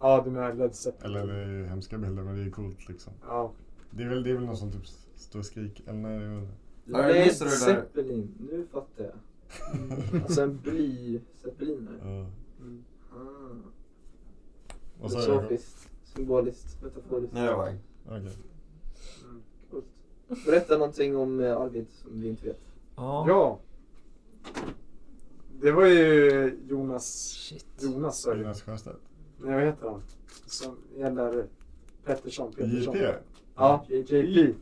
Ja, du menar Led Zeppelin? Eller det är ju hemska bilder, men det är ju coolt liksom. Ja. Det är väl, det är väl någon som typ står och skriker. Eller nej, jag vet inte. Ja, jag Led missade det där. Zeppelin, nu fattar jag. Alltså en bly-zeppelinare. Ja. Ah. Och så... Okej. Filosofiskt, symboliskt, metaforiskt. Nej, det var jag. Coolt. Berätta någonting om eh, Arvid som vi inte vet. Ja. Ja. Det var ju Jonas... Shit. Jonas sa ju. Jonas Sjöstedt. Nej, vad heter han? Som gäller Pettersson. Pettersson. JP? Ja, JP.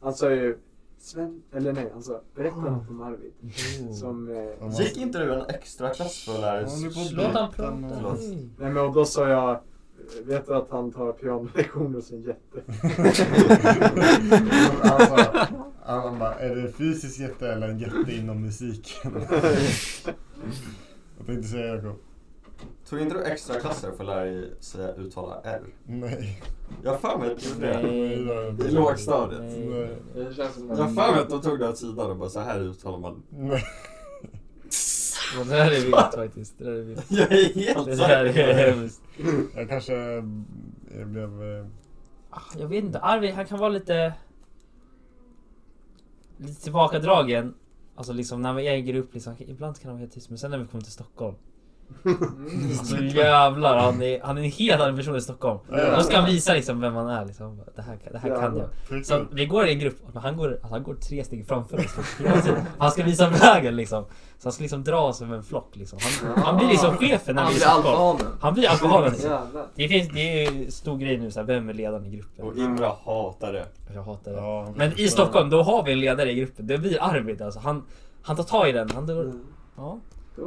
Han sa ju... Sven... Eller nej, han sa berätta något om Arvid. Mm. Som... Eh, Om man- Gick inte du en extra klass för Om du lärare? bor- Låt han Förlåt. prata. Nej. nej, men och då sa jag... eh, Vet du att han tar pianolektioner hos en jätte? han, sa, han bara, är det en fysisk jätte eller en jätte inom musiken? jag tänkte säga Jakob. Tog inte du extra klasser för att lära dig säga uttala R? Nej. Jag har för mig att du gjorde det. Nej. I Nej. lågstadiet. Nej. Det känns som Jag har för mig att de tog det åt sidan och bara så här uttalar man. Nej. Det där är vilt faktiskt. Det där är vilt. Jag är helt Det där är säker. hemskt. Jag kanske jag blev... eh, Ah, Jag vet inte. Arvid, han kan vara lite... lite tillbakadragen. Alltså liksom när vi äger upp liksom, ibland kan han vara helt tyst men sen när vi kommer till Stockholm. Mm. Alltså jävlar, han är, han är en helt annan person i Stockholm. Då ska han visa liksom vem han är liksom. Det här, det här kan jag. Så vi går i en grupp, men han går, alltså, han går tre steg framför oss. liksom. Han ska visa vägen liksom. Så han ska liksom dra oss som en flock liksom. Han, han blir liksom chefen när vi är Han i blir Stockholm. alfahanen. Han blir alfahanen liksom. Jävlar. Det, finns, det är ju stor grej nu, så här, vem är ledaren i gruppen? Och Imra hatar det. Jag hatar det. Ja, Men i Stockholm, då har vi en ledare i gruppen. Det blir Arvid alltså. Han, han tar tag i den. Han, Mm. ja.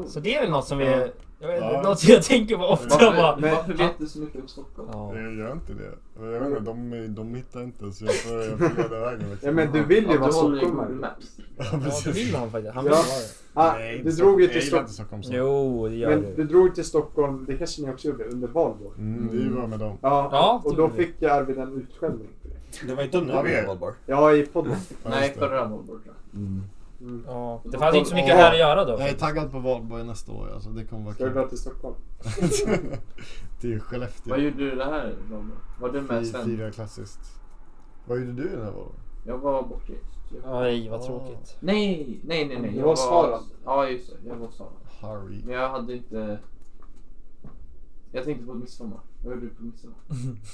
Så det är väl något som är... Jag vet, inte, Ja. Något som jag tänker på ofta. Varför, Bara, varför vet du så mycket om Stockholm? ja. Mm. Jag gör inte det. Jag vet inte, de, de hittar inte så jag får, jag får leda vägen. Liksom. Ja, men du vill ju Ja, vara du håller i Google stockholmare. Maps. Ja, ja, det vill precis. han faktiskt. Han vill Ja. ha det. Ah, Nej, du drog ju jag till gillar Stockholm. inte Stockholm. Så. Jo, det gör Men du du. drog till Stockholm, det kanske ni också gjorde, under valborg? Mm, vi var med dem. Ja, Ja, och det då gjorde vi. fick jag Arvid en utskällning för det. Det var inte nu Ja, vi är- valbar. Ja, i podden. Mm. Ja, Nej, just det. förra målbordet. Mm. Ja. Det fanns inte så mycket här att göra då. Jag är taggad på valborg nästa år alltså. Det kommer vara Ska du kul. dra till Stockholm? Det är Skellefteå. Vad gjorde du det här målbordet? Var du med Fy- sen? Fira klassiskt. Vad gjorde du i den här valborg? Jag var bortrest. Jag- Aj, vad tråkigt. Nej, nej, nej, nej. Det var Sara. Ja, just det. Jag var Sara. Harry. Men jag hade inte... Jag tänkte på midsommar. Vad gjorde du på midsommar?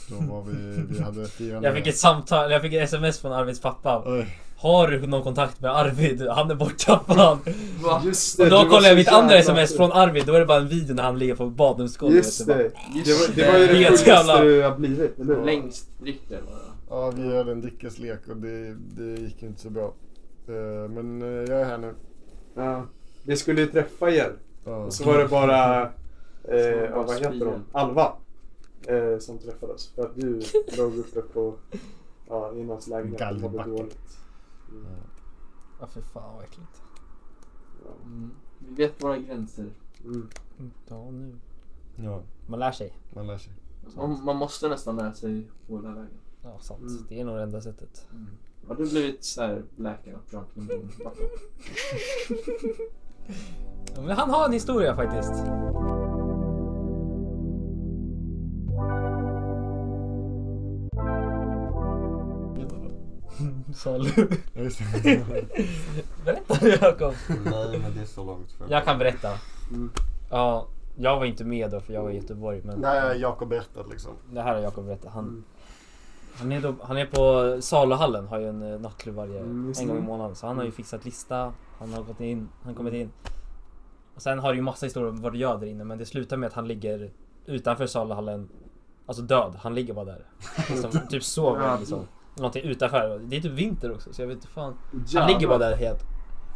Då var vi, vi hade firande. Jag fick ett samtal, jag fick ett sms från Arvids pappa. Oj, Har du någon kontakt med Arvid? Han är borttappad. Va? Just Och du då var kollar så jag mitt andra jävla sms sur. från Arvid. Då är det bara en video när han ligger på badrumsgolvet. Just det. Det var, det var ju Just det Helt sjukaste jävla- du har blivit, eller hur? Längst dricker var det. ja, vi hade en dickeslek och det, det gick inte så bra. Eh, Men eh, jag är här nu. Ja. Vi skulle ju träffa er. Ja. Och så var det bara, eh, var ja, bara vad heter spia. hon? Alva. Eh, som träffades. För att du låg uppe på, ja, i någons lägenhet. och mådde Galgbacken. dåligt. Mm. Ja, för "Ah, fan vad äckligt. Mm. Vi vet våra gränser. Mm. Ja, nu. Ja, Man lär sig. man lär sig. Man, man måste nästan lära sig hålla vägen. Ja, sant. Mm. Det är nog det enda sättet. Har du blivit såhär blackout drunk någon gång? Ja, Men han har en historia faktiskt. Salu. Ja, just det. Berätta Jakob. Nej, men det är så långt för Jag kan berätta. Mm. Ja, jag var inte med då för jag var i Göteborg. Men Nej, Jakob berättat liksom. det här har Jakob berättat. Han, han, Mm. är då, han är på Saluhallen, har ju en eh, nattklubb varje Mm, just en gång i det. Mm. månaden. Så han har ju fixat lista, han har gått in, han kommit in. Och sen har det ju massa historier om vad du gör där inne men det slutar med att han ligger utanför Saluhallen. Alltså död, han ligger bara där. Liksom, typ sover liksom. Någonting utanför. Det är typ vinter också så jag vet inte fan. Han ligger bara där helt.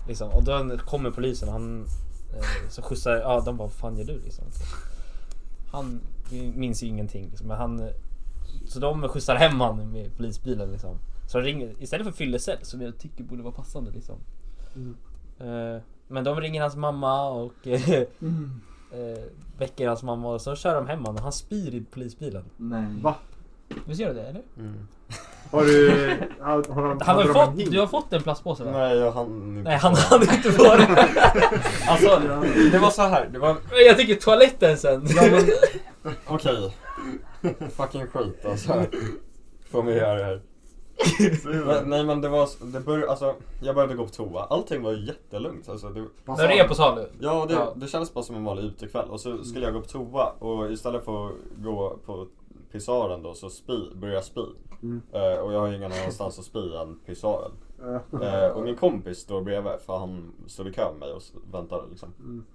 Liksom. Och då kommer polisen och han eh, så skjutsar, ja de bara vad fan gör du liksom? Han minns ju ingenting liksom, men han eh, Så de skjutsar hem han med polisbilen liksom. Så de ringer, istället för fyllecell som jag tycker borde vara passande liksom. Eh, men de ringer hans mamma och eh, eh, väcker hans mamma och så kör de hem honom och han spyr i polisbilen. Nej. Va? Visst gör det det eller? Har du... Har, har, de- Han har ju de en fått, hink? du har fått en plastpåse va? Nej, jag hann inte. Nej han hade inte varit Alltså Det var så här, det var... Jag tycker toaletten sen. Okej. Fucking skit alltså. Får mig göra det här. Men- Nej men det var, det bör, alltså, jag började gå på toa. Allting var jättelugnt. Alltså, det, När det är på salu. ja, det, Ja. det kändes bara som en vanlig utekväll. Och så skulle jag gå på toa och istället för att gå på pisaren då så spi, började jag spy. Mm. Eh, och jag har ju ingen annanstans att spy än pisaren. Ja. Eh, och min kompis står bredvid för han stod i kö med mig och s- väntade liksom. Mm.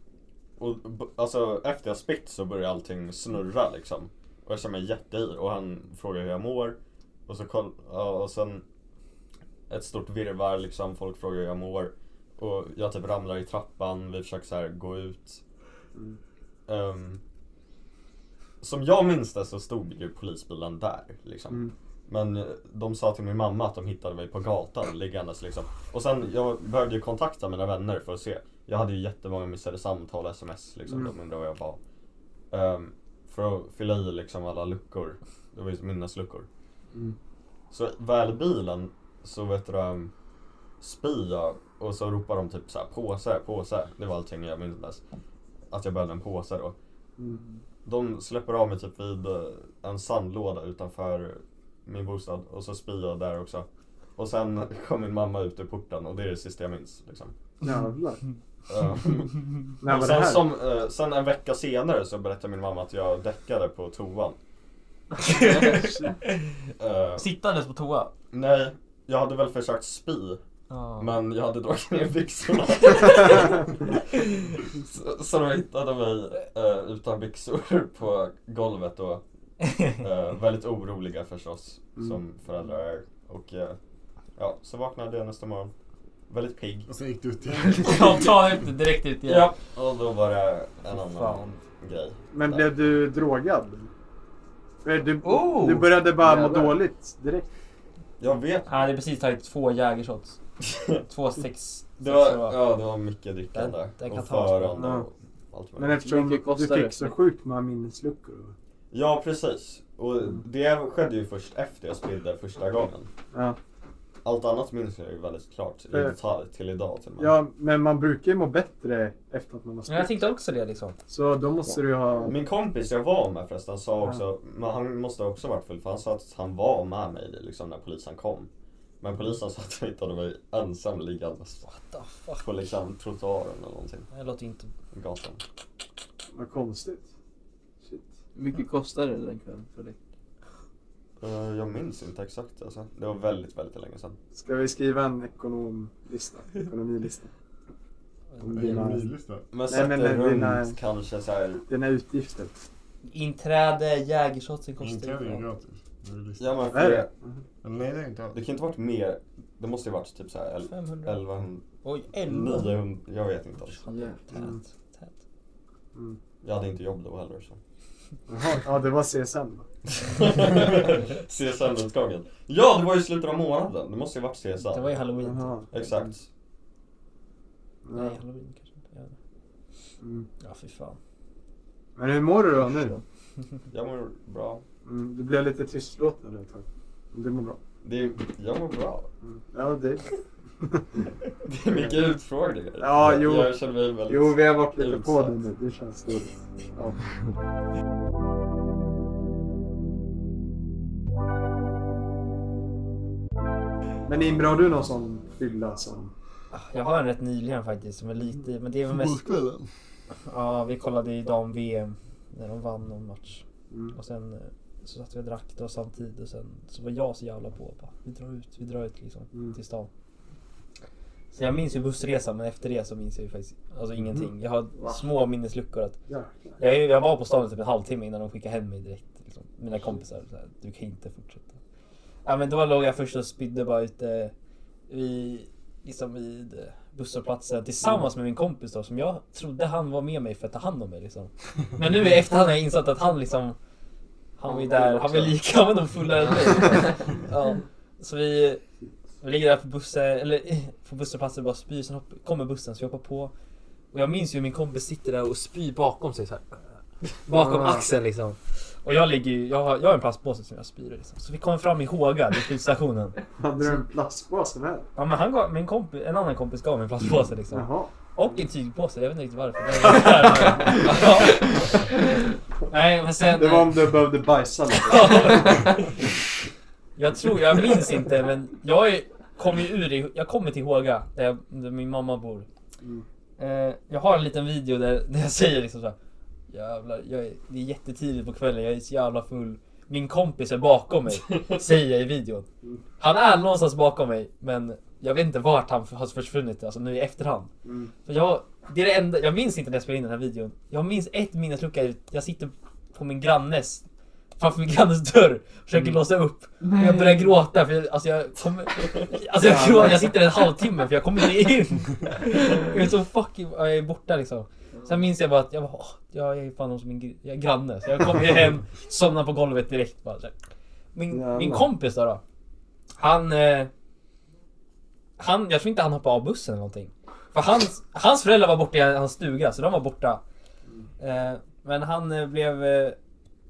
Och b- alltså efter jag spytt så började allting snurra liksom. Och jag känner mig jätteyr och han frågar hur jag mår. Och så koll, ja, och sen ett stort virrvarr liksom, folk frågar hur jag mår. Och jag typ ramlar i trappan, vi försöker så här gå ut. Mm. Ehm, som jag minns det så stod ju polisbilen där liksom. Mm. Men eh, de sa till min mamma att de hittade mig på gatan liggandes liksom. Och sen, jag behövde ju kontakta mina vänner för att se. Jag hade ju jättemånga missade samtal och sms liksom. De undrade var jag var. Ehm, för att fylla i liksom alla luckor. Det var ju minnesluckor. Så väl i bilen så vet du um, spyr jag och så ropar de typ så här påse, påse. Det var allting jag minns bäst. Att jag behövde en påse då. Mm. De släpper av mig typ vid eh, en sandlåda utanför min bostad och så spyr jag där också. Och sen kom min mamma ut ur porten och det är det sista jag minns. Liksom. Jävlar. Ehm, När och Alltså, var det sen, här? som, eh, sen en vecka senare så berättade min mamma att jag däckade på toan. Eh, Sittandes på toa. nej, jag hade väl försökt spy, Ja. men jag hade dragit ner byxorna. så, så de hittade mig eh, utan byxor på golvet då. Eh, väldigt oroliga förstås, Mm. som föräldrar är. Och eh, ja, så vaknade jag nästa morgon. Väldigt pigg. Och sen gick du ut igen. Ja, ta ut det direkt ut igen. Ja, och då var det en annan Fan. grej. Men där. blev du drogad? Eh, Du, Oh! du började bara må Jävlar. dåligt direkt. Jag vet Han hade precis tagit två jägershots. Två sex... Det var, sex, eller vad? ja, det var mycket drickande Den- den kan och ta förande Ja. och allt Men möjligt. eftersom Mycket du kostar det. fick så sjukt många minnesluckor. Ja, precis. Och Mm. det skedde ju först efter jag spydde första gången. Ja. Allt annat minns jag ju väldigt klart i Eh. detalj till idag till och med. ja, men man brukar ju må bättre efter att man har Men jag spytt. tänkte också det liksom. Så då måste du ju ha... Min kompis jag var med förresten sa också, men han måste ha också varit full för han sa att han var med mig liksom när polisen kom. Men polisen sa att de hittade mig ensam liggandes What the fuck? på liksom trottoaren eller någonting, Det låter inte... gatan. Vad konstigt. Shit. mycket kostade det den kvällen för dig? Eh, Jag minns inte exakt alltså. Det var väldigt, väldigt länge sedan. Ska vi skriva en ekonomlista? Ekonomilista? Om Det är en dina, milista. Men Nej, sätter men runt dina- kanske så här dina utgifter. Inträde, jägershotsen kostar Inträde är ju... gratis. Det är lista. Ja men för Är det, det? Eller nej, det är inte alls. det kan inte varit mer. Det måste ju varit typ såhär 500. 1100, Oj, 11. 900, jag vet inte. alls. Mm. Tät, tät. Jag hade inte jobb då heller så. Jaha, ja det var CSN. va? CSN-utgången. Ja, det var ju slutet av månaden. Det måste ju varit CSN. Det var ju halloween. typ. Jaha. Exakt. Nej, Ja. halloween kanske inte. Jag vet inte. Mm. Ja, fy fan. Men hur mår du då nu? Jag mår bra. Mm. Du blev lite tystlåten ett tag. Du mår bra. Det är, jag mår bra. Mm. Ja, det... Det är mycket utfrågningar. Ja, Jag- jo. Jag känner mig väldigt... Jo, vi har varit lite på Utsatt. det nu. Det känns dåligt. Ja. Men Imre, har du någon sån fylla som... Jag har en rätt nyligen faktiskt som är lite... Men det är väl mest... Fotbollskvällen? Ja, vi kollade ju dam VM. När de vann någon match. Mm. Och sen eh, så satt vi och drack då samtidigt och sen så var jag så jävla på. Bara, vi drar ut, vi drar ut liksom Mm. till stan. Så jag minns ju bussresan men efter det så minns jag ju faktiskt alltså, ingenting. Jag har små minnesluckor. Att Jäklar. jag, är- jag var på stan typ en halvtimme innan de skickade hem mig direkt. Liksom. Mina kompisar så här, du kan inte fortsätta. Ja men då låg jag först och spydde bara ute i, liksom vid eh, busshållplatsen tillsammans med min kompis då som jag trodde han var med mig för att ta hand om mig liksom. Men nu i efterhand har jag insett att han liksom Han var ju där, han var lika men de fullare än mig. Ja. Så vi, vi ligger där på bussen, eller eh, på busshållplatsen och bara spyr, sen hopp, kommer bussen så vi hoppar på. Och jag minns ju hur min kompis sitter där och spyr bakom sig så här. Bakom Ah. axeln liksom. Och jag ligger ju, jag har, jag har en plastpåse som jag spyr i, liksom. Så vi kommer fram i Håga, vid slutstationen. Hade du en plastpåse med? Ja men han gav, min kompis, en annan kompis gav mig en plastpåse liksom. Jaha. Och en tygpåse, jag vet inte riktigt varför. Ja. Nej men eh, sen... Det var om du behövde bajsa lite. Jag tror, jag minns inte men jag är, kom ju ur i, jag kommer till Håga där, jag, där min mamma bor. Mm. Eh, jag har en liten video där, där jag säger liksom såhär Jävlar, jag är, det är jättetidigt på kvällen, jag är så jävla full. Min kompis är bakom mig, säger jag i videon. Mm. Han är någonstans bakom mig men jag vet inte vart han har försvunnit alltså nu i efterhand. Mm. För jag, det är det enda, jag minns inte när jag spelade in den här videon. Jag minns ett minneslucka, jag sitter på min grannes framför min grannes dörr försöker låsa upp. Och jag börjar gråta för jag, alltså jag kommer... Alltså jag, gråter, jag sitter en halvtimme för jag kommer inte in. Jag är så fucking... ja, Jag är borta liksom. Sen minns jag bara att jag, bara, åh, jag är fan hos min gr- jag är granne. Så jag kommer ju hem, somnar på golvet direkt bara. Så här. Min, min Jävlar. kompis då, då han, eh, han... Jag tror inte han hoppade av bussen eller någonting. För hans, hans föräldrar var borta i hans stuga så de var borta. Eh, men han eh, blev... Eh,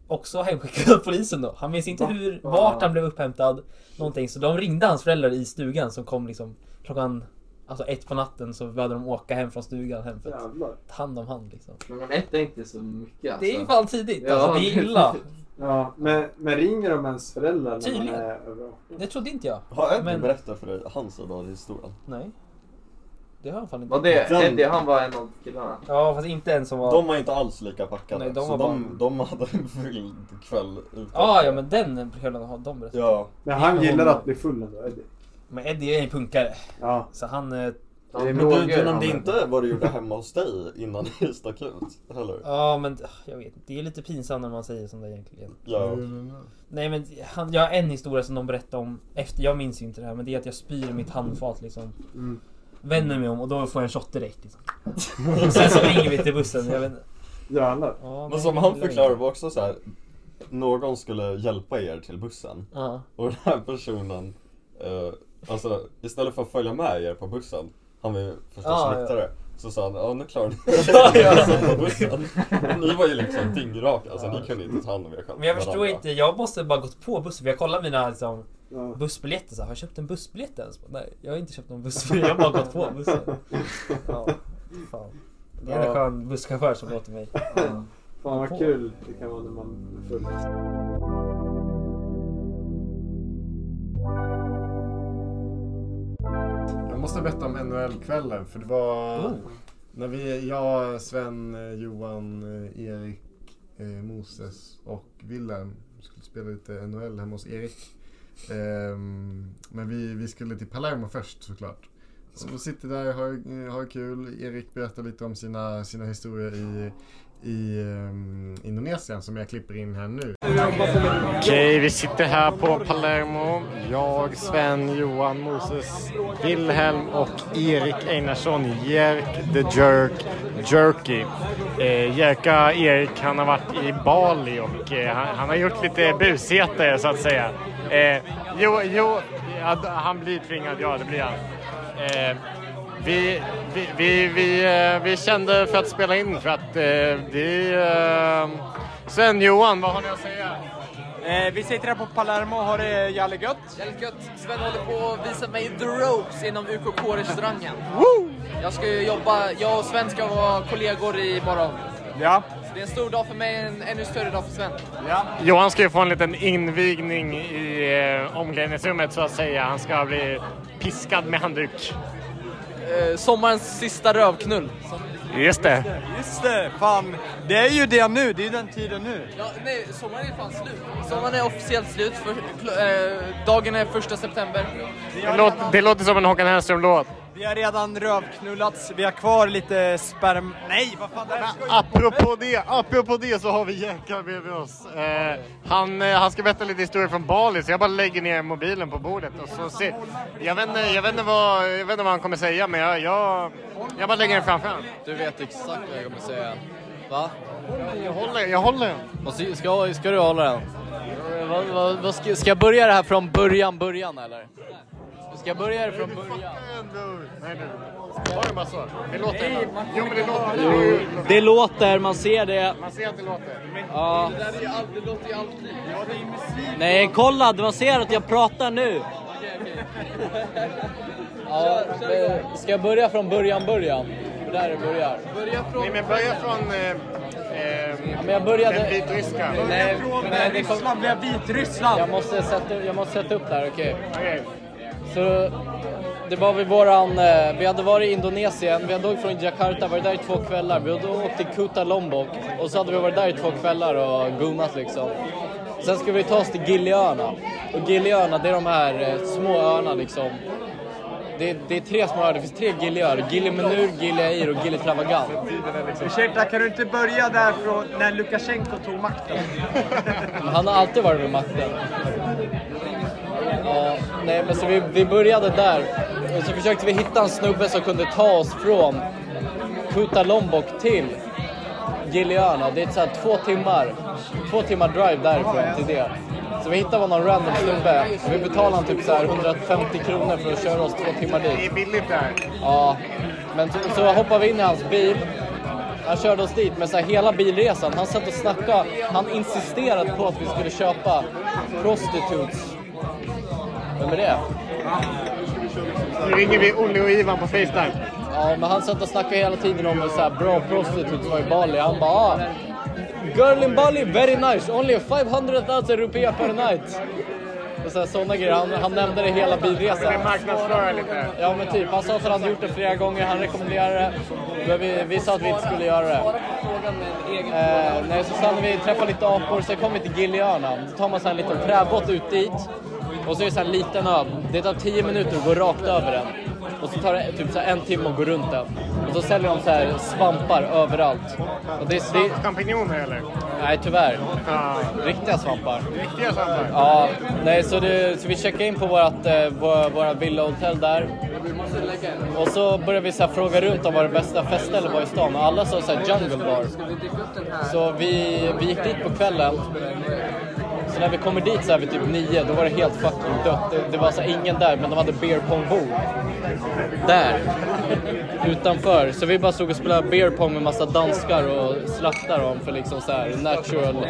också hemskickad av polisen då. Han minns inte hur, vart han blev upphämtad. Någonting. Så de ringde hans föräldrar i stugan som kom liksom klockan Alltså ett på natten så behövde de åka hem från stugan hem för att Jävlar. ta hand om han liksom. Alltså. Men ett är inte så mycket alltså. Det är ju fan tidigt Ja. alltså, det är illa. Ja, men, men ringer de ens föräldrar när man Tydligen. är över 18? Det trodde inte jag. Har jag inte Men- berättat för dig hans sida av historien? Nej. Det har han fan inte. Var det Den- Eddie? Han var en av killarna. Ja fast inte en som var... De var inte alls lika packade. Nej, de så var de, de hade en full kväll ute. Ja, ja men den kvällen har de berättat. Ja. Men han gillar att bli full ändå, Eddie. Men Eddie är ju punkare. Ja. Så han... eh, Han Men du, droger, du nämnde han- inte vad du gjorde hemma hos dig innan ni stack ut, heller? Ja men ah, jag vet inte. Det är lite pinsamt när man säger sånt där egentligen. Ja. Nej men han, jag har en historia som de berättade om. Efter, jag minns ju inte det här men det är att jag spyr i mitt handfat liksom. Mm. Vänder mig om och då får jag en shot direkt liksom. Sen springer vi till bussen. Jag vet, inte. Jävlar. ja, Men nej, som det han gillar jag förklarade inte. var också så här. Någon skulle hjälpa er till bussen. Ja. Och den här personen, eh, alltså istället för att följa med er på bussen, han var ju förstås Ja, ja. nyktrare, så sa han Ah, ja nu klarar ni er på bussen. Ni var ju liksom dyngraka, alltså ni kunde inte ta hand om er själva. Men jag förstår inte. Jag måste bara gått på bussen för jag kollar mina liksom, Ja. bussbiljetter. Så här, har jag köpt en bussbiljett ens? Nej jag har inte köpt någon bussbiljett. Jag har bara gått på bussen. Ja, fan. Det är en Ja. skön busschaufför som låter mig. Fan vad kul det kan vara när man är full. Jag måste berätta om NHL-kvällen för det var Oh. när vi, jag, Sven, eh, Johan, eh, Erik, eh, Moses och Wilhelm skulle spela lite NHL hemma hos Erik. Ehm, men vi, vi skulle till Palermo först såklart. Så vi sitter där och har, eh, har kul. Erik berättar lite om sina, sina historier i, i ehm, Indonesien som jag klipper in här nu. Okej, vi sitter här på Palermo. Jag, Sven, Johan, Moses, Wilhelm och Erik Einarsson, Jerk the Jerk Jerky. Eh, Jerka Erik, han har varit i Bali och eh, han, han har gjort lite busigheter så att säga. Eh, jo, jo, ja, d- han blir tvingad, ja det blir han. Eh, vi, vi, vi, vi, eh, vi kände för att spela in för att eh, det är... Eh, Sven, Johan, vad har ni att säga? Eh, vi sitter här på Palermo och har det jävligt gött. Jävligt gött. Sven håller på att visa mig the ropes inom UKK-restaurangen. Jag ska ju jobba, jag och Sven ska vara kollegor i morgon. Ja. Så det är en stor dag för mig, en ännu större dag för Sven. Johan ska ju få en liten invigning i eh, omklädningsrummet så att säga. Han ska bli piskad med handduk. Eh, sommarens sista rövknull. Just det. Just det, Eh, fan. Det är ju det nu, det är ju den tiden nu. Ja, nej, sommaren är fan slut. Sommaren är officiellt slut. För, kl- eh, dagen är första september. Det, låt, det låter som en Håkan Hellström-låt. Vi har redan rövknullats, vi har kvar lite sperm... Nej, vad fan! Apropå det, apropå det så har vi Jerka bredvid oss. Eh, han, eh, han ska berätta lite historier från Bali så jag bara lägger ner mobilen på bordet. Och så se, jag, vet, inte- jag, vet inte vad, jag vet inte vad han kommer säga men jag, jag, jag bara lägger den framför honom. Du vet exakt vad jag kommer säga. Va? Jag håller, jag håller den. Vad Ska, ska, ska du hålla den? Vad, vad, vad ska, ska jag börja det här från början, början eller? Ska jag börja det från början? Nej nu. Ta den bara så. Det låter ändå. Jo men det låter. det är ju- Det låter, man ser det. Man ser att det låter. Ja. Det, låter ju alltid. Nej, kolla, man ser att jag pratar nu. Ja, men ska jag börja från början, början? Det där det börjar. Nej men börja från eh, eh, men jag började- den vitryska. Nej, nej, det kom... Ryssland blev Vitryssland! Eh, liksom- Jag måste sätta, jag måste sätta upp det här, okej. Okej. Så det var vid våran, eh, vi hade varit i Indonesien, vi hade åkt från Jakarta, varit där i två kvällar. Vi hade åkt till Kuta Lombok och så hade vi varit där i två kvällar och gonat liksom. Sen skulle vi ta oss till Giliöarna. Och Giliöarna det är de här eh, små öarna liksom. Det, det är tre små öar, det finns tre Giliöar. Gili Menur, Gili Air och Gili Travagan. Ursäkta, kan du inte börja där från när Lukasjenko tog makten? Han har alltid varit vid makten. Ja, nej, men så vi, vi började där och så försökte vi hitta en snubbe som kunde ta oss från Kuta Lombok till Giliöarna. Det är så här två timmar, två timmar drive därifrån till det. Så vi hittade någon random snubbe. Vi betalade honom typ så här 150 kronor för att köra oss två timmar dit. Det är billigt där. Ja, men så, så hoppade vi in i hans bil. Han körde oss dit, men så här, hela bilresan, han satt och snackade. Han insisterade på att vi skulle köpa prostitutes. Vem är det? Nu ringer vi Olle och Ivan på Facetime. Ja, men han satt och snackade hela tiden om så här bra prostitutes var i Bali. Han bara ah, “Girl in Bali, very nice, only 500 000 rupiah per night”. Och så här, sådana grejer. Han, han nämnde det hela bilresan. Det marknadsföra lite. Ja men typ, han sa att han hade gjort det flera gånger, han rekommenderade det. Men vi, vi sa att vi inte skulle göra det. Eh, nej, så sen när vi träffade lite apor, sen kom vi till Gilliöarna. Då tar man så här en liten träbåt ut dit. Och så är det så här en liten ö. Det tar 10 minuter att gå rakt över den. Och så tar det typ så här en timme att gå runt den. Och så säljer de så här svampar överallt. Och det, det, Champinjoner eller? nej tyvärr. Riktiga svampar. Riktiga svampar? Ja, nej, så, det, så vi checkade in på vårt eh, våra, våra villahotell där. Och så började vi så här fråga runt om vad det bästa feststället var i stan och alla sa så här jungle bar. Så vi, vi gick dit på kvällen. Så när vi kommer dit så här vid typ nio, då var det helt fucking dött. Det, det var så här ingen där, men de hade beer pong bord. Där. Utanför. Så vi bara stod och spelade beer pong med massa danskar och slaktade dem för liksom så här natural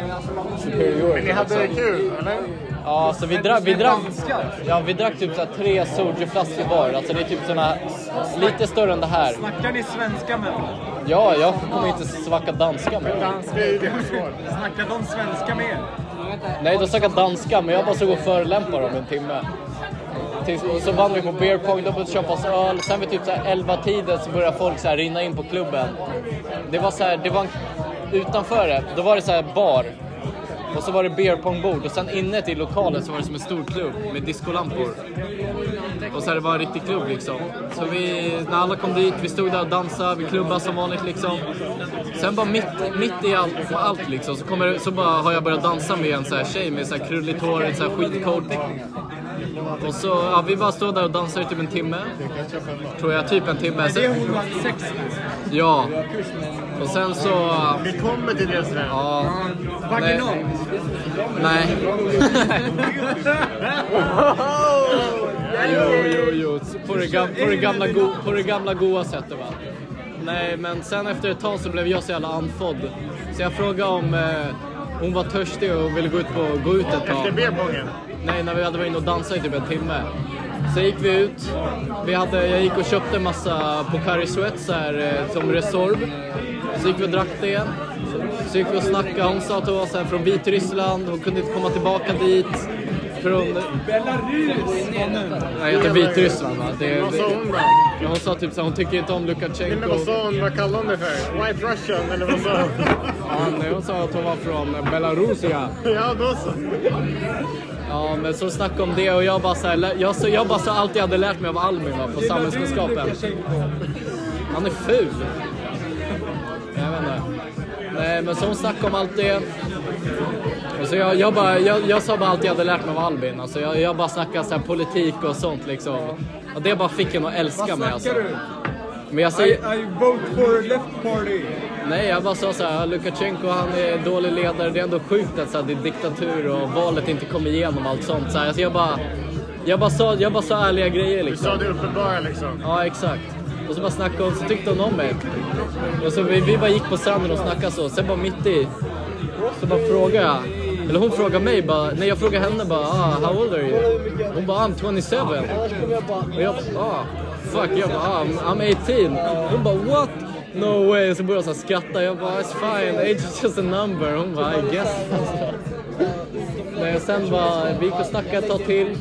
superiority. Men ni hade det liksom. kul, eller? Ja, så vi drack, vi Med drack, danskar? ja, vi drack typ så här tre soldier-flaskor var. Alltså det är typ såna här, lite större än det här. Snackar ni svenska med varandra? Ja, jag kommer inte svacka danska med dem. Snackar de svenska med er? Nej, de snackade danska, men jag bara såg och förolämpade dem en timme. Tills, och så vann vi på beer pong, de började köpa oss öl. Sen vid typ så här 11 tiden så började folk så här rinna in på klubben. Det var så här, det var en, utanför det, då var det så här bar. Och så var det beer pong bord och sen inne i lokalen så var det som en stor klubb med discolampor. Och så här, det var en riktig klubb liksom. Så vi, när alla kom dit, vi stod där och dansade, vi klubbade som vanligt liksom. Sen bara mitt, mitt i allt, på allt liksom, så, kommer, det- så bara har jag börjat dansa med en så här tjej med så här krulligt hår, ett så här skitkort. Och så, ja, vi bara står där och dansar i typ en timme. Tror jag, typ en timme. Det är Sen, hon var 60. ja. Och sen så... Vi kommer till det sen. Ja. Vaginal. Nej. Jo, jo, jo. På det, gam- på det, gamla, go- på det gamla goa sättet va. Nej, men sen efter ett tag så blev jag så jävla andfådd. Så jag frågade om eh, hon var törstig och ville gå ut, på, gå ut ett tag. Efter beerpongen? Nej, när vi hade varit inne och dansat i typ en timme. Sen gick vi ut. Vi hade, jag gick och köpte en massa Pocari Sweat så här, eh, som Resorb. Så gick vi och drack det igen. Så gick vi och snackade. Hon sa att hon var så här från Vitryssland. Hon kunde inte komma tillbaka dit. Från... Belarus! Nej, jag heter Vitryssland va? Det, Vad sa hon då? Ja, hon sa typ såhär, hon tycker inte om Nej, Lukasjenko. men vad sa hon? Vad kallade hon det för? White Russian eller vad sa hon? Ja, nej, hon sa att hon var från eh, Belarusia. Ja, då så. Ja, men så snackade om det och jag bara så här, lä- jag, så, jag bara sa allt jag hade lärt mig av Almin va, på samhällskunskapen. Han är ful. Jag vet inte. Nej, men så hon snackade om allt det. Och så jag, jag, bara, jag, jag sa bara allt jag hade lärt mig av Albin. Alltså jag, jag bara snackade så här politik och sånt liksom. Och det bara fick henne att älska mig alltså. Men jag säger... I vote for left party. Nej, jag bara sa så här, Lukasjenko han är dålig ledare. Det är ändå sjukt att så här, det är diktatur och valet inte kom igenom och allt sånt. Så här, alltså jag bara... Jag bara, sa, jag bara sa ärliga grejer liksom. Du sa det uppenbara liksom. Ja, exakt. Och så bara snackade hon, så tyckte hon om mig. Och så vi, vi bara gick på stranden och snackade så. Sen bara mitt i, så bara frågade jag. Eller hon frågade mig bara, nej jag frågade henne bara, ah, how old are you? Hon bara, I'm 27. Och jag bara, ah, fuck. Jag bara, ah, I'm, I'm 18. Hon bara, what? No way. Så började hon så här skratta. Jag bara, it's fine. Age is just a number. Hon bara, I guess. Nej, och sen bara, vi gick och snackade ett tag till.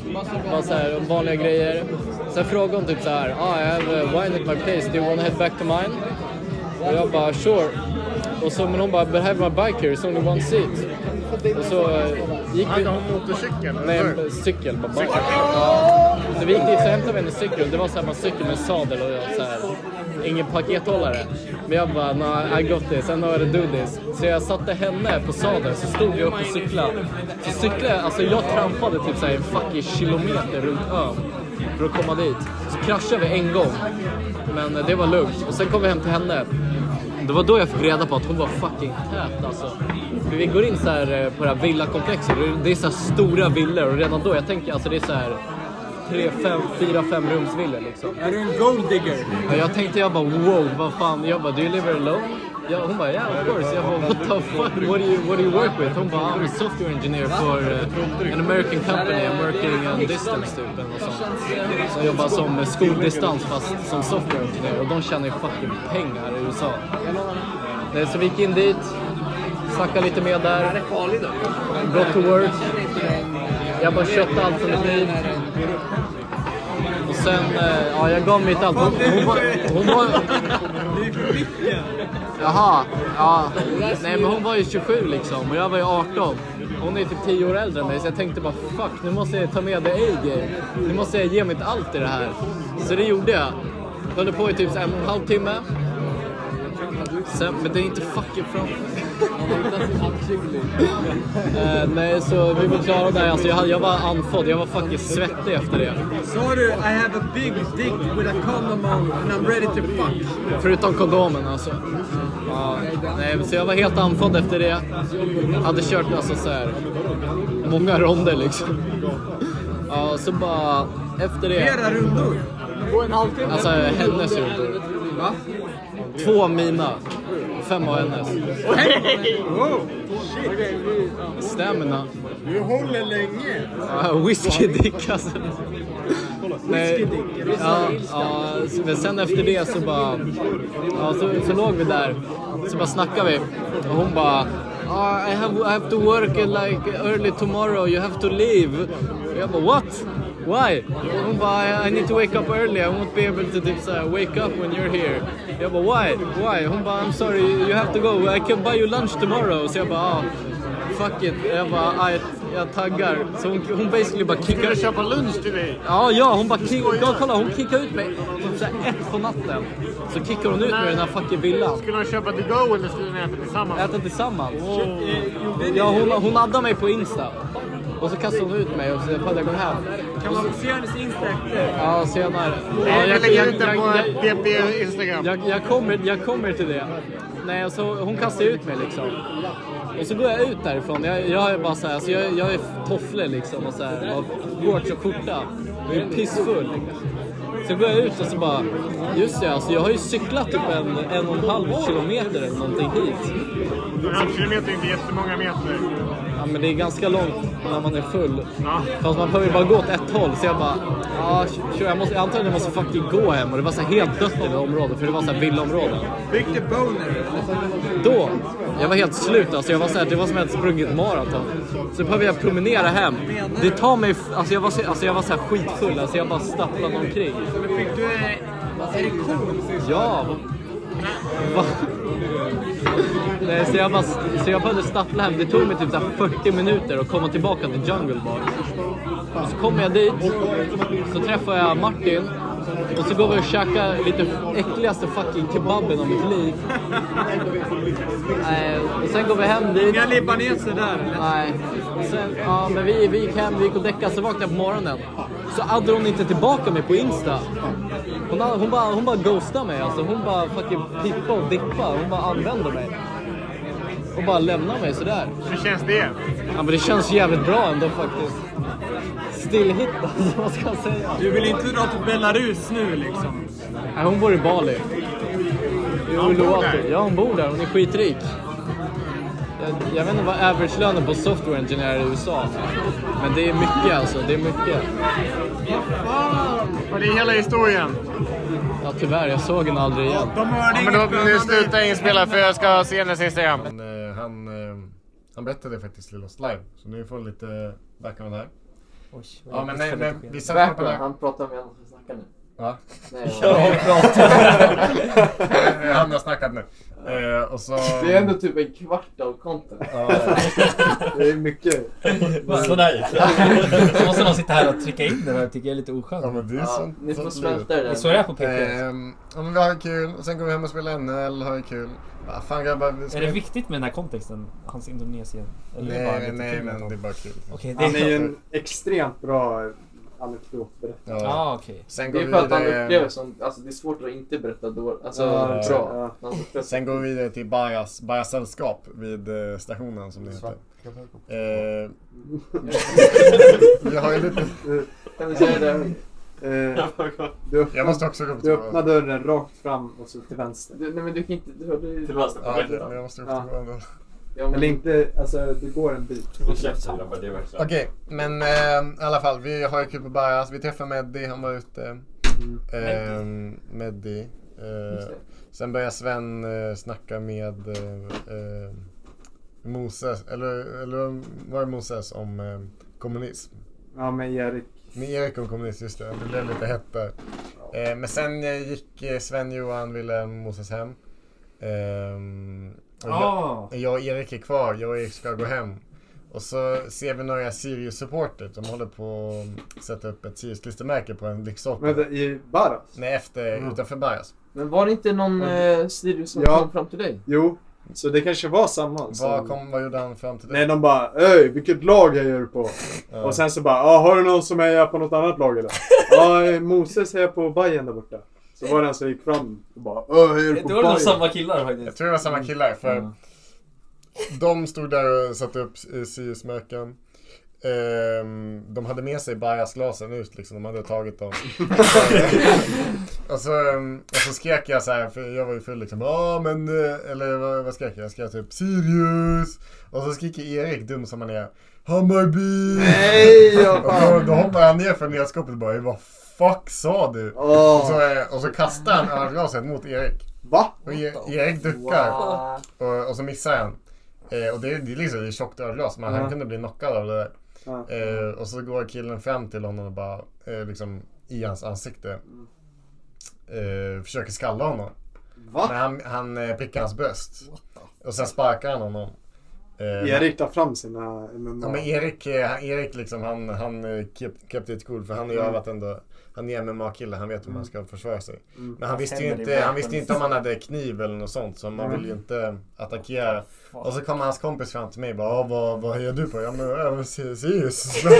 Bara så här, om vanliga grejer. Sen frågade hon typ så här, ah, I have a wine at my place, do you wanna head back to mine? Och jag bara, sure. Och så, men hon bara, but I have my bike here, it's only one seat. Och så eh, gick vi... Hade hon motorcykel? Nej, en cykel på baken. Ja. Så vi gick dit så hämtade vi en cykel. Det var så här, man cykel med sadel och jag så här, ingen pakethållare. Men jag bara, no, I got this, I know how to do this. Så jag satte henne på sadeln, så stod jag upp och cyklade. Så cyklade jag, alltså jag trampade typ så här en fucking kilometer runt ön för att komma dit. Så kraschade vi en gång, men eh, det var lugnt. Och sen kom vi hem till henne. Det var då jag fick reda på att hon var fucking tät alltså. För vi går in så här eh, på det här villakomplexet. Det är- Det är så här stora villor och redan då, jag tänker alltså det är så här tre, fem, fyra, fem rumsvillor liksom. Är du en gold digger? Ja, jag tänkte jag bara wow, vad fan. Jag bara, do you live alone? Ja, hon bara yeah of course. Jag bara what the fuck, what do you, what do you work with? Hon bara I'm a software engineer for eh, an American company. I'm working on distance typ eller något sånt. Så jag jobbar som skoldistans fast som software engineer och de tjänar ju fucking pengar i USA. Nej, Så vi gick in dit, snackade lite med där, got to work. Jag bara köpte allt som det blir. Och sen, eh, ja jag gav mitt allt. Hon, hon var... Hon var... Jaha, ja. Nej men hon var ju 27 liksom och jag var ju 18. Hon är ju typ 10 år äldre än mig så jag tänkte bara fuck nu måste jag ta med det A-game. Nu måste jag ge mitt allt i det här. Så det gjorde jag. Jag höll på i typ så här en och en halv timme. Sen, men det är inte fucking framför. Eh, nej, så vi var klara där. Alltså, jag, hade- jag var andfådd. Jag var fucking svettig efter det. Sorry, I have a big dick with a condom on and I'm ready to fuck. Förutom kondomen alltså. Ja, nej, så jag var helt andfådd efter det. Hade kört alltså, så här, många ronder liksom. Ja, så bara efter det. Flera rundor? På en halvtimme? Alltså hennes rundor. Va? Två av mina. Fem av hennes. Wow! Shit! Stamina. Du håller länge. Ja, Whiskydick alltså. Nej, Whiskydick. ja, ja, men sen efter det så bara... Ja, så, så låg vi där. Så bara snackade vi. Och hon bara... "Ah, I, have, I have to work at like early tomorrow. You have to leave. Och jag bara what? Why? Hon bara I, I need to wake up early. I won't be able to typ så här, wake up when you're here. Jag bara why? Why? Hon bara I'm sorry. You have to go. I can buy you lunch tomorrow. Så jag bara ah. Fuck it. Jag bara, "Ah, jag, jag taggar. Så hon, hon basically bara kickar... Skulle köpa lunch till dig? Ja, ja. Hon bara kickar... Ja, kolla, hon kickar ut mig typ såhär ett på natten. Så kickar hon ut mig i den här fucking villan. Skulle de köpa to go eller skulle ni äta tillsammans? Äta tillsammans? Eh, Ja, hon, hon addade mig på Insta. Och så kastade hon ut mig och så hade jag gått hem. Kan man se hennes Insta efter? Ja, senare. Nej, Ja, vi lägger ut den på PP Instagram. Jag, jag, kommer, jag kommer till det. Nej, alltså, hon kastar ut mig liksom. Och så går jag ut därifrån. Jag, jag är bara så här, alltså, jag, jag är toffle liksom och så här, och shorts och skjorta. Jag är pissfull. Så går jag ut och så bara, just det, alltså, jag har ju cyklat typ en, en och en halv kilometer eller någonting hit. En halv kilometer är inte jättemånga meter. Ja, men det är ganska långt när man är full. Fast man behöver ju bara gå åt ett håll. Så jag bara, ja, sure, jag, måste, jag antar att jag måste fucking gå hem. Och det var så här helt dött i det området, för det var så här villaområden. Fick du boner? Då, jag var helt slut alltså. Jag var så här, det var som att jag hade sprungit maraton. Så behöver jag promenera hem. Det tar mig, f- alltså jag var, så- alltså jag var så här skitfull. Alltså jag bara stapplade omkring. Men fick du eh, erektion? Ja. Va? Nej, Eh, så, jag bara, så jag började stappla hem. Det tog mig typ så här 40 minuter att komma tillbaka till Jungle Bar. Och så kommer jag dit, så träffar jag Martin. Och så går vi och käkar lite äckligaste fucking kebaben av mitt liv. Nej, och sen går vi hem dit. Inga libaneser där eller? Nej. Sen, ja, men vi, vi gick hem, vi gick och däckade, så vaknade jag på morgonen. Så hade hon inte tillbaka mig på Insta. Hon, hade- hon, bara, hon bara ghostade mig alltså. Hon bara fucking pippa och dippa. Hon bara använde mig. Och bara lämnade mig sådär. Hur känns det? Ja men det känns jävligt bra ändå faktiskt. Stillhit alltså, vad ska jag säga? Du vill inte dra till Belarus nu liksom? Nej, hon bor i Bali. I Hon bor Uluwatu. där? Ja, hon bor där. Hon är skitrik. Jag, jag vet inte vad average-lönen på software engineer i USA. Men det är mycket alltså. Det är mycket. Och det är hela historien. Ja, tyvärr. Jag såg henne aldrig igen. Ja, men då nu slutar jag inspela för jag ska se den sista igen. Han, eh, han, eh, han berättade faktiskt till oss live, så nu får vi lite background här. Oj, ja, men, nej, men vi satt på den här... Han pratar med en som snackar nu. Va? Nej, Han har snackat nu. Eh, och så... Det är ändå typ en kvart av content. Det är mycket. Vad så nice. Så måste någon sitta här och trycka in den här tycker jag är lite oskönt. Ja, men det är sånt- sånt liv. Det är så det är på PP. Ehm, ja, men vi har kul och sen går vi hem och spelar NHL och har kul. Va fan grabbar, vi Är det viktigt med den här kontexten? Hans Indonesien? är det Nej, bara nej, lite nej, kul men ändå? det är bara kul. Okej, det Han är ju är en extremt bra anekdotberättare. Ja. Ah, okej. Sen går det vi är för att han vidare. upplever som, alltså det är svårt att inte berätta då, alltså Ja, bra. exakt. Alltså, Sen går vi vidare till Bajas, Bajas sällskap vid eh, stationen som det heter. Eh, vi har ju lite... Kan du säga det? Eh, du öppnar, Jag måste också gå på Du toa. öppnar dörren rakt fram och så till vänster. Du, nej men du kan inte... Du, du, Till vänster på Ja, väggen. men men jag jag måste måste upp upp ja. till Ja, men- Eller inte, alltså det går en bit. Håll käften grabbar, det är verkligen... Okej, men eh, i alla fall. Vi har ju kul på Barras. Vi träffade Meddi, han var ute. Eh, Meddi. Eh, Just det. sen börjar Sven eh, snacka med eh, eh, Moses, eller, eller var det Moses, om eh, kommunism. Ja, med Erik. Med Erik om kommunism, just det. Det blev lite hett där. Eh, men sen eh, gick eh, Sven, Johan, Wilhelm, Moses hem. Ehm, och Ah. jag, jag och Erik är kvar. Jag och Erik ska gå hem. Och så ser vi några Sirius-supporter. De håller på att sätta upp ett Sirius-klistermärke på en lyktstolpe. Vänta, i Barras? Nej, efter, Mm. utanför Barras. Men var det inte någon eh, Sirius som Ja. kom fram till dig? Jo, så det kanske var samma. som- Vad, kom, vad gjorde han fram till det? Nej, de bara Öj, vilket lag hejar du på? Ja. Och sen så bara "Ja, har du någon som hejar på något annat lag eller? Ja, eh, Moses hejar på Bayern där borta. Så var det en som gick fram och bara Öj, hejar du på Då var det nog Bayern? samma killar faktiskt. Jag tror det var samma killar för Mm. de stod där och satte upp eh, Sirius-märken. Ehm, de hade med sig Bajas-glasen ut liksom, de hade tagit dem. Eh, och, så, ehm, och så skrek jag så här, för jag var ju full liksom. Ja men, eh," eller vad, vad skrek jag? Jag skrek typ Sirius! Och så skriker Erik, dum som han är. Hammarby! Nej, ja, fan. och då, då hoppar han ner från ledarskapet och bara vad fuck sa du? Åh. Och, så, eh, och så kastar han ölglaset mot Erik. Va? Och E- Erik duckar. Och, och så missar han. Eh, och det, är- det är liksom det är tjockt ölglas, men Ja. han kunde bli knockad av det där. Ja. Eh, och så går killen fram till honom och bara, eh, liksom i hans ansikte. Eh, försöker skalla honom. Va? Men han, han eh, prickar hans bröst. Och sen sparkar han honom. Eh, Erik tar fram sina MMA. Ja, men Erik, eh, han- Erik liksom, han, han eh, kept, kept it cool för han har ju Mm. övat ändå. Han är MMA-kille, han vet hur man ska försvara sig. Mm. Men han Hans visste ju händer i inte, han vapen. visste ju inte om han hade kniv eller något sånt så man Mm. ville ju inte attackera. Och så kom hans kompis fram till mig och bara "Ah, vad, vad gör du på? Ja men jag vill se Sirius. Liksom.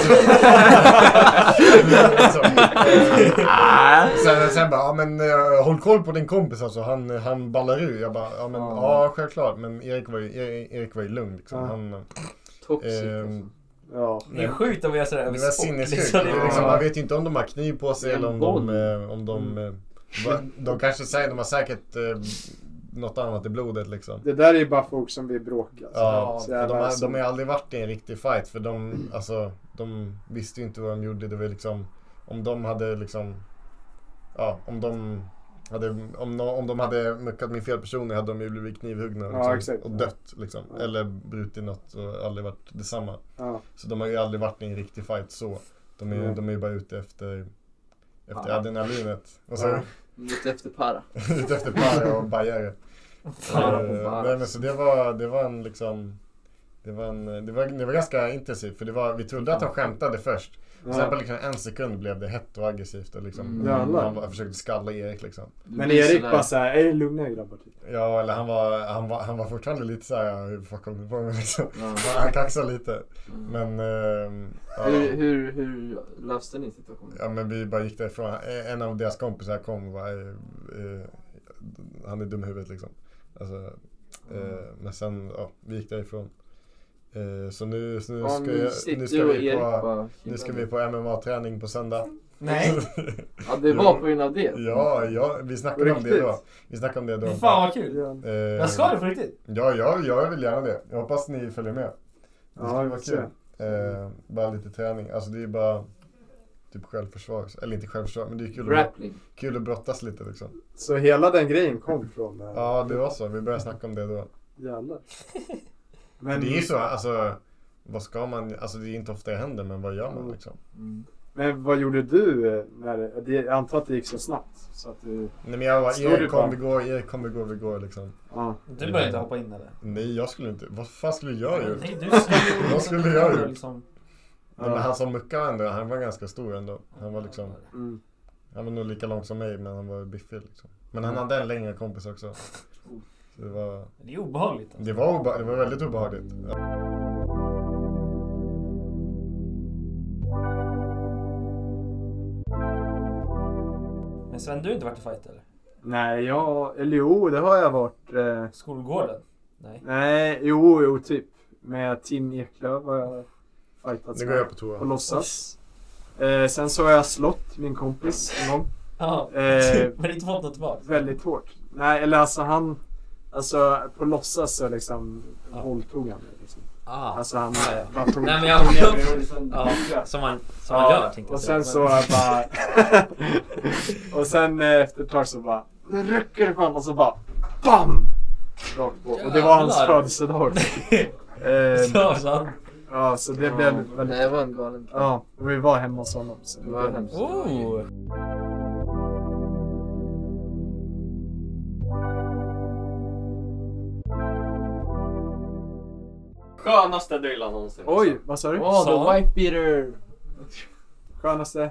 Eh, Ah. sen, sen bara, ja men eh, håll koll på din kompis alltså, han, han ballar ur. Jag bara, ja men ja självklart. Men Erik var ju, Erik- Erik var ju lugn liksom. Ja. Han, Toxic, alltså. ehm, Ja. Det är sjukt att göra sådär Det över var sport, sinnessjukt. liksom. Det är Liksom, bara- man vet ju inte om de har kniv på sig Det är en eller om de... boll. eh, Om de, eh, va- de kanske säger, de har säkert eh, något annat i blodet liksom. Det där är ju bara folk som vill bråka. alltså. Ja, Så de, jävla- har, de har ju aldrig varit i en riktig fight för de, alltså, de visste ju inte vad de gjorde. Det var liksom, om de hade liksom, ja, om de hade, om, no- om de hade muckat med fel personer hade de ju blivit knivhuggna Ja, liksom, exakt. och dött liksom. Ja. Eller brutit något och aldrig varit detsamma. Ja. Så de har ju aldrig varit i en riktig fight så. De är ju Nej. de är ju bara ute efter, efter Ja. adrenalinet. Och så, Ja. Lite efter para. Lite efter para och bajare. Para och Eh, bara. Nej men så det var, det var en liksom... Det var, en, det, var, det var ganska intensivt för det var, vi trodde att de skämtade först. Ja. Sen på liksom en sekund blev det hett och aggressivt och liksom, Mm. Jävlar. han bara försökte skalla Erik liksom. Men Erik bara såhär, är lugna er grabbar. Typ. Ja eller han var, han var, han var fortfarande lite såhär, hur fan kom du på mig liksom. Han kaxade lite. Men... ehm, ja. Hur, hur, hur löste ni situationen? Ja men vi bara gick därifrån. En av deras kompisar kom och bara, eh, eh, han är dum i huvudet liksom. Alltså, eh, Mm. Men sen, ja, vi gick därifrån. Eh, så nu, så nu, Ja, ska, mysigt. jag, nu, Du ska och vi Erik på, bara nu ska chillade. vi på MMA-träning på söndag. Nej. Ja, det var på grund av det. Ja, ja vi snackade om det Riktigt. då. Vi snackade om det då. Fy fan, vad kul. Eh, Jag ska det på riktigt? Ja, ja, jag vill gärna det. Jag hoppas ni följer med. Det Ja, skulle vara vi får kul. Eh, bara lite träning. Alltså det är bara typ självförsvar. Eller inte självförsvar, men det är kul Grappling. att, kul att brottas lite liksom. Så hela den grejen kom från... eh, Ja, det var så. Vi började snacka om det då. Jävlar. Men det är ju så, alltså. Vad ska man, alltså det är inte ofta det händer, men vad gör man Mm. liksom? Men vad gjorde du? eh, När det, det- jag antar att det gick så snabbt. Så att du... Nej men jag var, Slår du Erik på kom honom? vi går, Erik kom vi går, vi går liksom. Ja. Du började inte hoppa in, eller? Nej, jag skulle inte. Vad fan skulle jag gjort? Nej, du skulle- Vad skulle jag du gjort? liksom- Nej, men han som muckade ändå, han var ganska stor ändå. Han var liksom... Mm. Han var nog lika lång som mig, men han var biffig liksom. Men han Mm. hade en längre kompis också. Så det var... Det är obehagligt. Det var, obe... det var väldigt obehagligt. Mm. Men Sven, du har inte varit i fight eller? Nej, jag... Eller jo, det har jag varit. Eh... Skolgården? Nej. Nej, jo, jo, typ. Med Tim Eklöf har jag fightats Nu går med jag på toa. På låtsas. Eh, sen så har jag slått min kompis en gång. Ja. Eh, Men inte fått något tillbaka? Väldigt hårt. Nej, eller alltså han... Alltså på låtsas så liksom våldtog han mig. Liksom. Ah. Alltså han... Ja, ja. eh, han tog- Nej, men jag- Ja, som man- som man gör, tänkte Och jag sen säga. så bara... och sen eh, efter ett tag så bara... Nu rycker det på honom och så bara... BAM! Rakt på. Och det var hans Jävlar. födelsedag också. Eh, Ehm, Så, så. Ja, så det Ja. blev väldigt... Det var en galen kväll. Ja, och vi var hemma hos honom. Så det var hemskt. Oh. Skönaste drillan någonsin. Oj, vad sa du? Åh, Sa? the white beater! Skönaste?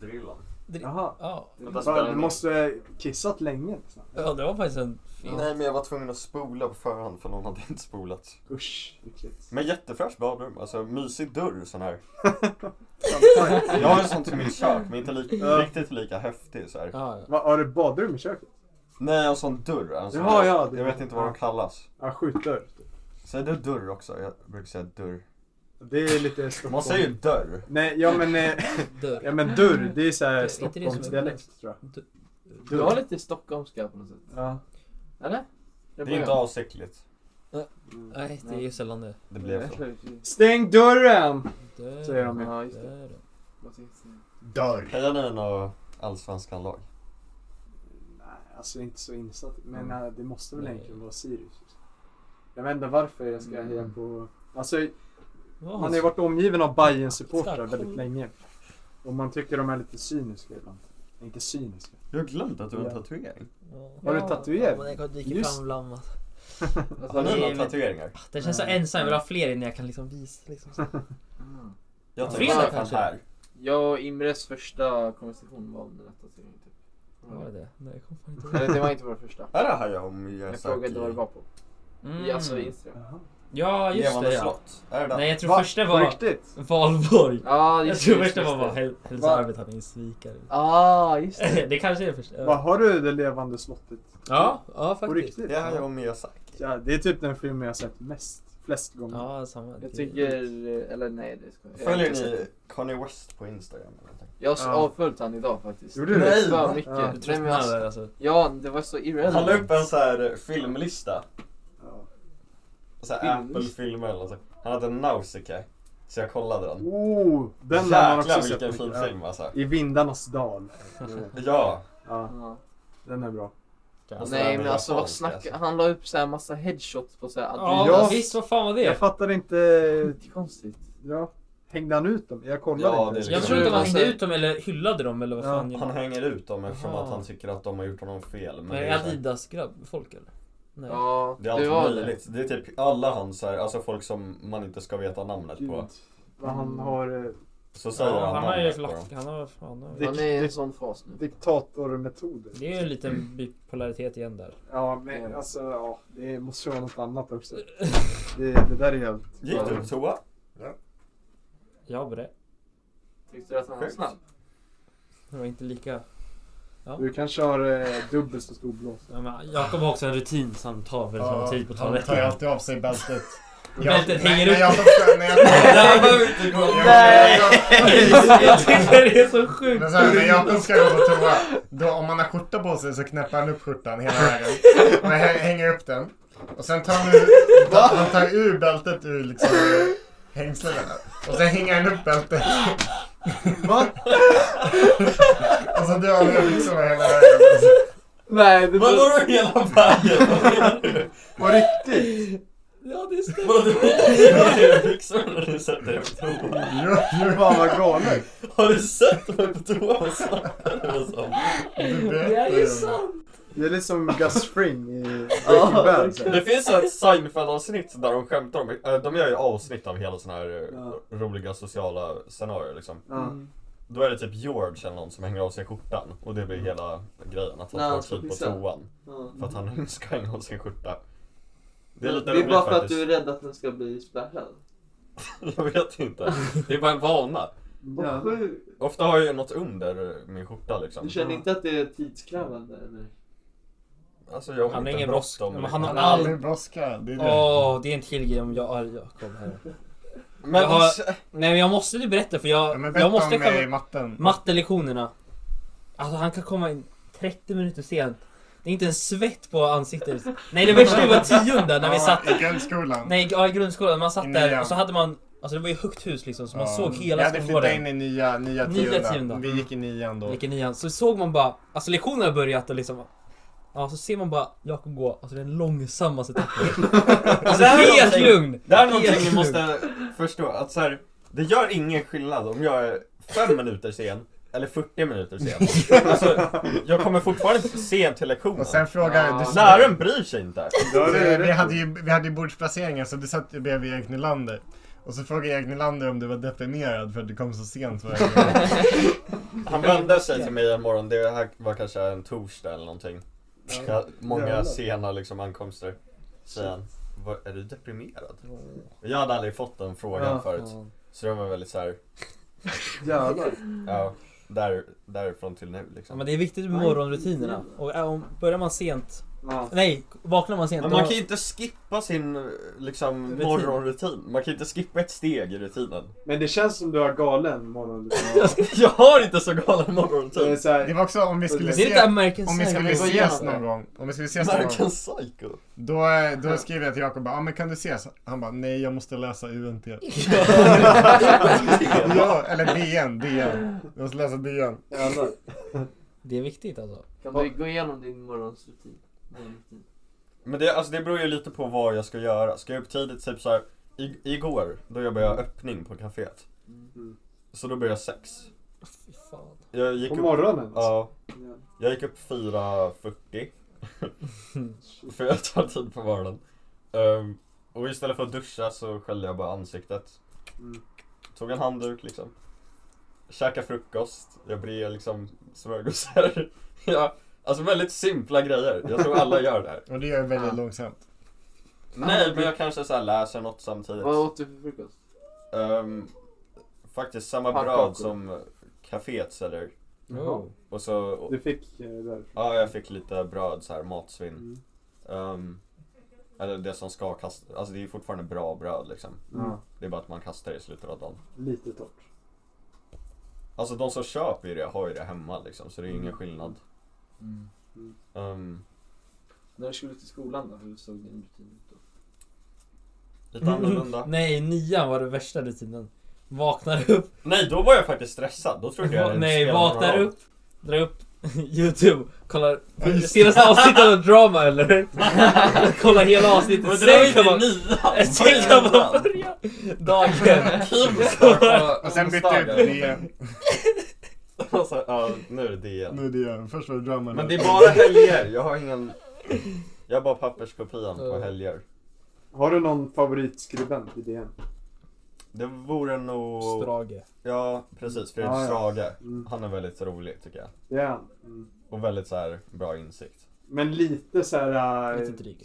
Drillan. Jaha. Vänta, Bara, spela du in. måste kissat länge. Liksom. Ja, det var faktiskt en fin... Nej men jag var tvungen att spola på förhand för någon hade inte spolat. Usch, äckligt. Men jättefräscht badrum, alltså mysig dörr sån här. jag har en sån till mitt kök men inte li- Ja. riktigt lika häftig så här. Va, har du badrum i köket? Nej, en sån dörr. En sån Jaha, ja, det- jag vet inte vad de kallas. Ja, skjutdörr. Säger du dörr också? Jag brukar säga dörr. Det är lite Stockholm. Man säger ju dörr. Nej, ja men, eh, Dörr. ja, men dörr, det är Det är såhär inte det som är Stockholmsdialekt tror jag. Du har lite stockholmska på något sätt. Ja. Eller? Det är inte avsiktligt. Nej, det är ju sällan det. Det blev så. Stäng dörren! Dörren. Säger de ju. Ja, just det. Dörr. Hejar ni några allsvenska lag? Nej, alltså inte så insatt. Men Mm. eh, det måste väl Nej. egentligen vara Sirius. liksom. Jag vet inte varför jag ska heja på... Alltså, man har ju varit omgiven av bayern supportrar väldigt länge. Och man tycker de är lite cyniska ibland. Inte cyniska. Jag har glömt att du har en Ja. tatuering. Har du tatuering? Ja, jag dyker Just- fram alltså. bland annat. Alltså, Har ni några tatueringar? Det känns så ensam, jag vill ha fler innan jag kan liksom visa liksom. så. Ah. Jag tar Fredag bara kanske? den här. Jag och Imres första konversation var om den här tatueringen typ. Var det det? Nej, jag kommer fan inte ihåg. Eller det var inte vår första. Här har jag om Jag Miyazaki. frågade vad det var på. Mm. I, alltså Instagram. Ja, just Levande det ja. slott. Är det den? Nej, jag tror Va? första På var riktigt? Valborg. Ja, jag just tror det, första just var bara det. Hel- Hälsa Va? arbetarens svikare. Ah, just det. det. kanske är det första. Vad har du det levande slottet? Ja, ja På faktiskt. riktigt? Det här är om Miyazaki. Ja, det är typ den filmen jag har sett mest, flest gånger. Ja, samma. Jag tycker, eh, eller nej det ska jag Följer inte ni sett. Kanye West på Instagram eller någonting? Jag har avföljt han idag faktiskt. Gjorde du det? Nej, Ja. för mycket. Du Nej, tröttnade, men alltså, alltså. Ja, det var så Han la irrelevant. upp en så här eh, filmlista. Så här Filmlista? Apple-filmer eller så. Han hade Nausicaa. Så jag kollade den. Oh, den har man också Jäklar sett vilken fin mycket. film alltså. I vindarnas dal. Ja. ja. Den är bra. Nej men alltså vad snackar Han la upp så här massa headshots på så här Ja, Adidas. visst, vad fan var det? Jag fattar inte... Det är konstigt. Ja. Hängde han ut dem? Jag kollade Ja, inte. det är liksom- Jag tror inte man hängde ut dem eller hyllade dem eller vad fan Han gjorde hänger ut dem eftersom Jaha. att han tycker att de har gjort honom fel. Men det är är så här- Adidas-grabb folk eller? Nej. det är allt möjligt. Det. är typ alla hans, så här, alltså folk som man inte ska veta namnet på. Vad han har... eh, Så säger Ja, han han har ju namnet på flack, dem. han har fan... Dikt- Han är i en dikt- sån fas nu. Diktatormetoder. Det är ju en liten bipolaritet igen där. Ja, men alltså ja, det måste vara något annat också. Det, det där är helt... Gick du på toa? Jag var det. Tyckte du att han var Sjukt. snabb? Det var inte lika... Ja. Du kanske har eh, dubbelt så stor blås. Ja, men Jakob har också en rutin som tar väldigt lång tid på Han tar ju toaletten. alltid av sig bältet. Bältet hänger Nej, upp. Jag, när jag, Nej, men- Nej. Jag tycker det är så sjukt. Men så här, när Jakob ska gå på toa, då, om han har skjorta på sig så knäpper han upp skjortan hela vägen. Och hä- hänger upp den. Och sen tar han ur, han tar ur bältet ur liksom hängslena. Och sen hänger han upp bältet. Va? Och så drar han ur byxorna hela vägen. Nej, det Vadå då hela vägen? Vad menar du? På riktigt? Ja, det stämmer. Vadå du har ju byxorna när du sätter dig på toa? Fan vad galet. Har du sett mig på toa och snackat med sån? Det är ju sant. Det är lite som Gus Fring i Breaking Ja, Bad. så här. det finns ett Seinfeld-avsnitt där de skämtar om, eh, de gör ju avsnitt av hela sådana här eh, roliga sociala scenarier liksom. Ja. Mm. Då är det typ George eller någon som hänger av sig skjortan och det blir hela grejen att han När tar han ska tid på pissa. toan. Ja. För att han ska hänga av sin skjorta. Det är lite det är roligt bara för att faktiskt. du är rädd att den ska bli splashad. Jag vet inte. Det är bara en vana. Ja. Ofta har jag ju något under min skjorta liksom. Du känner inte att det är tidskrävande eller? Alltså jag har Han har inte ingen brådska. bråttom. Men han har Han har all... aldrig brådska, det är det. Åh, det är en till grej om jag är Jakob här. Men, Men- jag har, nej men jag måste ju berätta för jag, men berätta jag måste om, eh, matten. Mattelektionerna. Alltså han kan komma in 30 minuter sent. Det är inte en svett på ansiktet. Nej det värsta var tionde när vi Ja, satt i grundskolan. Nej ja, i grundskolan, man I satt nian. där och så hade man Alltså det var ju högt hus liksom så man såg hela Vi hade flyttat in i nya, nya Nya tionde. tionde. Vi gick i nian då. Gick i nian. Så såg man bara, alltså lektionen har börjat och liksom Ja, så ser man bara Jakob gå, alltså den långsammaste takten. alltså Det här är helt någonting- lugn! Det här är Helt någonting ni lugn. måste förstå. Att så här, det gör ingen skillnad om jag är 5 minuter sen eller 40 minuter sen. Alltså, jag kommer fortfarande sent till lektionen. Och sen frågar du- Läraren bryr sig inte. Vi, vi, hade ju, vi hade ju bordsplaceringar så du satt ju bredvid Erik Nylander. Och så frågade Erik Nylander om du var deprimerad för att du kom så sent varje gång. Han vände sig till mig en morgon, det här var kanske en torsdag eller någonting. Jag har många Jävlar. sena liksom ankomster. Säger han, "Vad- är du deprimerad? Jag hade aldrig fått den frågan Ja. förut. Så det var väldigt såhär... Jävlar. Ja, där, därifrån till nu liksom. Ja, men det är viktigt med morgonrutinerna. Och äh, om, börjar man sent... Ja. Nej, vaknar man sent Men då- man kan ju inte skippa sin eh, liksom, Rutin. morgonrutin. Man kan ju inte skippa ett steg i rutinen. Men det känns som du har galen morgon. jag har inte så galen Det är morgonrutin. så här- Det var också om vi skulle Det är se, inte American om vi Psycho. skulle Det var ses jävla- någon gång. Om vi skulle ses någon American gång. Psycho. Då, eh, då skrev jag till Jakob bara, ah, men kan du ses? Han bara, nej jag måste läsa UNT. ja, eller DN, DN. Jag måste läsa DN. Det är viktigt alltså. Kan du gå igenom din morgonsrutin? Morgonrutin. Men det, alltså det beror ju lite på vad jag ska göra. Ska jag upp tidigt, typ såhär, i, igår, då jobbade jag öppning på kaféet. Så då började jag sex. Jag gick Mm. På upp, morgonen, Ja. alltså? Jag gick upp 4.40. för jag tar tid på morgonen. Ehm, och istället för att duscha så sköljde jag bara ansiktet. Mm. Tog en handduk liksom. Käkade frukost. Jag bred liksom smörgåsar. ja, alltså väldigt simpla grejer. Jag tror alla gör det här. Och det gör jag väldigt långsamt. Nej, men jag kanske så här läser något samtidigt. Vad åt du för frukost? Ehm, faktiskt samma Pannkakor. bröd som kaféet säljer. Jaha. Och så... Du fick eh, där. Ja, jag fick lite bröd så här, matsvinn. Ehm, eller det som ska kastas, alltså det är fortfarande bra bröd liksom. Mm. Det är bara att man kastar det i slutet av dagen. Lite torrt. Alltså de som köper ju det har ju det hemma liksom, så det är ju ingen skillnad. Ehm, När du skulle till skolan då, hur såg din rutin ut då? lite annorlunda. Nej, nian var den värsta rutinen. Vaknar upp. Nej, då var jag faktiskt stressad. Då trodde jag det Nej, spelade någon vaknar roll. upp. Drar upp YouTube. Kollar Ja, just det. senaste avsnittet av Drama eller? kollar hela avsnittet. Men det var ju kan inte man- nian, Sen kan man börja dagen. Och sen bytte jag ut DN. Alltså, ja, nu är det DN. Nu är det DN. Först var det drömmen. Men det är bara helger, jag har ingen... Jag har bara papperskopian på helger. Har du någon favoritskribent i DN? Det vore nog... Strage. Ja, precis. Fredrik Ja, ja. Strage. Mm. Han är väldigt rolig tycker jag. Det är han. Mm. Och väldigt så här bra insikt. Men lite så här... eh, Lite dryg.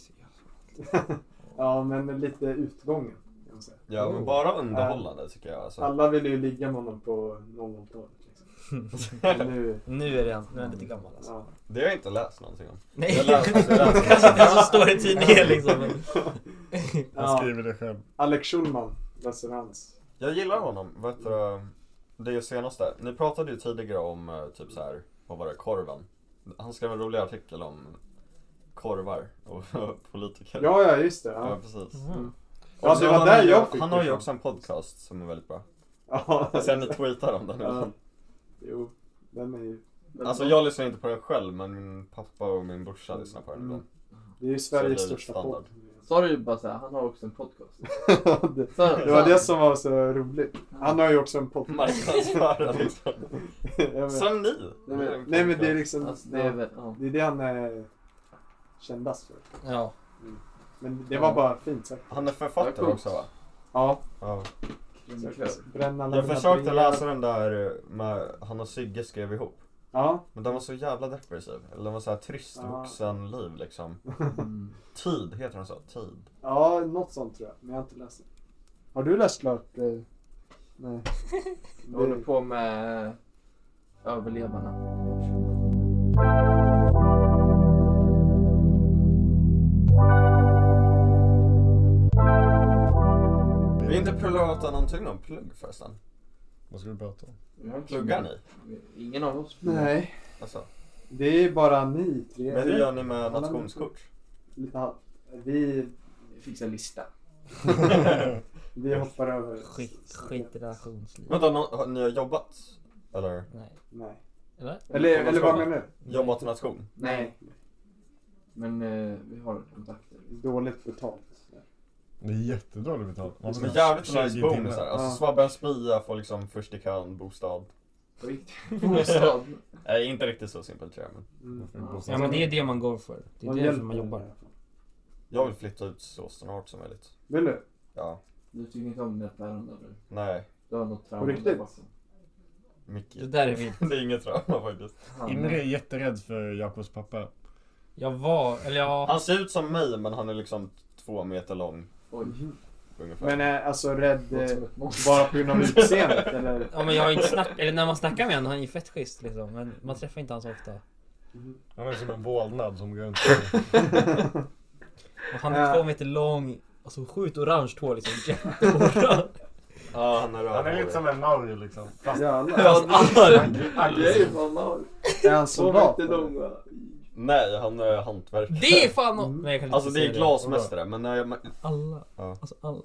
ja, men lite utgången. kan man säga. Ja, men bara underhållande tycker jag. Alltså. Alla ville ju ligga med honom på 00-talet. Liksom. Men nu... Nu är det, nu är han lite gammal alltså. Ja. Det har jag inte läst någonting om. Nej. Jag läste, jag läste. Kanske det som står i tidningen liksom. Jag skriver det själv. Alex Schulman läser hans. Jag gillar honom. Vad heter det? Det senaste. Ni pratade ju tidigare om eh, typ så här, vad var det, korven? Han skrev en rolig artikel om korvar och politiker. Ja, ja, just det, ja. precis. Mm. Och Ja, så det var han där har ju- jag fick Han det har ju ifrån. också en podcast som är väldigt bra. Ja. Sen ni tweetar om den. Ja. Jo, den är ju... Alltså jag lyssnar inte på den själv men min pappa och min brorsa lyssnar på den ibland. Det är ju Så blir Mm. Sveriges det största standard. podd. Sa du bara såhär, han har också en podcast? det, det var det som var så roligt. Han har ju också en podd. Marknadsföra liksom. Jag vet. Som ni. Nej men, nej, men det är liksom... Alltså, det är väl- ja. det är det han är kändast för. Ja. Mm. Men det var bara fint sagt. Han är författare också va? Ja. Ja. Mm, Så, bränn alla Jag mina försökte brev. läsa den där eh, med han och Sigge skrev ihop. Ja. Men den var så jävla depressiv. Eller den var så här trist Ja. Mm. vuxenliv liksom. Tid, heter den så? Tid. Ja, något sånt tror jag. Men jag har inte läst det. Har du läst klart? eh, Nej. Jag håller på med överlevarna. Mm. Vi har inte pratat någonting om plugg förresten. Vad ska vi prata om? Pluggar Mm. ni? Ingen av oss. Nej. Alltså. Det är bara ni tre. Men hur gör ni med Alla ni- nationskort? Lite halvt. Vi... fixar en lista. vi hoppar över. Skit, skit i relationsliv. Vänta, nå- har- ni har jobbat? Eller? Nej. Nej. Eller? Eller- eller vad menar du? Jobbat i nation? Nej. Men eh, vi har kontakter. Dåligt betalt. Det är jättedåligt betalt. Det Man Alltså, är får jävligt 20 nice timmar. bonusar. Alltså Ja. Svabbe Spia får liksom först i kön bostad. På riktigt? Bostad? Nej, inte riktigt så simpelt tror jag. Men... Ja men Mm. det är det man går för. Det är Vad därför hjälper man det? jobbar. Jag vill flytta ut så snart som möjligt. Vill du? Ja. Du tycker inte om detta ärende eller? Nej. Du har något trauma På riktigt? där alltså. bakom. Mycket. Det där är fint. det är inget trauma faktiskt. Inre är jätterädd för Jakobs pappa. Jag var, eller jag... Han ser ut som mig men han är liksom två meter lång. Oj. Ungefär. Men eh, alltså rädd Låter eh, som ett monster. bara på grund av utseendet eller? Ja men jag har inte snackat, eller när man snackar med honom, han är ju fett schysst liksom. Men man träffar inte han så ofta. Han är som en vålnad som går runt. Och han är två meter lång, alltså sjukt orange hår liksom. Jätteorange. Ja, han är Han är lite som en Mauri liksom. Fast... Ja, han Det är ju fan Mauri. Är han soldat, soldat? Två meter långa. Nej, han är hantverkare. Det är fan om- Nej, jag kan inte Alltså det säga är det. glasmästare men när jag... Alla. Ja. Alltså alla.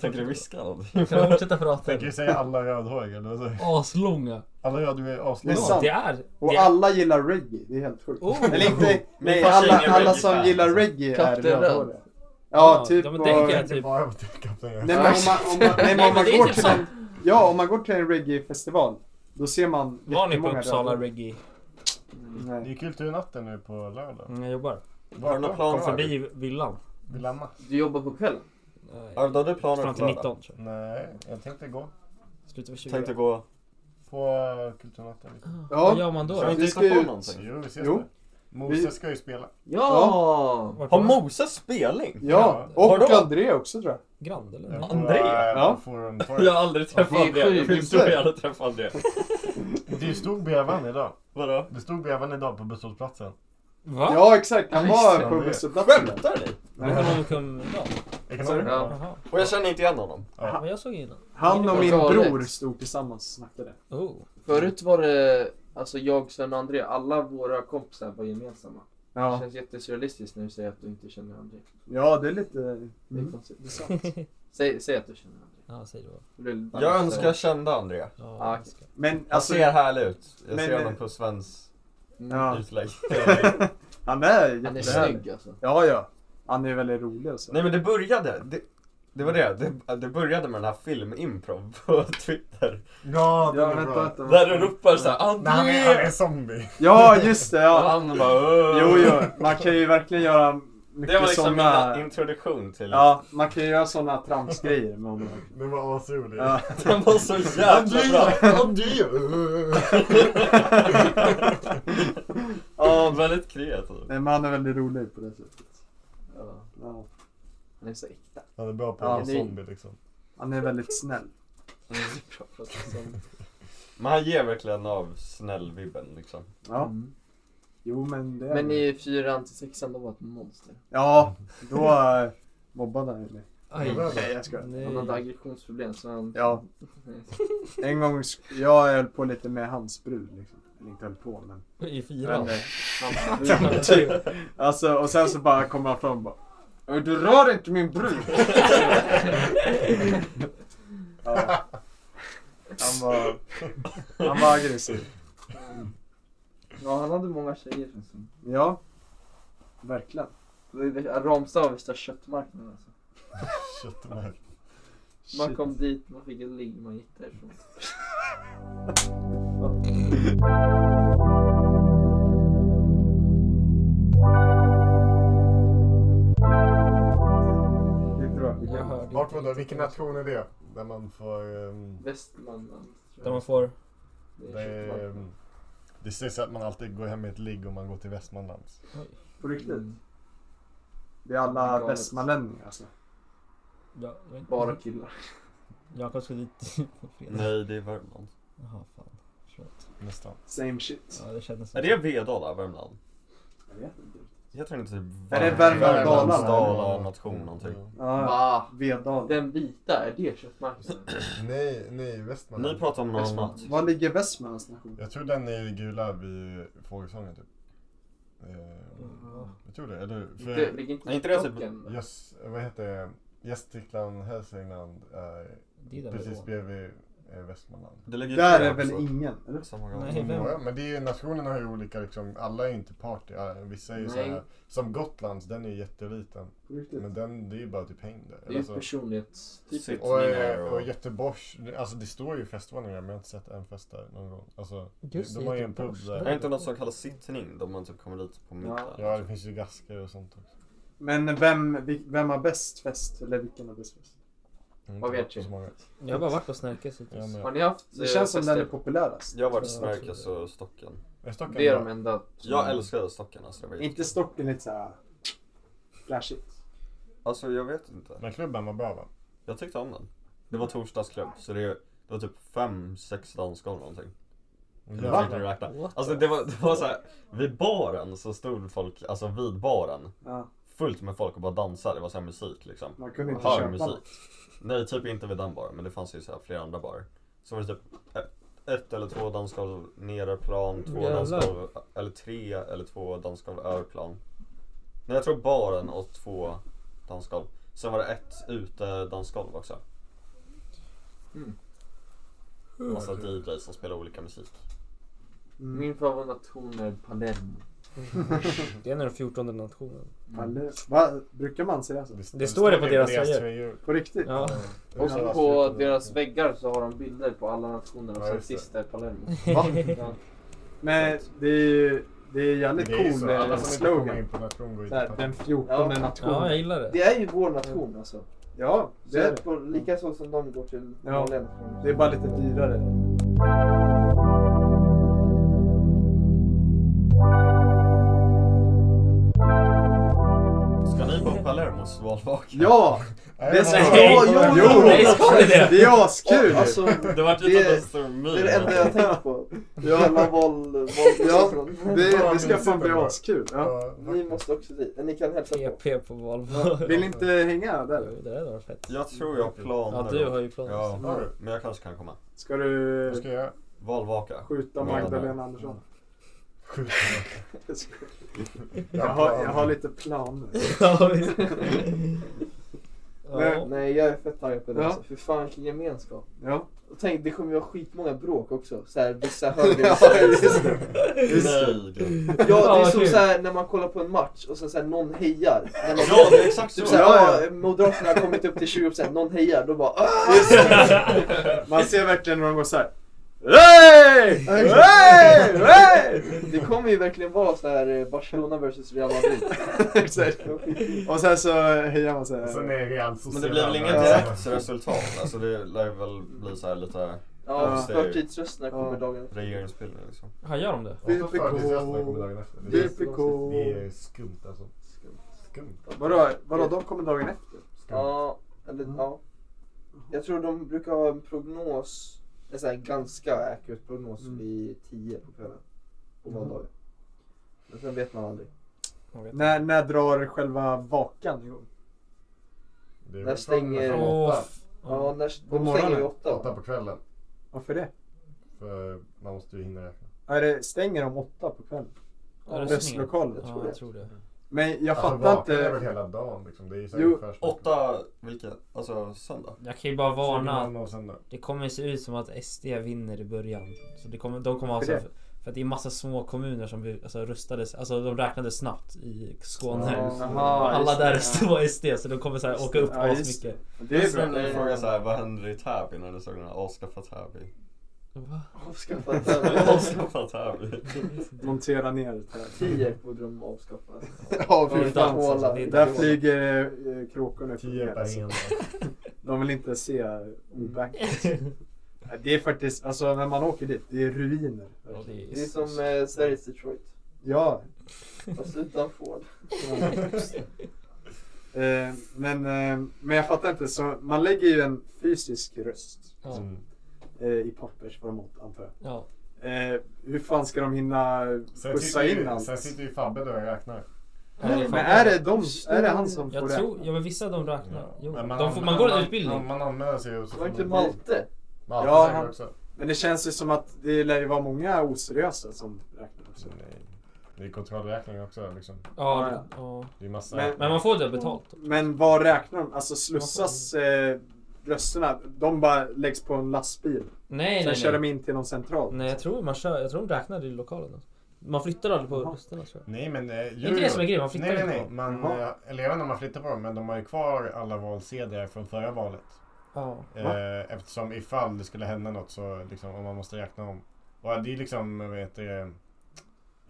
Tänker du riska någonting? Kan vi fortsätta prata? Tänker du säga alla rödhåriga? eller vad säger du? Aslånga. Alla rödhåriga är Det är aslånga. sant. det är- Och det är- alla gillar reggae. Det är helt sjukt. Oh. Eller inte... Min Nej, farsa är alla, ingen alla som reggae-fan. gillar reggae är Kapten Röd. rödhåriga. Ja, Ja, typ. de och- tänker Nej, jag typ. Bara mot Kapten Röd. men om man, om man, nej, men Nej, om men man det är går typ till så. en, ja, om man går till en reggae-festival, då ser man Var ni på jättemånga Uppsala rödhåriga. reggae? Det Nej. är kulturnatten nu på lördag. Mm, Jag jobbar. Har du någon plan Kom för dig? förbi villan. Vill Amma? Du jobbar på kvällen? Har du planer Fram för till lördag? 19 tror jag. Nej, jag tänkte gå Slutar vid 20. Tänkte gå... på eh, kulturnatten. Ja. Vad gör man då? Ska vi inte vi hitta ska på ut. någonting? Jo, vi ses Jo. där. Moses ska ju spela. Ja! Vart Har var man? Moses spelning? Ja, Har och du- André också tror jag. Grand eller? På, Nej. André? eh, Ja. På Forumtorget. Jag har aldrig träffat Det är det. Jag sjukt. tror jag aldrig träffat André. Det stod bredvid han idag. Vadå? Det stod bredvid han idag på busshållplatsen. Va? Ja, exakt. Han Ja, just det, var på André. busshållplatsen. där. Skämtar ni? Ekonom kom idag? Ekonomen. Ja. Jaha. Och jag känner inte igen honom. Ja, Men jag såg innan. Han och min Galet. bror stod tillsammans och snackade. Oh. Förut var det, alltså jag, Sven och André, alla våra kompisar var gemensamma. Det Ja. känns jättesurrealistiskt när du säger att du inte känner André. ja, det är lite... Det är Mm. konstigt. Säg, säg att du känner André. Ja, säg det bara. Det blir- Jag önskar jag kände André. Ja, Ah, jag ska- Men Han alltså... ser härlig ut. Jag men- ser honom på Svens Ja. utlägg. Han är Han är jättehärlig. snygg alltså. Ja, ja. Han är väldigt rolig alltså. och så. Nej men det började. Det, det var det. det. Det började med den här filmimprov på Twitter. Ja, det ja, är vänta, bra. vänta. Där du ropar såhär Men han är, han André! är zombie. Ja, just det. Och Ja. han bara "Åh." Jo, jo. Man kan ju verkligen göra mycket Det var liksom såna... min introduktion till... Ja, man kan ju göra såna tramsgrejer med honom. Det var asroligt. Ja. Den var så jävla bra. Ja, väldigt kreativ. Nej, men han är väldigt rolig på det sättet. Ja. Ja. Han är så äkta. Han är bra på Ja, att vara ni- zombie liksom. Han är väldigt snäll. Men han ger verkligen av snällvibben liksom. Ja. Mm. Jo, men det är... Men i fyran till sexan då var ett monster. Ja, då eh, mobbade han ju mig. Aj. Nej, jag skojar. Han hade Nej. aggressionsproblem så han... Ja. En gång, sk- jag höll på lite med hans brud liksom. Eller inte höll på men. I men fyran. eh, typ. alltså, och sen så bara kommer han fram och bara. "Äh, Du rör inte min brud! ja. Han var, han var aggressiv. ja, han hade många tjejer. Liksom. Ja. Verkligen. Det- det- Ramstad var värsta köttmarknaden alltså. Köttmark. Man kom dit, man fick ett ligg, man gick därifrån. Det är bra. Jag hörde Vart inte var det? riktigt. Vilken nation är det? Där man får... ehm, Västmanland. tror Där man jag. får... Det det, är är, köttmarknad. ehm, det sägs att man alltid går hem i ett ligg om man går till Västmanlands. På riktigt. Mm. Det är alla Galet. västmanlänningar alltså. Ja, jag vet inte. Bara Mm. killar. Jakob ska dit på fredag. Nej, det är Värmland. Jaha, fan. Förlåt. Nästan. Same shit. Ja, det kändes... Är det Vedala, Värmland? Jag vet inte. Jag tror inte typ Är det Värmlands- Värmlands- Dalarna? Dala nation någonting. Ja, Den vita, är det köttmarknaden? Nej, nej, Västmanland. Ni pratar om någon Västmanland. annat. Var ligger Västmanlands nation? Jag tror den är gula vid fågelsången typ. Mm, Eh, Jag tror det, eller? Inte- ligger inte inte det Stocken? Yes, vad heter det? Gästrikland, Hälsingland är Det är där precis vi bredvid eh, Västmanland. Det ligger Där är väl ingen? Eller? Nej, ja, men det är ju, nationerna har ju olika liksom, alla är ju inte party. Ja, Vissa är ju Nej. såhär, som Gotlands, den är ju jätteliten. På riktigt? Men den, det är ju bara typ häng där. Det är ju Alltså- personlighetstyper. Och, eh, Sittningar och och- Göteborg, alltså det står ju festvandringar men jag har inte sett en fest där någon gång. Alltså, Just de det, har ju en pub Göteborgs- där. Är det inte något som kallas sittning? Då man typ kommer dit på middag? Ja, det finns ju gasker och sånt också. Men vem, vi- vem har bäst fest? Eller vilken har bäst fest? Mm, Vad vet du? Jag har bara varit på Snärkes hittills. Har ni haft eh, Det känns som den är populärast. Jag har varit i Snärkes och Stocken. Är Stocken Det är de bra? enda som- Mm. Jag älskade Stocken alltså. Det var Inte Stocken lite såhär flashigt. Alltså jag vet inte. Men klubben var bra va? Jag tyckte om den. Det var torsdagsklubb, så det, det var typ fem, sex dansgolv någonting. Mm. Mm. Eller Va? jag försökte räkna. What Alltså det var, det var så här, vid baren så stod folk, alltså vid baren, Ja. fullt med folk och bara dansade. Det var så här musik liksom. Man kunde inte Hör köpa musik. något. Nej, typ inte vid den baren, men det fanns ju så här flera andra barer. Så var det typ ett, ett eller två dansgolv nere plan, två Jävlar. dansgolv, eller tre eller två dansgolv över plan. Nej, jag tror baren och två dansgolv. Sen var det ett utedansgolv också. Mm. Massa DJs som spelar olika musik. Mm. Min favoritnation är Palermo. Det är den 14 nationen. Mm. Eller, va, brukar man säga Mm. så? Det står det på deras tröjor. På riktigt? Ja. Och så på deras väggar så har de bilder på alla nationer och sen sist är Palermo. Va? Ja. Men det är ju det är jävligt Det är ju cool så, Alltså, alla eh, som inte slogan. kommer in på nation går ju Där, till den 14 nationen. Ja, jag gillar det. Det är ju vår nation alltså. Ja, det är på, lika så som de går till Ja. vanliga Det är bara lite dyrare. Ska ni på Palermos valvaka? Ja! Det ska Nej. jo, jo, Jo, jo. nej, ska ni det? Det är askul! Ja, alltså, det var ju typ en stor meme. Det är det enda jag har tänkt på. Jävla boll... boll Ja, det, det ska fan bli askul. Ja. Ni måste också dit. Ni kan hälsa på. PP på Volvo. Ja, Vill ni inte hänga där? Jo, det hade varit fett. Jag tror jag har planer. Ja, du har ju planer. Ja, Har du? men jag kanske kan komma. Ska du... Vad ska jag göra? Valvaka. Skjuta Med Magdalena den Andersson. Skjuta jag, har, jag har lite planer. Ja, Nej, Nej, jag är fett taggad på det. Ja. Alltså. För fan vilken gemenskap. Ja. Och tänk, det kommer ju vara skitmånga bråk också. Så här, vissa höger, vissa vänster. Nej, gud. Ja, det är vad som kul. så här, när man kollar på en match och sen så här, någon hejar. När man- Ja, det är exakt typ så. så. här, Ja, ja. "Ah, Moderaterna har kommit upp till 20%, någon hejar, då bara "Ah!" Man ser verkligen när de går såhär. Hey! Hey! Hey! Det kommer ju verkligen vara så här eh, Barcelona vs Real Madrid. Exakt. Och sen så hejar man såhär. Sen är alltså Real Men det blir väl inget direkt resultat? Alltså det lär väl bli så här lite... Ja, det är ju förtidsrösterna kommer dagen efter. Regeringsbildning liksom. Ja, gör de det? Typ- VPK. Det är skumt alltså. Skumt. Vadå, vadå, de kommer dagen efter? Ja, eller ja. Jag tror de brukar ha en prognos, en sån här ganska akut prognos vid 10 på kvällen. På Mm. valdagen. Men sen vet man aldrig. När, när drar själva vakan igång? Det är När väl stänger... från åtta. Ja, när På de stänger morgonen? vid 8. Åtta på kvällen. Varför det? För man måste ju hinna räkna. Är det stänger de åtta på kvällen? Ja, det är Röstlokaler? stänger. Ja, jag tror det. Men jag Alltså, fattar vaken är väl inte. hela dagen liksom. Det är ju Jo. säkert först. Åtta, vilken? Alltså söndag? Jag kan ju bara varna. Sen och sen då. att Det kommer se ut som att SD vinner i början. Så det kommer, de kommer alltså, Varför för, för att det är massa små kommuner som blir- alltså, röstades, alltså de räknade snabbt i Skåne. Ja, just det. Och Aha, alla just där det. röstade var SD så de kommer så här, Just åka det. upp Ja, just asmycket. det. Det är som bra. en fråga såhär, vad händer i Täby när ni såg den här avskaffa Täby? Va? Avskaffa Täby. Avskaffa Täby. Montera ner det här. Tierp borde de avskaffa. Ja, De fy vill fan. inte hålla- Där Där flyger eh, kråkorna upp Tio och ner, per alltså. hena. De vill inte se oback. Det är faktiskt, alltså när man åker dit, det är ruiner. Det är som eh, Sveriges Detroit. Ja. Fast utan Ford. Eh, men, eh, men jag fattar inte, så man lägger ju en fysisk röst. Ja. Alltså, eh, I pappersformat antar jag. Ja. Eh, hur fan ska de hinna Sen pussa sitter, in ju, allt? sen sitter ju Fabbe där och räknar. Men är det de, är det han som jag får tror, Ja men vissa av dem räknar. Jo. Men man de får, man anmäler- går en man- utbildning. Man anmäler sig och så Var får inte man- Malte? Malte Ja, säkert han, också. men det känns ju som att det lär ju vara många oseriösa som räknar också. Det är kontrollräkning också liksom. Ja, ja. Det är massa Men man får det betalt. Men vad räknar de? Alltså slussas eh, rösterna? De bara läggs på en lastbil? Nej, Sen nej, kör nej. de in till någon central? Nej jag tror man kör, jag tror de räknar i lokalen. alltså. Man flyttar aldrig på rösterna tror jag. Nej men... eh, Det är jo, inte det jo. som är grejen, man flyttar nej, nej, inte nej. på dem. Man, eh, Ja. Eller även om man flyttar på dem, men de har ju kvar alla valsedlar från förra valet. Ja. Va? Eh, eftersom ifall det skulle hända något så liksom, om man måste räkna om. Och det är liksom, vad heter det...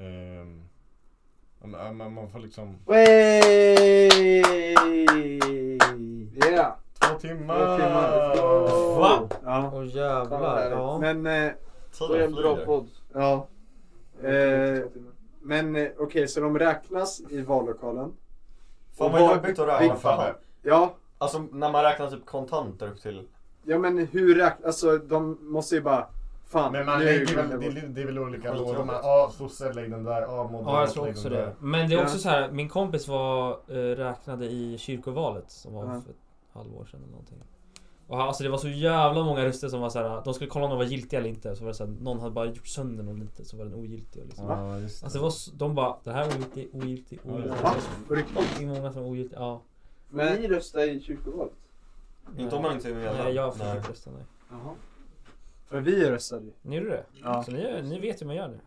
ehm, om- om man, man får liksom... Yeah! Två timmar! Två timmar. Va? Ja. Åh jävlar. Ja. Men... Eh, Tiden Det är en bra flyger. podd. Ja. Eh, men eh, okej, så de räknas i vallokalen. Fan Och vad var- jobbigt att räkna vi- fan. Ja. Alltså när man räknar typ kontanter upp till... Ja men hur räknas, alltså de måste ju bara... Fan, Men man nu lägger går väl, det, är- det är väl olika Skitjobbigt. lådor. Man, ja, sosse lägg den där. Ja, moderat Ja jag tror lägg också den det. där. Men det är också Ja. så här, min kompis var, eh, räknade i kyrkovalet som var Ja. för ett halvår sedan eller någonting. Och han, alltså det var så jävla många röster som var så här, de skulle kolla om de var giltiga eller inte. Så var det så här, någon hade bara gjort sönder någon lite så var den ogiltig. Och liksom. Ja, just det. Alltså det var, s- de bara, den här är ogiltig, ogiltig, Ja, ogiltig. just det. Ja, det var så många som var ogiltiga. Ja. Mm. Men ni röstar i kyrkovalet? Inte om man inte är med. Nej, jag fick Nej. inte rösta nej. Jaha. För vi röstade ju. Ni gjorde det? Ja. Så ni, ni vet hur man gör nu?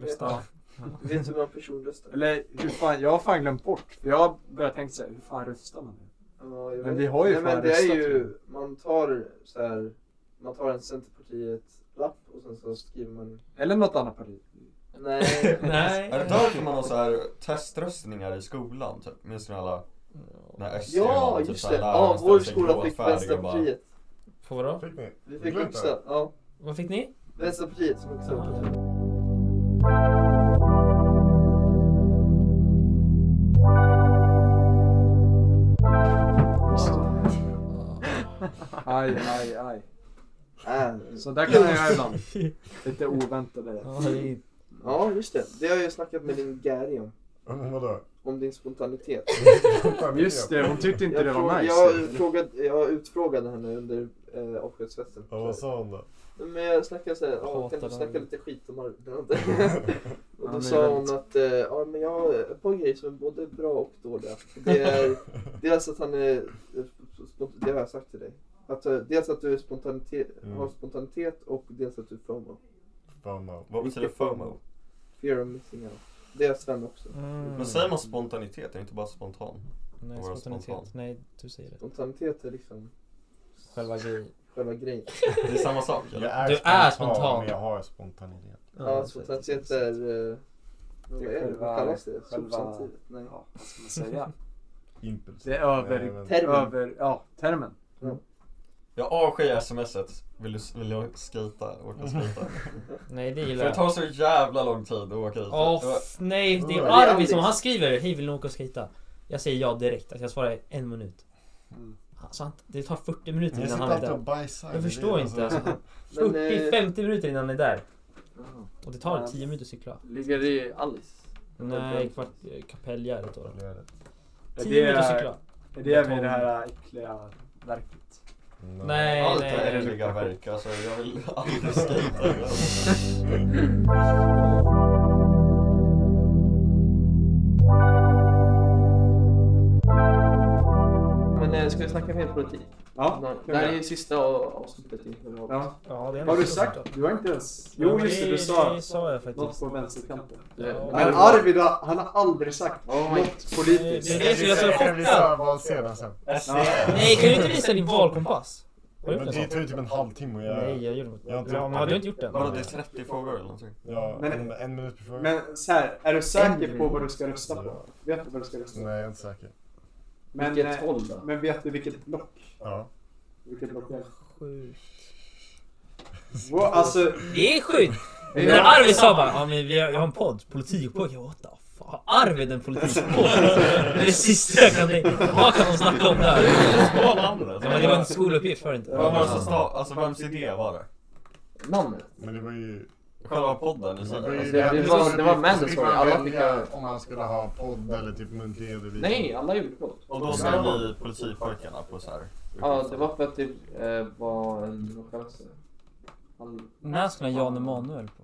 Rösta. Ja. Du vet hur många personer röstar? Eller hur fan, jag har fan glömt bort. För jag har börjat tänka såhär, hur fan röstar man? Ja, jag Men vet. vi har ju Nej, fan men det är röstat, ju, tror man tar så här, man tar en Centerpartiet-lapp och sen så skriver man... Eller något annat parti. Nej. Är det därför man har så här teströstningar i skolan typ? Minns ni alla? När SD Ja, var typ just så här det. lärare Ja, ställde vår sig skola fick gråtfärdig och bara- Vänsterpartiet. På vadå? Fick ni? Vi fick Glömt vuxna, det. ja. Vad fick ni? Vänsterpartiet som vuxna. Aj, aj, aj. Äh, Så där kan jag göra ibland. Lite oväntade. Ja, just det. Det har jag ju snackat med din Gary om. Mm, Vadå? Om din spontanitet. Just det, hon tyckte inte jag det frå- var nice. Jag, frågade, jag utfrågade henne under eh, avskedsfesten. Ja, vad sa hon då? Men jag snackade såhär, ja, Hatar kan du den. snacka lite skit om Arvid? och Han då är sa hon väldigt- att, eh, ja men jag har ett par grejer som är både bra och dåliga. Och Det är dels att han är, det har jag sagt till dig. Att, eh, dels att du är spontanitet, Mm. har spontanitet och dels att du är FOMO. FOMO. Vad betyder Vilket FOMO? FOMO? Fear of missing out. Det är Sven också. Mm. Men säger man spontanitet? Är det inte bara spontan? Nej, Att vara spontanitet. Nej, du säger det. Spontanitet är liksom Själva grejen. själva grejen. Det är samma sak Jag eller? är, Du spontan, är spontan. Men jag har spontanitet. Ja, spontanitet är... eh, Vad Det är är det? själva- Vad kallas det? själva- Substantivet? Nej. Ja, vad ska man säga? Impuls. Det är över... men- Termen. över ja, termen. Jag avskyr smset. Vill du, vill jag skita? Orkar skita? Nej, det För gillar det jag. tar så jävla lång tid att åka hit. Åh Det var- f- nej, det är Ja, det är Arvid som Alice. han skriver Hej vill ni åka och skejta? Jag säger ja direkt, alltså jag svarar en minut Mm. alltså, han- Det tar 40 minuter Men jag innan sitter han är alltid där och bajsar. Jag förstår Det är inte alltså- alltså Men, eh, 40-50 minuter innan han är där Jaha. Och det tar Ja. 10 minuter att cykla Ligger i Alice? Nej, kvart, Kapellgärdet då Det är det. 10 det- minuter att cykla Är det vid det här äckliga verket? Nej, Allt nej, är nej. äckliga verk alltså. Jag vill aldrig skita. Men eh, ska vi snacka mer politik? Ja, Det här är ju sista a- avsnittet inför valet. ja. Ja, det är Har du något sånt. sagt? Du har inte ens... Ja, Jo, men just det, du Det sa sa jag något faktiskt på vänsterkanten. Ja. Men Arvid, har- han har aldrig sagt Oh my- något politiskt. Det är det som jag är så Jag kan chockad visa valsedeln sen. Nej, kan du inte visa din valkompass? Har du Men gjort det den? tar ju typ en halvtimme att Nej, göra. jag gjorde inte Jag har inte Ja, gjort men har det. du inte gjort den? Vadå det är 30 frågor eller någonting? Ja, Men- en, en minut per fråga. Men så här, är du säker på vad du ska rösta på? Vet du vad du ska rösta på? Nej, jag är inte säker. Men, Vilket eh, håll då? Men vet du vilket block? Ja. Vilket block är det? Sju. Wow, alltså, Det är sjukt! Ja. När Arvid sa bara ja, men vi har, jag har en podd, politikpodd. Jag bara, what the fuck? Har Arvid en politikpodd? Det är det sista jag kan tänka Vad kan de snacka om där? Ja, men det var en skoluppgift för inte. alltså, Vem var det som stav- Alltså vems idé var det? Namnet? Men det var ju... själva podden i sig? Alltså, det var- det var Mandatory. fick man Alla välja fick- om man skulle ha podd eller typ muntlig redovisning. Nej, alla gjorde podd. Och då skrev ni politipojkarna på så här. Ja, det var för att det eh, var en... Vad kallas det? Han- När skulle Jan Emanuel på?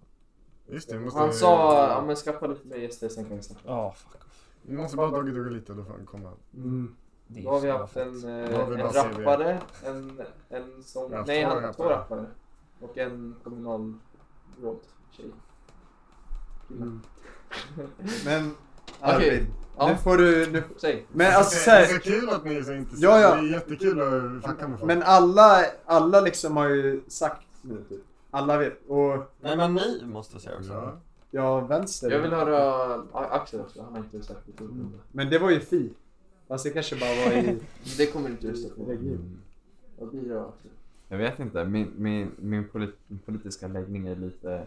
Just det, vi måste... Han sa, ja men skaffa lite mer gäster sen kan vi snacka. Ja, fuck off. Vi måste bara dogga dogga lite, då får han komma. Mm. Det är Då har vi så haft jävla en, fett. eh, Då har vi en bara CV. rappare, en, en Vi har sång... haft Nej, två han två rappare. rappare. Och en kommunal tjej. Mm. Men Okej. Arvid, Ja. nu får du... Nu... Säg. Men alltså det, så här, är så kul att ni är så intresserade. Ja, ja. Det är jättekul att fucka med folk. Men alla, alla liksom har ju sagt nu typ. Alla vet. Och... Nej men ni måste säga också. Ja. Ja, vänster. Jag vill höra A- Axel också, han har inte sagt det. Men det var ju Fi. Fast det kanske bara var i... Det kommer du inte lyssna på. region. Vad blir det då, Axel? Jag vet inte. Min, min, min polit, politiska läggning är lite...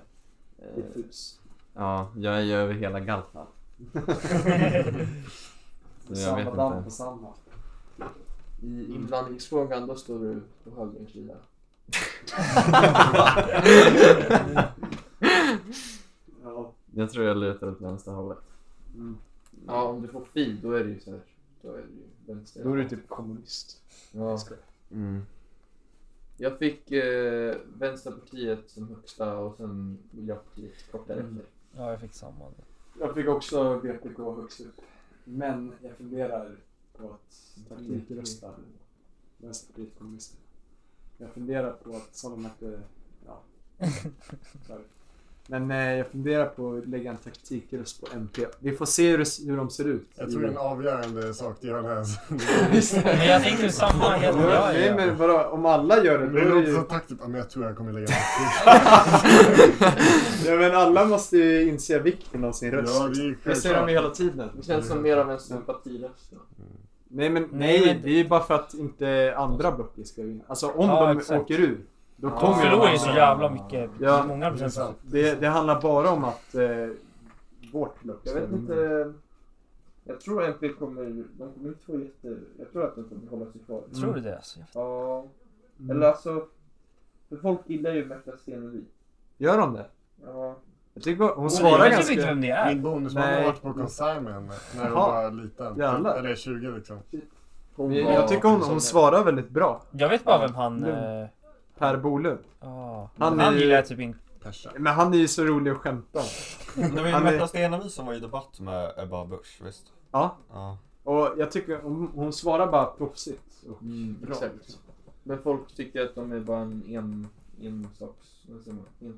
eh, Diffus. Ja, jag är ju över hela galtan. Så jag vet damm på inte. samma. I invandringsfrågan, då står du på högerns sida. Ja. Jag tror jag lutar åt vänsterhållet. ja, om du får fi, då är det ju så här. Då är det ju vänster. Då är du typ kommunist. Ja. Mm. Jag fick eh, Vänsterpartiet som högsta och sen Miljöpartiet kort därefter. Mm. Ja, jag fick samma. Jag fick också BPK högst upp. Men jag funderar på att taktikrösta Vänsterpartiet kommunisterna. Jag funderar på att, som de hette, ja. där. Men eh, jag funderar på att lägga en taktikröst på MP. Vi får se hur, det- hur de ser ut. Jag tror det är en avgörande sak det gör det här. Men jag tänker samma helt Ja, jag Nej gör. men vadå, om alla gör det Det då är är det något ju... så taktiskt. Ja, men jag tror jag kommer lägga ja, men alla måste ju inse vikten av sin röst. Ja, det är ju det ser de ju hela tiden. Det känns som mer av en sympatiröst. då. Nej men nej, Nej, men- det är ju bara för att inte andra blocket ska vinna. Alltså om Ja, de exakt. åker ur, då De kommer förlorar de ju så andra. jävla mycket. Ja. Många procent. Det, det handlar bara om att eh, vårt block Jag ska vet vinna. inte. Jag tror MP kommer, de kommer inte få jätte, jag tror att de kommer hålla sig kvar. Tror du det? Alltså? Jag- Ja. Mm. Eller alltså, för folk gillar ju Märta Stenevi. Gör de det? Ja. Jag tycker hon Oj, svarar jag vet ganska... typ inte vem det Min är. bonusman har Nej. varit på konsert med henne när hon Jaha. var liten. Jävlar. Eller 20 liksom. Hon Jag, var- jag tycker hon, hon svarar väldigt bra. Jag vet bara vem han... Lugn. eh, Per Bolund. ja. Han, Han är ju- gillar jag typ inte. Persa. Men han är ju så rolig att skämta om. Det var ju Han är- Märta Stenevi som var i debatt med Ebba Busch, visst? Ja, Ja. och jag tycker hon, hon svarar bara proffsigt. Och Mm, bra. exakt. Men folk tycker att de är bara en en, en saks, vad säger man, en, eh,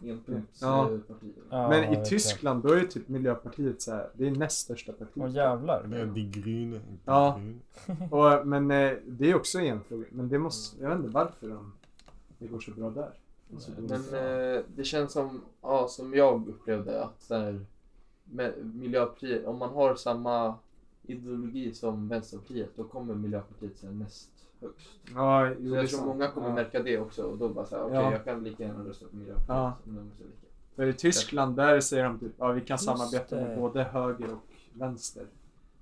Ja. enpunktsparti. Ja, ah, jag Men i vet Tyskland då är ju typ Miljöpartiet så här, det är näst största det. Åh partiet. jävlar. Mm. Det är Die Grüne. inte Ja. Grün. Och, men eh, det är också en fråga. Men det måste, jag vet inte varför de, det går så bra där. Och så dåligt. Men eh, det känns som, ja, som jag upplevde att så här, med Miljöpartiet, om man har samma ideologi som Vänsterpartiet då kommer Miljöpartiet så här näst högst. ja, jo, Så det är jag tror sant. många kommer ja. märka det också och då bara såhär, okej Ja. jag kan lika gärna rösta på Miljöpartiet Ja. om de är så lika. För i Tyskland där säger de typ, ja vi kan Just samarbeta med det. både höger och vänster.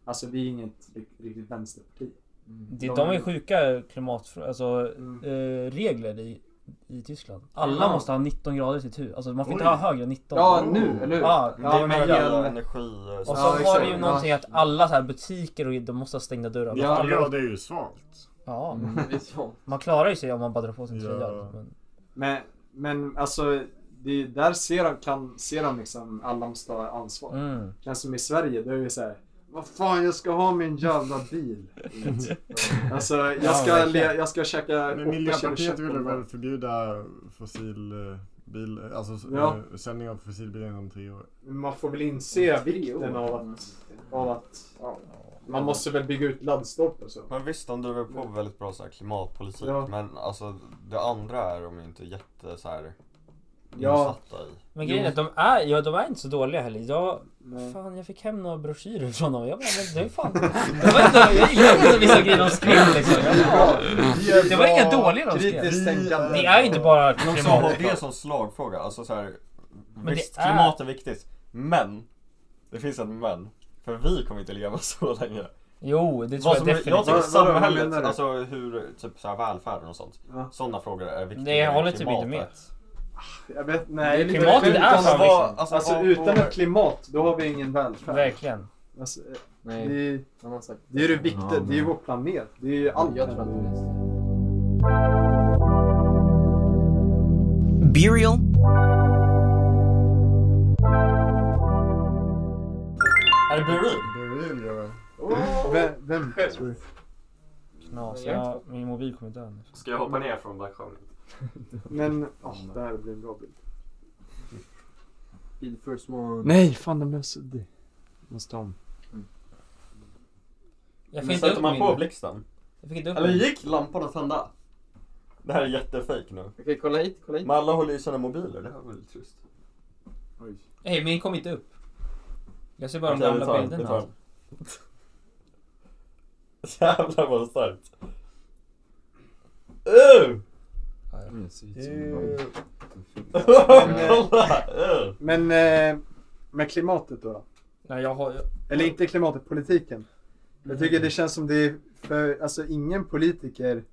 Alltså vi är inget rikt- riktigt vänsterparti. Mm. Det, de är sjuka klimatfrågor, alltså Mm. eh, regler i, i Tyskland. Alla Ja. måste ha 19 grader i sitt hus. Alltså man får inte Oj. ha högre än 19. Ja Oh. nu, eller hur? Ja, Det är men med jag- hela energi... Och så Ja, var exakt. det ju någonting att alla så här butiker och de måste ha stängda dörrar. Ja. Alla- Ja, det är ju svalt. ja. Det är så. Man klarar ju sig om man bara drar på sin Ja. tröja. liksom. Men, Men, men alltså, det, där ser de, kan, ser de liksom alla måste ha ansvar. mm. Känns som i Sverige, då är vi såhär Vad fan jag ska ha min jävla bil. alltså jag ska, verkligen. le, jag ska käka Men åtta kilo kött Miljöpartiet på ville en dag. väl förbjuda eh, fossilbil, alltså s- Ja. eh, sändning av fossilbilar inom tre år. Man får väl inse vikten av att, av att man måste väl bygga ut laddstolpar och så. Men visst, de driver på väldigt bra så här, klimatpolitik, Ja. men alltså det andra är de ju inte jätte så här, Ja. insatta i. men grejen är att de är, ja, de är inte så dåliga heller. Jag, fan, jag fick hem några broschyrer från dem. Jag bara, men det är fan. Jag vet inte, jag gillar inte vissa grejer de skrev liksom. Jag bara, det var inga dåliga de skrev. Kritiskt tänkande. Det är ju inte bara Men också ha klimat. det som slagfråga, alltså så här, det visst är- klimat är viktigt, men det finns ett men. För vi kommer inte leva så länge. Jo, det tror Vad jag som, jag definitivt. tycker Vad- vad samhället, menar du? alltså hur, typ så här, välfärden och sånt. Ja. Sådana frågor är viktiga. Nej, jag än håller typ inte klimatet. med. Jag vet, Det nej. är klimatet utan är fan vad- liksom. Alltså, Alltså, utan och- ett klimat, då har vi ingen välfärd. Verkligen. Alltså, Nej, Det, han har sagt det är det det. viktiga, Ja, det är ju vår planet. Det är ju allt. Jag tror Burial. Är det Burin? Burin gör det. Vem? vem tror du? Knas, jag, min mobil kommer dö nu. Ska jag hoppa ner från balkongen? Men, åh, det här blir en bra bild. Be the first one. Nej, fan den blev suddig. Måste om. Jag Men sätter man på blixten? Jag fick inte upp Eller min. gick lampan att tända? Det här är jättefejk nu. Okej, kolla hit, kolla hit. Men alla håller i sina mobiler, det här är väldigt trist. Nej, min kom inte upp. Jag ser bara de Okej, vi gamla tar- vi bilderna. tar. alltså. Jävlar vad starkt. Uh! eh, Kolla! Men eh, med klimatet då? då? Nej, jag har... Eller inte klimatet, politiken. Jag tycker det känns som det är för, alltså ingen politiker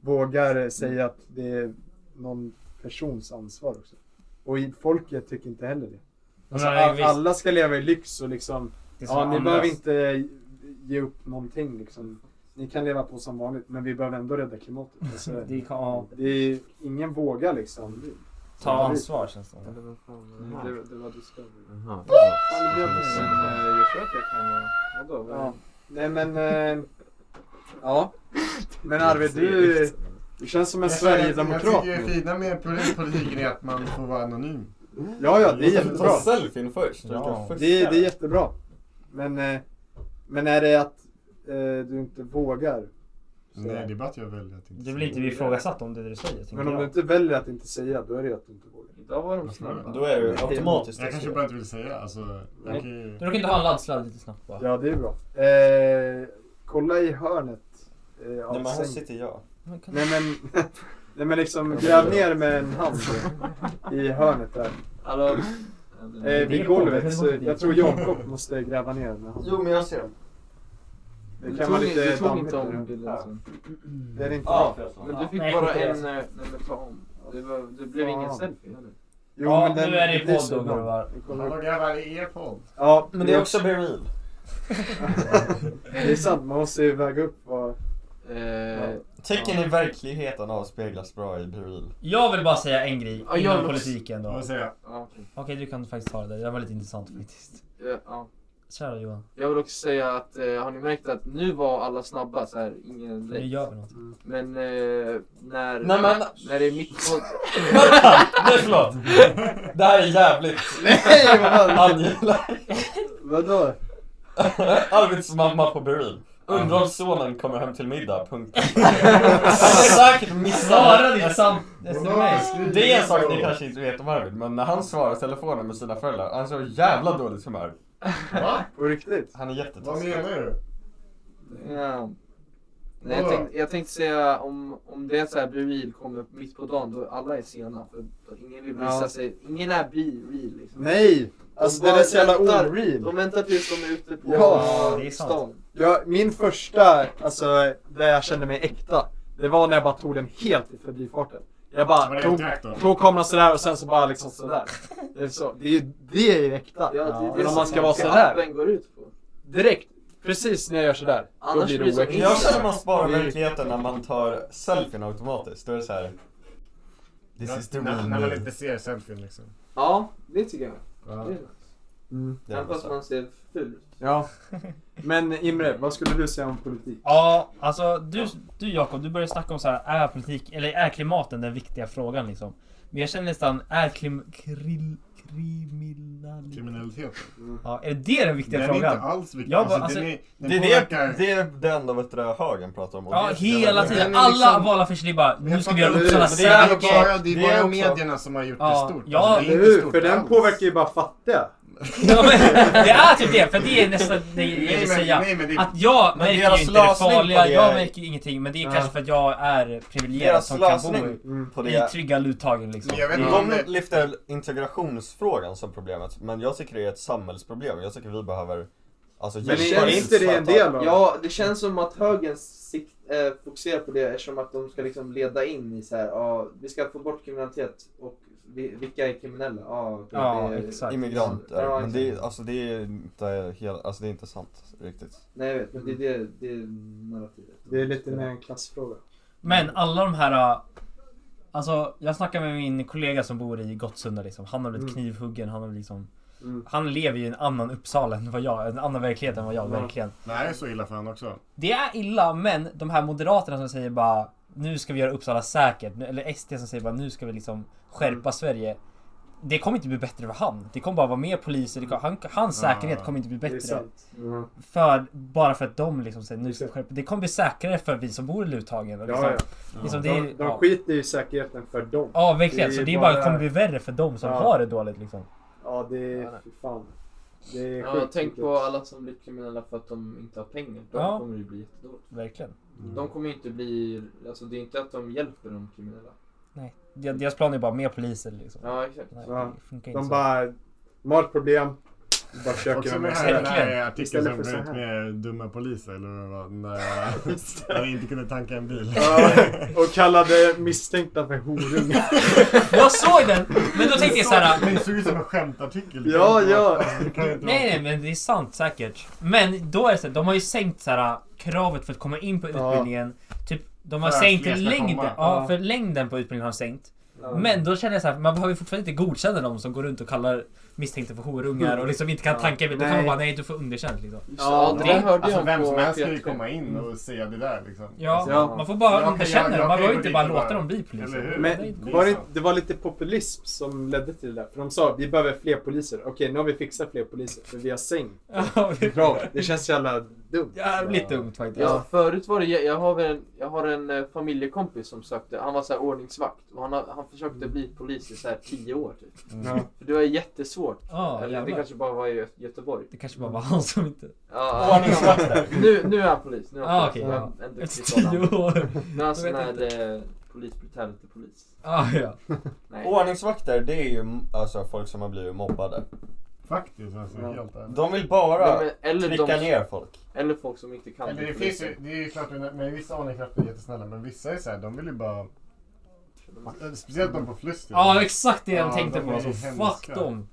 vågar säga att det är någon persons ansvar också. Och i- folket tycker inte heller det. Alltså, Nej, all- visst. alla ska leva i lyx och liksom, Det ska ja ni andas. behöver inte ge upp någonting liksom. Ni kan leva på som vanligt men vi behöver ändå rädda klimatet. Alltså, Det kan- ja. Mm. det är, ingen vågar liksom. Mm, Ta ansvar känns det som. Det, det var Discovery. Mm. Jaha. Men, eh, Jag tror att jag kan... Vadå? vad är det? Ja. Nej men... Eh, ja. Men Arvid, du, du känns som en Jag känner- Jag sverigedemokrat tycker det nu. fina med poli- politiken är att man får vara anonym. Ja, ja, det är jättebra. Uh! selfien först. Ja. Det, är- det är jättebra. Men, eh, men är det att eh, du inte vågar? Så- Nej, det är bara att jag väljer att inte Det blir inte vi ifrågasatt om det du säger. tänker Men om jag. du inte väljer att inte säga, då är det att du inte vågar. Idag var de snabba. Då är det automatiskt. Jag kanske bara inte vill säga. Alltså, jag kan ju... Du råkar inte ha en laddsladd lite snabbt bara. Ja, det är bra. Eh, kolla i hörnet. Eh, av Nej men här sängen. sitter jag. Men kan- Nej men, nej, men liksom gräv ner med en hand i hörnet där. Alltså, Eh, vid golvet, så jag tror Jakob måste gräva ner med handen. Jo men jag ser dem. Det Du kan tog vara inte- lite du tog dammigt inte om där. bilden sen. Det är inte Ja, bra. men du fick Nej, bara skit i det. en... eh, Nej men ta om. Det, var, det blev ingen Ja. selfie heller. Jo, Ja, men den- nu är det i blir podd så då, bra. grabbar. Vi kollar- Hallå grabbar, det är er podd. Ja, Men det är också Beryl. det är sant, man måste ju väga upp vad... Eh, Tecken i verkligheten avspeglas bra i Beryl. Jag vill bara säga en grej Ja, jag inom vill också- politiken då. Vad säger jag? ja, okej. Okej, du kan faktiskt ta det där. Det var lite intressant faktiskt. Eh, ja. Kära Johan. Jag vill också säga att eh, har ni märkt att nu var alla snabba så här, ingen Nu lätt. gör vi något. Men eh, när, Nej, men- när det är mitt på... Nej förlåt! Det här är jävligt Nej, vad fan. angeläget. Vadå? Arvids mamma på Beryl. Undrar om sonen kommer hem till middag, punkt. Han har säkert Svara missat ditt sam... sms. Mm. Det är en sak ni kanske inte vet om Arvid, men när han svarar telefonen med sina föräldrar, han är så jävla dåligt humör. Va? På riktigt? Han är Vad jättetaskig. menar du? Ja. Nej, jag, tänkte, jag tänkte säga om, om det är så här Buril kommer mitt på dagen då alla är sena. För då ingen vill visa Ja. sig. Ingen är Buril liksom. Nej! Alltså det där är så jävla Väntar- oreal. De väntar tills de är ute på Ja, det är sant. stan. Ja, min första, alltså där jag kände mig äkta, det var när jag bara tog den helt i förbifarten. Var Jag bara det tog, direkt då? tog kameran sådär och sen så bara liksom sådär. Det är, så. Det är ju det är ju äkta. Ja, det, det, Men om som man ska vara sådär. appen går ut på. Direkt, precis när jag gör sådär, då Annars blir blir det det så- oäkta. Jag känner man sparar Det är- verkligheten när man tar selfien automatiskt. Då är det så här. This is the När- real När man me. inte ser selfien liksom. Ja, det tycker jag. Ja. Det är nice. Mm. Det är Även fast så. man ser ful ut. Ja. Men Imre, vad skulle du säga om politik? Ja, alltså du, du Jakob, du börjar snacka om så här, är politik, eller är klimaten den viktiga frågan liksom? Men jag känner nästan, är klim, kril, kriminalitet... Kriminaliteten. Ja, är det den viktiga Den är frågan? inte alls viktig. Jag bara, Alltså, alltså, den är, den Det är påverkar... det, det är det enda vet du, högern pratar om. och ja, det är så jävla hela bra. tiden. Men liksom- Alla valaffischer, det är bara, nu ska vi göra Uppsala det är säkert. bara, det Det är är bara också- medierna som har gjort Ja, det stort. ja, alltså, det är Eller inte hur? stort För den alls. påverkar ju bara fattiga. Ja, men, det är typ det, för det är nästan det Nej, jag vill men- säga. nej, men det- Att jag Men märker deras ju inte det lösning på farliga, det jag är- märker ju ingenting. Men det är Ja. kanske för att jag är privilegierad Deras som kan bo lösning på i det trygga luttagen liksom. Men jag vet inte Mm. om De det... lyfter integrationsfrågan som problemet, men jag tycker det är ett samhällsproblem. Jag tycker vi behöver alltså, Men hjälpa är inte det en utsatta. del av det? Ja, det känns som att högern sikt, eh, fokuserar på det eftersom att de ska liksom leda in i så här, ja, vi ska få bort kriminalitet och vi- vilka är kriminella? Ah, okej, det är- Immigranter. Ja, men exakt. det är, alltså, det är inte helt, alltså det är inte sant riktigt. Nej jag vet, men det är det, det är narrativet. Mm. Det är lite mer en klassfråga. Men alla de här... äh, Alltså jag snackade med min kollega som bor i Gottsunda liksom. Han har blivit Mm. knivhuggen, han har liksom... Mm. Han lever ju i en annan Uppsala än vad jag, en annan verklighet än vad jag Ja. verkligen. Nej, det är så illa för han också. Det är illa men de här moderaterna som säger bara nu ska vi göra Uppsala säkert. nu- Eller SD som säger bara nu ska vi liksom skärpa Mm. Sverige. Det kommer inte bli bättre för han. Det kommer bara vara mer poliser. Det kommer, han, hans Ja, säkerhet kommer inte bli Ah, det är bättre. sant. Mm. För, bara för att de liksom säger nu ska vi skärpa. Det kommer bli säkrare för vi som bor i Luthagen. och Liksom, Ja, ja. Liksom, det är, de de ja. skiter ju i säkerheten för dem. Ja verkligen, så det är bara, kommer bli värre för dem som Ja. har det dåligt liksom. Ja, det är... Fy fan. Det är Ja, sjukt liksom. tänk mycket. på alla som blir kriminella för att de inte har pengar. De Ja. kommer ju bli jättedåligt. Verkligen. Mm. De kommer ju inte bli... Alltså det är inte att de hjälper de kriminella. Nej. De- Deras plan är bara mer poliser liksom. Ja, exakt. Nej, Ja. det funkar inte De så. bara... De har ett problem. de Bara försöker Också de den lösa här, den här det. artikeln som Istället för kom så ut här. med dumma poliser, eller vad det var, när när de inte kunde tanka en bil. Ja, Och kallade misstänkta för horungar. Jag såg den! Men då tänkte jag såhär... Det såg ut som en skämtartikel. Ja, ja. Det kan ju inte vara- Nej, nej men det är sant säkert. Men då är det så här, de har ju sänkt så här, äh, kravet för att komma in på Ja. utbildningen. Typ, de har För att sänkt fler ska längden. komma. Ja, Ja. för längden på utbildningen har de sänkt. Ja. Men då känner jag så här, man behöver ju fortfarande inte godkänna de som går runt och kallar misstänkta för horungar och liksom inte kan Ja. tanka. Då kan man Nej. bara, nej du får underkänt liksom. Ja, det- det hörde alltså om vem på som helst ska ju P3. komma in och säga det där liksom. Ja, alltså, man får bara jag kan- underkänna jag- dem. jag Man kan behöver gå inte dit bara och låta dem bli poliser. Eller hur? Men var det, inte- det var lite populism som ledde till det där. För de sa vi behöver fler poliser. Okej, nu har vi fixat fler poliser för vi har sänkt. Bra. Det känns så jävla dumt. Jävligt dumt faktiskt. Ja, förut var det... Jag har en, jag har en eh, familjekompis som sökte. Han var så här ordningsvakt. Och han, har- han Mm. försökte bli polis i så här tio år typ. Mm. För det var jättesvårt. Ja, Eller det jävlar. kanske bara var i Gö- Göteborg. Det kanske bara var han som inte... Ja, Ordningsvakt. nu, nu är han polis. Nu är han Ah, polis. okej, Han ja. är typ en duktig Efter tio sådan. år. Nu är Jag han sån vet här eh, polis brutality-polis. Ah, ja. Nej. Ordningsvakter, det är ju alltså, folk som har blivit mobbade. Faktiskt alltså, helt ärligt. De vill bara Nej, men- eller trycka de- ner folk. Eller folk som inte kan Eller det finns ju, det är ju klart, men vissa ordningskrafter är jättesnälla, men vissa är såhär, de vill ju bara... Speciellt de på liksom. Fluster. Ja, exakt det jag Ja, tänkte de på. är Alltså, hemska. Mm. fuck dem.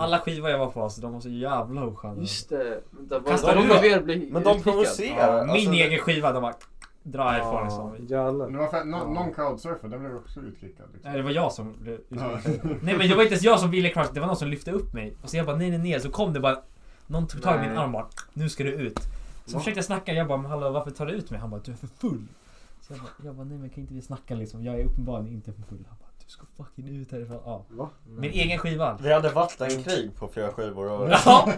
Alla skivor jag var på, alltså, de var så jävla osköna. Just det. Vänta, var Kastar var du någon av då? er bli Men de utkickad? provocerar. Min Alltså, egen skiva, de bara dra härifrån liksom. Jävlar. Det var för att någon, någon crowdsurfer, den blev också utkickad. Liksom. Nej, det var jag som blev liksom- Ja. Nej men det var inte ens jag som ville crush, det var någon som lyfte upp mig. Och så jag bara nej nej nej, så kom det bara Någon tog tag i min Nej. arm bara Nu ska du ut. Så Va? försökte jag snacka, jag bara men hallå varför tar du ut mig? Han bara du är för full. Så jag bara, jag bara nej men kan inte vi snacka liksom? Jag är uppenbarligen inte för full. Han bara du ska fucking ut härifrån. Ja. Va? Min egen skiva. alltså. Vi hade vattenkrig på flera skivor. Och... Ja!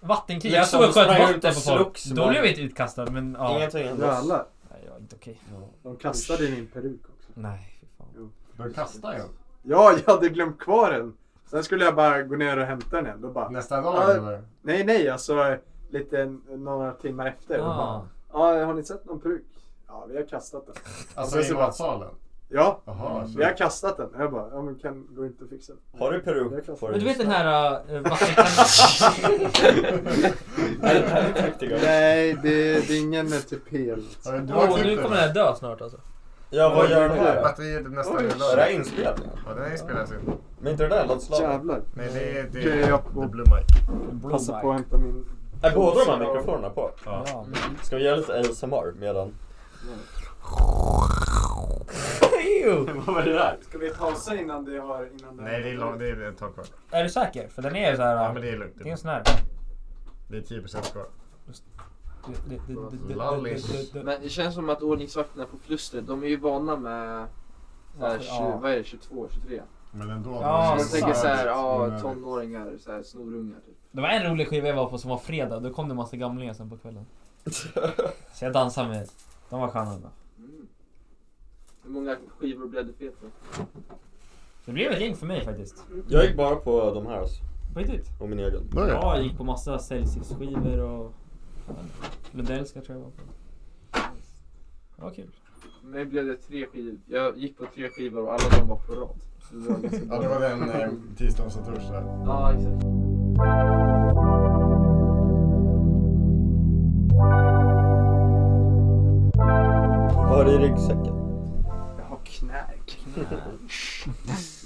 Vattenkrig. Jag Liksom, såg och sköt sprang vatten ut på och folk. slogs, Då men- blev jag inte utkastad men ja. Ingenting hände. Jävlar. Nej, jag är inte okej. De kastade i min peruk också. Nej, fy fan. De kastar ju. Ja, jag hade glömt kvar den. Sen skulle jag bara gå ner och hämta den igen. Då bara, Nästa dag Ja. eller? nej, nej, alltså lite några timmar efter. Då Ah. bara, Ja, har ni sett någon peruk? Ja, vi har kastat den. Alltså Mm. i Och sen så bara- matsalen? Ja, Jaha, vi har kastat den. Jag bara, ja men kan, går inte att fixa den? Har du peruk Vi har kastat på Men dig? du vet den här äh, vattenkannan? Nej, det, det är ingen typ tupé. Ja, men du har Åh, klippt nu den. kommer den här dö snart alltså. Ja, vad gör den här? Batteriet är nästan Oj. lördag. Är det här inspelning? Ja, det här inspelas ju. Men inte det där låtslaget? Jävlar. Nej, det är... Det, Okej, det, jag det blir mic. Oh passar på att hämta min... Är båda de här mikrofonerna på? Ja. Ska vi göra lite ASMR medan? Vad var det där? Ska vi pausa innan det har... Innan Nej, det är långt. Det är ett tag kvar. Är du säker? För den är ju såhär... Ja, men det är lugnt. Det är en sån här... Det är 10% kvar. Det- det- det- det- Lallis. det- det- det- Men det känns som att ordningsvakterna på Flustret, de är ju vana med så här, Varför? 20, Ja. vad är det, 22, 23? Men ändå. Ja, så jag sant. tänker såhär, ja Onödigt. tonåringar, så här, snorungar typ. Det var en rolig skiva jag var på som var fredag. Då kom det en massa gamlingar sen på kvällen. Så jag dansade med... De var sköna ändå. Mm. Hur många skivor blev det fel på? Det blev ett gäng för mig faktiskt. Jag gick bara på de här alltså. På riktigt. Och min egen. Nej. Jag gick på massa Celsius-skivor och... Lundellska tror jag var på. Det var kul. För mig blev det tre skivor. Jag gick på tre skivor och alla de var på rad. Så det var liksom- Ja, det var den eh, tisdags och torsdag. Ja, exakt. Vad har du i ryggsäcken? Jag har knark.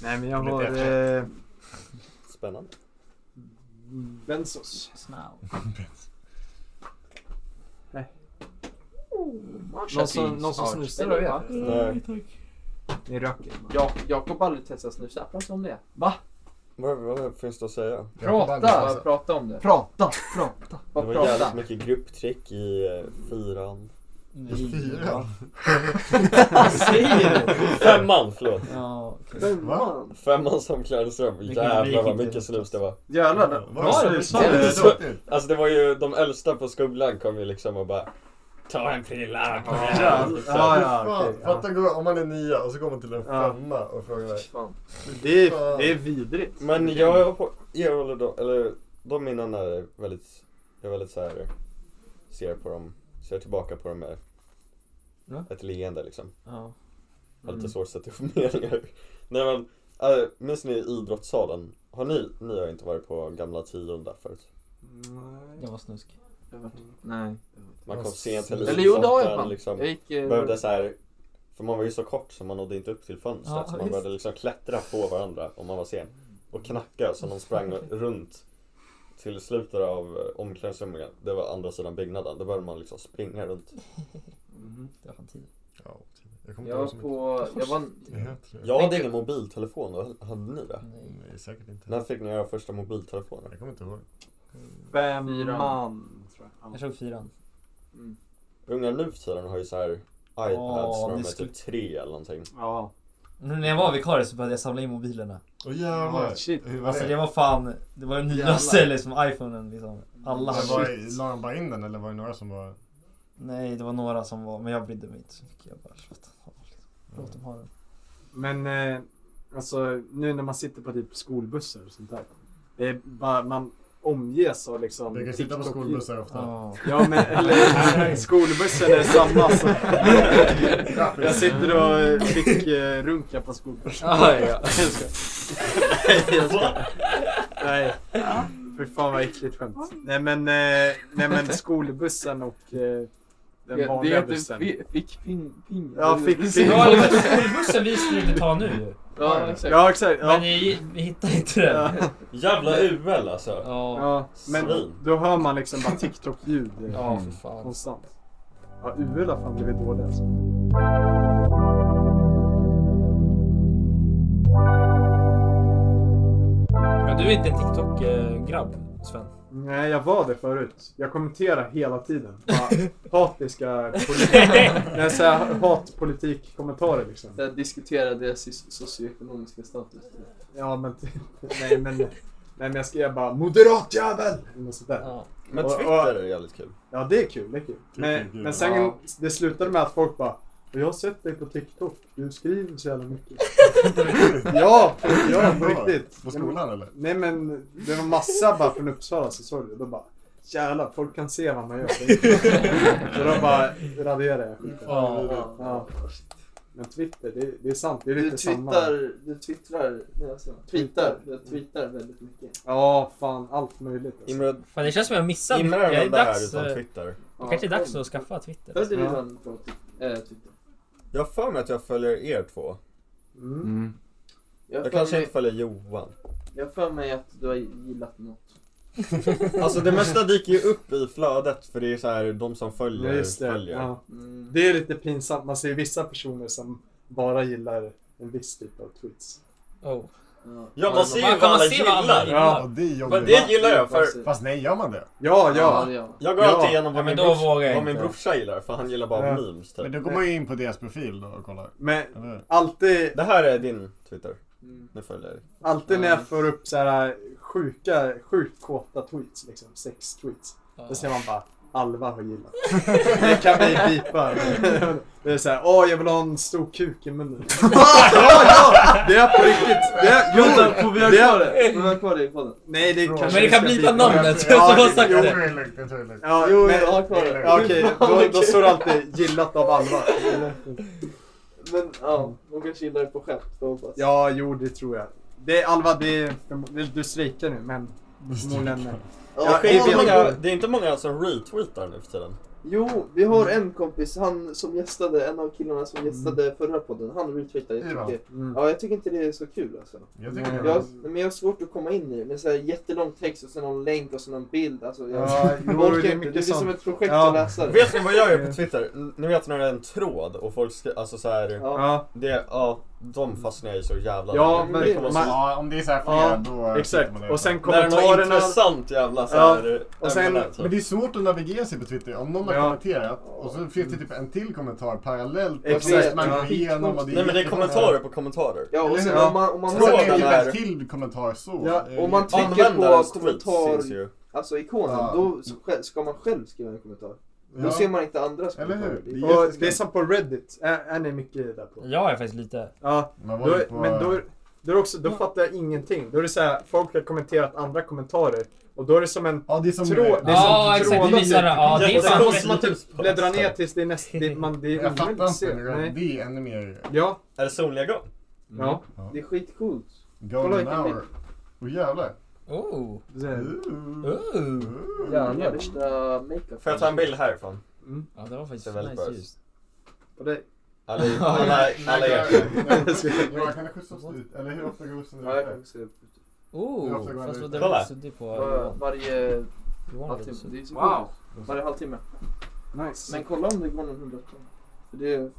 Nej, men jag Det har... blir Eh, Spännande. Benzos. Nej. Marsha Någon som, Teens någon som art. snusar? Spelar du det? Nej. Ni röker? Ja, Jakob har aldrig testat snusa. Prata om det. Va? Vad, vad finns det att säga? Prata! alltså. Bara prata om det. Prata! Prata! Det Bara var prata. jävligt mycket grupptryck i eh, fyran. I fyran? Vad säger du? Femman, förlåt. Ja, okej. Femman? Femman som klädesrum. Vilken publik Jävlar vad inte mycket snus det var. Jävlar, det- Var var det det så? mycket? Så- Alltså det var ju, de äldsta på skolan kom ju liksom och bara Ta en prilla på den här", liksom. Fan, Fatta gå- om man är nia och så går man till en femma och frågar. Det är, Fan. det är vidrigt. Men jag är på, erhåller då, eller de minnena är väldigt, jag är väldigt så här ser på dem, ser tillbaka på dem med Ja. ett leende liksom. Ja. Har lite Mm. svårt att sätta ihop meningar. Nej men, äh, minns ni idrottssalen? Har ni, ni har inte varit på gamla tion där förut? Mm, Jag var snusk. Nej. Man kom sent till Eller jo, det har jag idrotten, fan. liksom. Jag gick, eh, Behövde så här, för man var ju så kort så man nådde inte upp till fönstret Ja, så man visst. började liksom klättra på varandra om man var sen. Och knacka så de sprang runt till slutet av eh, omklädningsrummet. Det var andra sidan byggnaden. Då började man liksom springa runt. Det var fan tid. Jag kommer Jag var på... Jag var... Jag hade ingen mobiltelefon, då hade ni det? Nej, säkert inte. När fick ni era första mobiltelefoner? Jag kommer inte ihåg. Femman, tror jag. Jag såg fyran. Unga nu för tiden har ju så här iPads Ja, när ni de är skulle- typ tre eller någonting. Ja. Nu när jag var vikarie så började jag samla in mobilerna. Åh, jävlar. Ja, shit. Hur var Alltså det? det var fan, det var den nyaste Jävlar. liksom iPhonen liksom. Alla Men hade var, la de bara in den eller var det några som var... Nej det var några som var, men jag brydde mig inte så mycket. Jag bara låt dem ha, liksom. låt dem ha den. Men eh, alltså, nu när man sitter på typ skolbussar och sånt där. Det är bara, man omges av liksom... Du kan sitta på TikTok- skolbussar ofta. Ja. Ja, men eller skolbussen är samma som... Jag sitter och eh, fick eh, runka på skolbussen. Ah, ja. Jag skojar. Nej, jag skojar. Nej. Fy fan vad äckligt skämt. Nej men, eh, nej, men skolbussen och eh, den Ja, det vanliga heter bussen. fi- fick ping, ping. Ja, fick Precis. ping. Ja, det var skolbussen vi skulle ta nu ju. Ja, exakt. Ja, exakt. Ja. Men ni, vi hittade inte den. Ja. Jävla UL alltså. Ja, men Svin. då hör man liksom bara TikTok-ljud eh, Ja, för fan. konstant. Ja, UL har fan blivit dålig alltså. Men du är inte en TikTok-grabb, Sven? Nej, jag var det förut. Jag kommenterar hela tiden. Bara hatiska politik. Nej, så här, hatpolitik-kommentarer liksom. Där diskutera deras soci- socioekonomiska status. Ja, men typ. Nej, men, nej, men jag skrev bara moderat jävel! Eller något sånt där. Men Och- och- Twitter är jävligt kul. Ja, det är kul. Det är kul. Det är Men, kul. men sen Ja. det slutade med att folk bara Jag har sett dig på TikTok. Du skriver så jävla mycket. ja, på- ja, på riktigt. På skolan, eller? Nej, men det var massa bara från Uppsala som såg det. De bara Jävlar, folk kan se vad man gör. så de bara raderade jag skiten. Ja. Ja. Men Twitter, det, det är sant. Det är Du lite samma. twittrar, du twittrar, alltså, tweetar, du tweetar väldigt mycket. Ja, fan. Allt möjligt. Alltså. Imre, Fan det känns som jag missar Imre är Det den där dags, utan eh, Twitter. Det kanske är dags att skaffa Twitter. Följer du någon på Twi- eh, Twitter? Jag har för mig att jag följer er två. Jag Jag, följer- kanske inte följer Johan. Jag har för mig att du har gillat något. Alltså det mesta dyker ju upp i flödet för det är så här de som följer, Ja, just det. följer. Ja. Mm. Det är lite pinsamt. Man ser vissa personer som bara gillar en viss typ av tweets. Oh. Ja, man ser ju Man vad kan alla se vad alla gillar. gillar. Ja, och det är jobbigt. Men det gillar jag för... Fast nej, gör man det? Ja, Ja, ja. det gör man. Jag går Ja. alltid igenom Ja, vad, men min, då brors, vågar jag vad min inte. brorsa gillar för han gillar bara Ja. memes typ. Men då går man ju in på deras profil då och kollar. Men Eller? alltid... Det här är din Twitter. Mm. Nu följer jag. Alltid när jag får upp så här äh, sjuka, sjukt kåta tweets, liksom sex tweets. Då ser man bara Alva har gillat. Det kan vi bipa. Det är såhär, åh jag vill ha en stor kuk i munnen. ja, ja! Det är på riktigt. Det är, jo, Vänta, får vi ha det kvar är- det? Får vi ha kvar det i podden? Nej, det kanske Men det kan vi ska blipa bipa. namnet, Ja, så har det- sagt jo, det. är lugnt, det är lugnt. Ja, Jo, men, jag har kvar det. ja, Okej, då, då står det alltid gillat av Alva. Men ja, de kanske gillar det på skämt, får jag hoppas. Ja, jo det tror jag. Det är Alva, det är, förmo- du strejkar nu men förmodligen... Ja, det, är vi vet- inte många, det är inte många som retweetar nu för tiden. Jo, vi har en kompis, han som gästade, en av killarna som gästade Mm. förra podden, han retweetade jättemycket. Ivan. Mm. Ja, jag tycker inte det är så kul alltså. Jag tycker det. jag, men jag har svårt att komma in i det, med så här jättelång text och sen någon länk och sen någon bild. Alltså, jag Ja, jo, orkar det är inte. mycket det blir som sånt. ett projekt Ja. att läsa det. Vet ni vad jag gör på Twitter? Ni vet när det är en tråd och folk ska, alltså så här, Ja. Det, ja, de fastnar jag i så jävla Ja, länge. men Det kan vara så- man- Ja, Exakt. Och sen När det är något kommentarerna... intressant jävla så här, och sen, ämne, typ. så. men det är svårt att navigera sig på Twitter. Om någon har Ja. kommenterat och så finns det typ en till kommentar parallellt. Exakt. Och så måste man Ja. går igenom och Nej, men det är kommentarer på kommentarer. Ja, och Eller sen hur? om man- om man- Sen är det Tråden typ är- en till kommentar så. Ja, Eh, om man trycker på Användarens tweet syns kommentar, ju. alltså ikonen, Ja. då sj- ska man själv skriva en kommentar. Då Ja. ser man inte andras kommentarer. Det är Och jätteskönt. det är som på Reddit. Är, är ni mycket där på? Jag är faktiskt lite. Ja, Man men, var då, ju på- men då, då, är det också, då fattar jag ingenting. Då är det så här, folk har kommenterat andra kommentarer. Och då är det som en ja, det är som, tråd. Ja, exakt, det visar det. Ja, det är och så fan- måste man typ bläddra ner tills det är näst... Det, man, det är Jag fattar omöjligt att se. inte. men Nej. Det är ännu mer... Ja. Är det zonliga gång? Ja. Det är skitcoolt. Kolla Golden vilken hour. bild. Åh jävlar. Oh. Mm. Ooh. Jävlar, värsta makeup. Får jag ta en bild härifrån? Mm. Ja, det var faktiskt Ser väldigt nice bra ut. ljus. På dig. Alla, alla, alla er. Johan, kan du skjutsa oss dit? Eller hur ofta går bussen Ja, jag kan också se. Hur ofta går den Oh. fast ut? vad det var suddigt på Var, varje halvtimme. Det är så wow. Varje halvtimme. Nice. Men kolla om det går någon hundraton. För det är...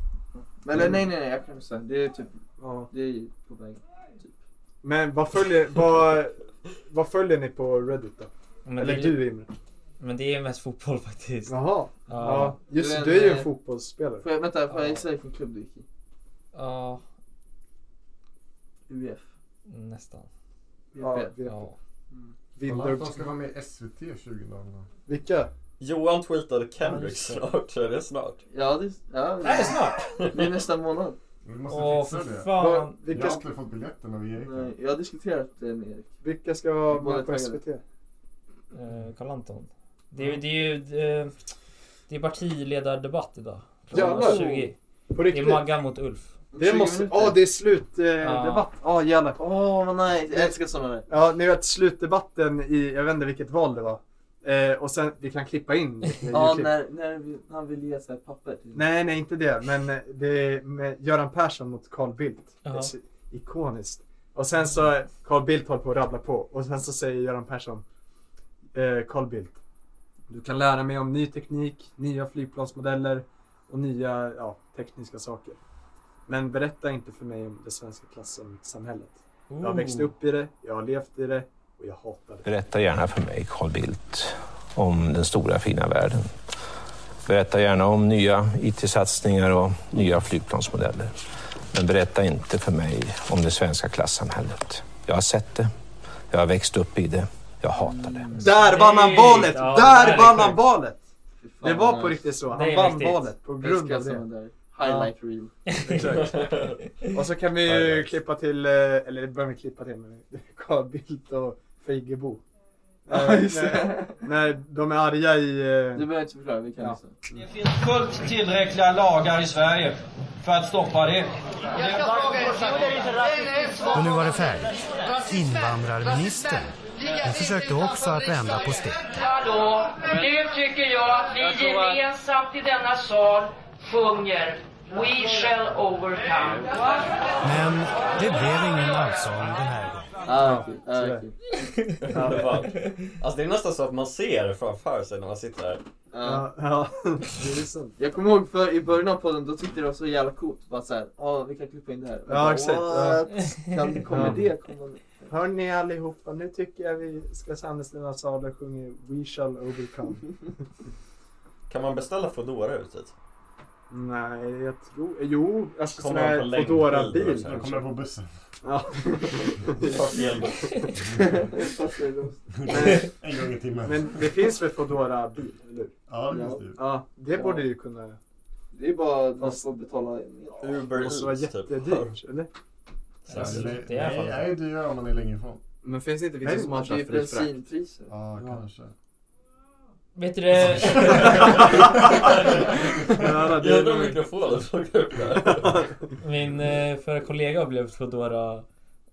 Men, eller nej, nej, nej, jag kan inte säga. Det är typ... Det är på väg. Men vad följer, vad, vad följer ni på Reddit då? Men Eller det är- du Imre? Men det är mest fotboll faktiskt. Jaha. Ja. Just det, en, du är ju eh, en fotbollsspelare. Får jag, vänta, får jag gissa vilken klubb du gick i? Ja, UF? nästan. Ja, Ja. Vill Kolla du- att de ska vara med i SVT 2000. Vilka? Johan tweetade Kendrick snart, så är det snart. Ja, det, ja, Nej, det är snart. Det är nästa månad. Vi måste Åh, fixa för det. fan. Vad- Vilka Jag har ska- inte fått biljetterna av Erik. Nej, jag har diskuterat det med Erik. Vilka ska vara Båda med på taggade. SVT? Eh, Karl Anton. Det är ju... Det är, ju, eh, det är partiledardebatt idag. Jävlar. 20. På det är riktigt? Maggan mot Ulf. Det måste, ja det är slutdebatt. Ja. Eh, debatt. Ja jävlar. Åh vad nice, jag älskar sådana där. Ja ni vet slutdebatten i, jag vet inte vilket val det var. Eh, och sen, vi kan klippa in lite Ja, ljudklipp. när, när vi, han vill ge sig ett papper till Nej, nej, inte det. Men eh, det är med Göran Persson mot Carl Bildt. Det är Jaha. så ikoniskt. Och sen så, Carl Bildt håller på att rabbla på. Och sen så säger Göran Persson, eh, Carl Bildt, du kan lära mig om ny teknik, nya flygplansmodeller och nya ja, tekniska saker. Men berätta inte för mig om det svenska klassamhället. Jag har Ooh. växt upp i det, jag har levt i det och jag hatar det. Berätta gärna för mig, Carl Bildt, om den stora fina världen. Berätta gärna om nya IT-satsningar och nya flygplansmodeller. Men berätta inte för mig om det svenska klassamhället. Jag har sett det, jag har växt upp i det, jag hatar det. Där vann han valet! Ja, det Där är vann han sjukt. valet! Det var vad på nice. riktigt alltså. så. Det Han är vann mäktigt. valet på Jag grund älskar av det. sådana där highlight reel. Oh. Exakt. Och så kan vi ju klippa till, eh, eller det behöver vi klippa till, men Carl Bildt och Feigerbo. Ja, Eh, just det. när- När de är arga i... eh, Du behöver inte förklara, vi kan lyssna. Det finns fullt tillräckliga lagar i Sverige för att stoppa det. Och nu var det färdigt. Invandrarministern. Hon försökte också att vända på steken. Hallå, nu tycker jag att vi gemensamt i denna sal sjunger We shall overcome. Men det blev ingen alltså. allsång den här gången. Ah, okej. Ah, sådär. Ja, det var- Alltså det är nästan så att man ser det framför sig när man sitter här. Ja. Jag kommer ihåg för i början av podden, då tyckte jag det var så jävla coolt. Bara såhär, ja vi kan klippa in det här. Och Ja, bara, exakt, ja. "What? Kan, kommer Ja. det komma? Hörni allihopa, nu tycker jag vi ska samlas när Salo sjunger We shall overcome. Kan man beställa Foodora ut hit? Nej, jag tror... Jo, alltså sån Kommer han här på längd- Foodora-bil. bil, kanske. kommer på bussen. Ja. Tar fel buss. Nej. En gång i timmen. Men det finns väl Foodora-bil, eller hur? Ja, det finns det ju. Ja, det Ja. borde ju kunna... Det är bara att man får betala. Det måste vara typ. jättedyrt, eller? Ja, det- det är- det är dyrare om man är längre ifrån. Men finns det inte Nej, vissa som har det är så här fri frakt? bensinpriser. Ja, kanske. Vet du det? Ja, det är Jävla nog- mikrofonen som går upp där. Min eh, förra kollega blev Foodora,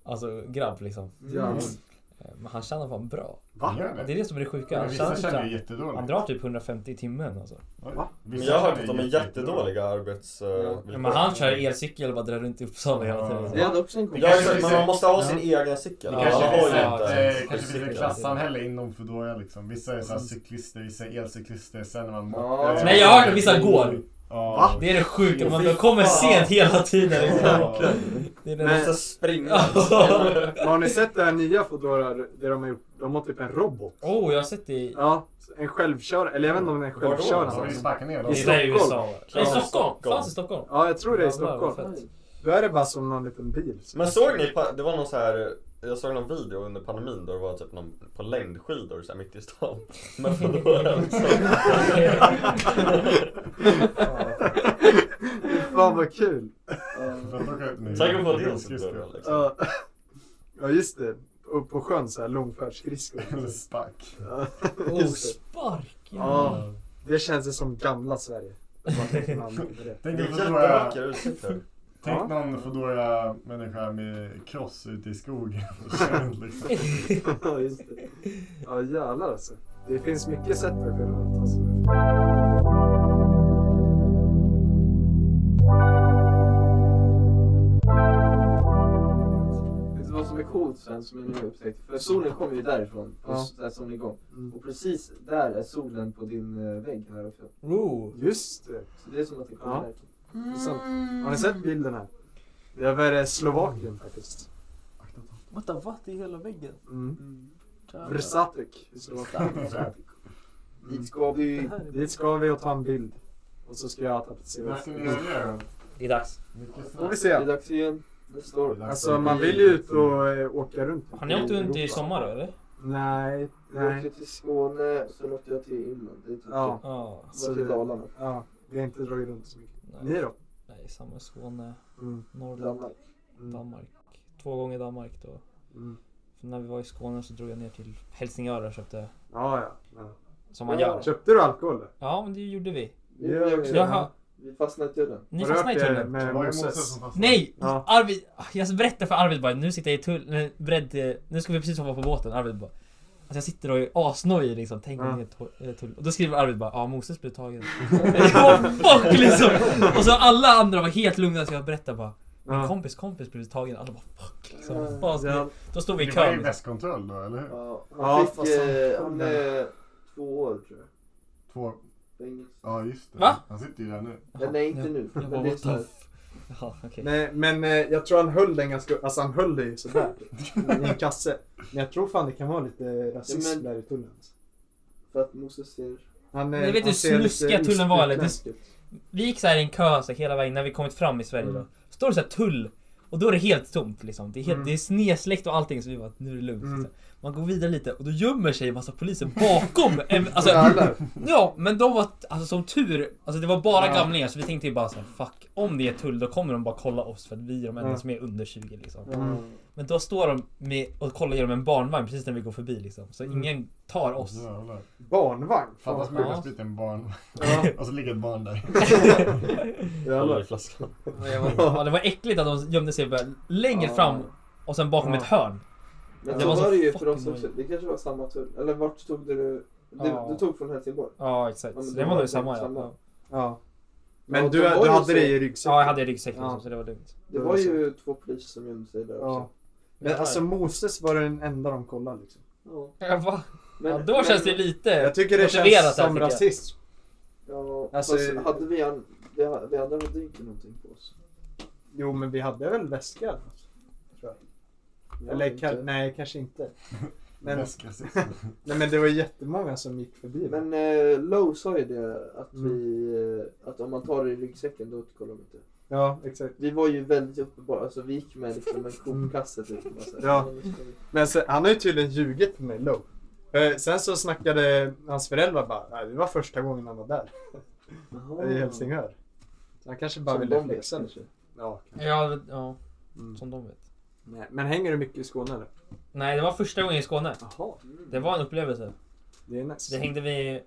alltså grabb liksom. Ja. Mm. men han tjänar fan bra. Va? Ja, Det är det som är det sjuka. Men Han, vissa tjänar typ tjänar så här- ju jättedåligt. han drar typ 150 i timmen alltså. Va? Men jag har hört att de är jättedåliga arbets... eh, Ja, men han kör elcykel och bara drar runt i Uppsala hela tiden. alltså. Det hade också en kompis. Ja, exakt, men man måste ha sin egen cykel. Det kanske Alla har finns ju ett, inte eh, en kanske finns cykel. ett klassamhälle inom Foodora liksom. Vissa är så här cyklister, vissa är elcyklister. Sen när man Eh, Ja. Nej, jag har hört att vissa går. Ja. Va? Det är det sjuka, man kommer sent hela tiden. Liksom. Det är det- har ni sett det här nya Foodora? Det de har gjort? De har typ en robot. Oh, jag har sett det i... Ja, en självkörare. Eller jag vet inte om den är Var då? självkörande. Har vi sparkat ner dem? I Det är i Stockholm. USA. I Stockholm? Fanns i Stockholm? Ja, jag tror det är i Jävlar, vad Stockholm. fett. Då är det bara som någon liten bil. Men såg ni, pa- det var någon så här jag såg någon video under pandemin då det var typ någon på längdskidor så här mitt i stan. Men Mm. för då var det liksom... Fan vad kul! Tänk om det var det som började liksom. Ja. Ja just det. Upp på sjön såhär långfärdsskridskor. Eller spark. Ja, Oh, just det. spark, Ja. jävlar. Det känns ju som gamla Sverige. Det var en annan grej. Tänk en Foodora... jättevacker utsikt här. Tänk Ja. någon Foodora-människa med kross ute i skogen. liksom. Ja just det. Ja jävlar alltså. Det finns mycket sätt att kunna ta sig Vet du vad som är coolt sen som jag nu har upptäckt? För solen kommer ju därifrån, Ja. Mm. ja. där solnedgång. Och precis där är solen på din eh, vägg här också. Oh. Just det. Så det är som att det kommer Ja. därifrån. Det är sant. Har ni sett bilden här? Det är över eh, Slovakien faktiskt. Vänta, vatten i hela väggen? Mm. Vrsatek i Slovakien. Vrsatek. Mm. Dit ska vi. Dit ska vi och ta en bild. Och så ska jag tapetsera. Vad ska ni göra då? Det är dags. Får vi se. Det är dags igen. Nästa år. Alltså man vill ju ut och eh, åka runt. Har ni åkt runt i sommar då eller? Nej, Jag nej. åkte till Skåne, sen åkte jag till Inland. Det är typ Ja. Ja. Så till Dalarna. Ja, vi har inte dragit runt så mycket. Nej. Ni då? Nej, samma Skåne, Mm. Norrland, Danmark. Mm. Danmark. Två gånger Danmark då. Mm. För när vi var i Skåne så drog jag ner till Helsingör och köpte. Ja, ja. ja. Som man gör. Köpte du alkohol? då? Ja, men det gjorde vi. Vi gjorde det också. Jaha. Vi fastnade i tullen. Ni Har du fastnade i hört det tullen? med Det var ju Moses? Moses som fastnade. Nej! Ja. Arvid, jag berättar för Arvid bara, nu sitter jag i tullen, beredd, eh, nu ska vi precis hoppa på båten, Arvid bara. Alltså jag sitter och är asnojig liksom, tänk om Ja. det är to- eh, tull. Och då skriver Arvid bara, ja Moses blev tagen. jag bara, fuck liksom! Och så alla andra var helt lugna så jag berättar bara. Min Ja. kompis kompis blev tagen, alla bara fuck liksom. Ja. Vad ska- Då stod vi i Det var ju kön. västkontroll då, eller hur? Ja, Ja, han fick, fast han- eh, han är två år tror jag. Två... Fängelse. Ja, just det. Va? Han sitter ju där nu. Men nej, inte nu. Jag bara, Men det är what så the här- f- Ja, okej. Men, men eh, jag tror han höll den ganska... Alltså han höll det ju sådär. I en kasse. Men jag tror fan det kan vara lite rasism Ja, men- där i tullen. För att Moses ser... Han, eh, Men vet han du ser lite snuskiga Alltså- tullen var, eller? Det- utländsk ut. Vi gick så här i en kö så hela vägen när vi kommit fram i Sverige då. Står det så här tull och då är det helt tomt liksom. Det är, helt, Mm. det är snedsläckt och allting så vi bara nu är det lugnt. Mm. Så Man går vidare lite och då gömmer sig en massa poliser bakom. en, alltså, Jävlar. ja men de var alltså som tur, alltså det var bara Ja. gamlingar så vi tänkte ju bara så här, fuck om det är tull då kommer de bara kolla oss för att vi är de enda Ja. som är under 20 liksom. Mm. Men då står de med, och kollar genom en barnvagn precis när vi går förbi liksom. Så ingen tar oss. Jävlar. Barnvagn? Fattas Ja. man har spritt en barn. Ja. Och så ligger ett barn där. Håller Jävlar. i flaskan. Ja, det var äckligt att de gömde sig bara längre Ja. fram och sen bakom Ja. ett hörn. Men Det så var var, så det ju för fucking oss också. nojigt. Det kanske var samma tull. Eller vart tog du... Du, Ja. du tog från Helsingborg? Ja exakt, Ja, men så det det var var nog exakt samma samma. ja. Ja. Men Ja, du, de var du ju hade så- det i ryggsäcken? Ja jag hade ryggsäck liksom, Ja. så det var lugnt. Det var ju två poliser som gömde sig där Ja. också. Men alltså Moses var den enda de kollade liksom. Ja. Ja, va? Men, ja, då men- känns det lite Jag tycker det motiverat känns där, som tycker jag. rasism. Ja, Alltså- fast hade vi en... Vi ha- vi andra hade inte någonting på oss. Jo men vi hade väl väska? Tror Vi jag. Eller hade ka- inte. nej kanske inte. Men, Väskrasism. nej men det var jättemånga som gick förbi. Men eh, Lowe sa ju det att Mm. vi... eh, Att om man tar det i ryggsäcken då kollar de inte. Ja exakt. Vi var ju väldigt uppenbara. Alltså vi gick med liksom en kopkasse typ. och bara så här, Mm. Ja. nu ska vi- Men sen, han har ju tydligen ljugit för mig Low. Eh, Sen så snackade hans föräldrar bara, nej det var första gången han var där. Jaha. I Helsingör. Så han Mm. kanske bara Som ville de vet, flexa kanske. lite. Ja. Ja, det- ja Mm. som de vet. Nej, Men hänger du mycket i Skåne eller? Nej det var första gången i Skåne. Jaha. Det var en upplevelse. Det är Det nice. hängde vid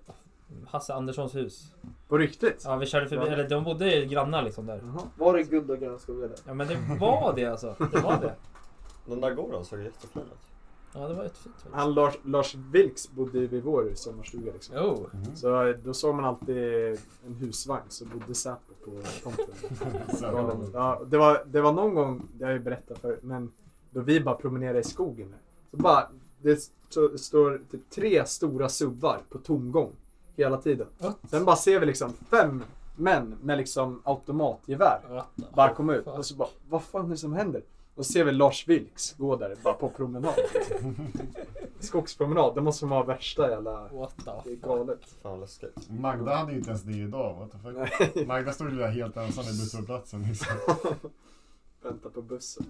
Hasse Anderssons hus. På riktigt? Ja vi körde förbi, Ja. eller de bodde grannar liksom där. Jaha. Var det guld och gröna skogar där? Ja men det var det alltså. Det var det. Den där gården såg jättefin ut. Ja, det var ett fint. Han Lars, Lars Vilks bodde ju vid vår sommarstuga. Liksom. Oh. Så eh, då såg man alltid en husvagn så bodde Säpo på tomten. Så. Ja, ja, det, var, det var någon gång, det har jag ju berättat för men då vi bara promenerade i skogen. där. Så bara, det st- står typ tre stora suvar på tomgång hela tiden. Sen bara ser vi liksom fem män med liksom automatgevär bara komma ut. Och så bara, vad fan är det som händer? Och så ser vi Lars Vilks gå där bara på promenad. Skogspromenad, det måste vara värsta jävla... Det är galet. Fan läskigt. Magda hade ju inte ens det idag. What the fuck? Magda stod ju där helt ensam i busshållplatsen. Liksom. Vänta på bussen.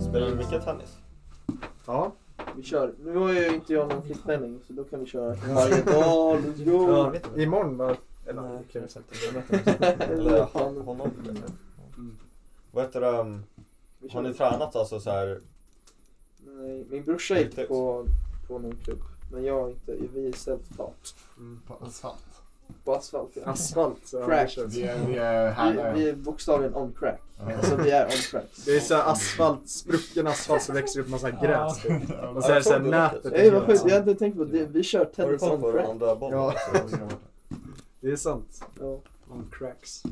Spelar du mycket tennis? Ja. Vi kör. Nu har ju inte jag någon flickvänning så då kan vi köra varje dag. Let's go! Imorgon bara... Eller Nej, kan jag Eller han, honom? Vad heter det? um, Har ni tränat alltså så här? Nej, min brorsa gick på, på någon klubb. Men jag har inte, vi är self-taught. På asfalt. På asfalt ja. Asfalt, så crack. det känns- Vi Vi är, vi, är- vi Alltså, är är härliga. vi är bokstavligen on crack. Ja. Alltså vi är on crack. Det är så här asfalt, sprucken asfalt som växer upp massa gräs. Ja. Och så är det så här nätet. Ey vad sjukt, jag hade inte tänkt på det. Vi kör tennis on crack. Ja. Det är sant. On cracks.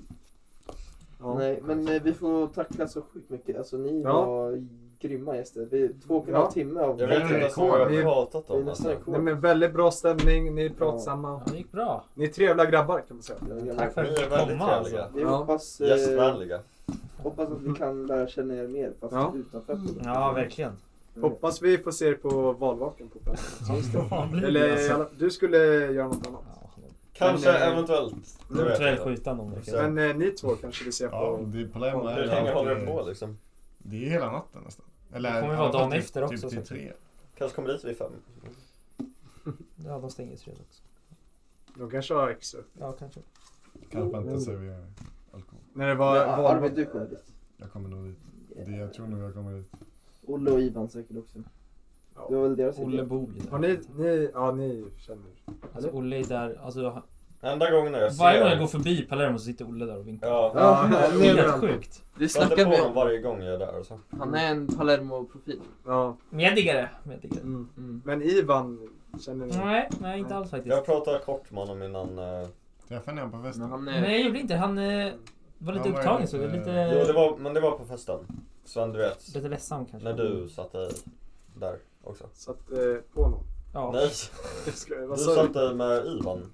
Ja. Nej, men eh, vi får tacka så sjukt mycket. Alltså ni Ja. var grymma gäster. Vi, två och en Ja. halv timme av... Ni- Det är nästan rekord. Nej, men väldigt bra stämning, ni är pratsamma. Ja, det gick bra. Ni är trevliga grabbar kan man säga. Tack för att Ni är väldigt komma, trevliga. alltså. Vi Ja. Mm. hoppas, eh, Gästvänliga. hoppas att vi kan lära känna er mer fast Ja. Mm. utanför. Ja, verkligen. Mm. Hoppas vi får se er på valvakan på Pelle. Eller i alla- du skulle göra något annat. Kanske, Men, eh, eventuellt. Det vet jag Eventuellt inte. skjuta någon. verkligen. Men eh, ni två kanske vi ser på... Ja, det är på Lemma. Hur länge håller det på liksom? Det är hela natten nästan. Eller Det kommer i vara alla fall dagen typ- efter också, Typ till säkert. tre. Kanske kommer dit vid fem. Ja, de stänger tre också. De kanske har extra. Ja, kanske. Kanske man inte serverar alkohol. När det var Ja, valvak- Arvid, du kommer dit. Jag kommer nog dit. Det, jag tror nog jag kommer dit. Olle och Ivan säkert också. Det var väl deras idé. Har ni, ni, ja ni känner. Alltså Olle är där, alltså... han- Enda gången när jag ser Varje gång jag er- går förbi Palermo så sitter Olle där och vinkar. Ja. det är helt sjukt. Vi snackar på honom varje gång jag är där. Alltså. Han är en Palermo-profil. Ja. Mm. Medigare. Medigare. Men Ivan känner ni? Nej, nej inte alls faktiskt. Jag pratade kort med honom innan... eh, Träffade ni honom på festen? Nej, jag gjorde inte Han eh, var lite Han var upptagen ju så. det var lite- Lite... Jo, det var, men det var på festen. Sven, du vet. Lite ledsam kanske. När du satte dig där också. Satt eh, på någon? Ja. Nej. Jag skojar, Du vad sa satt du? dig med Ivan.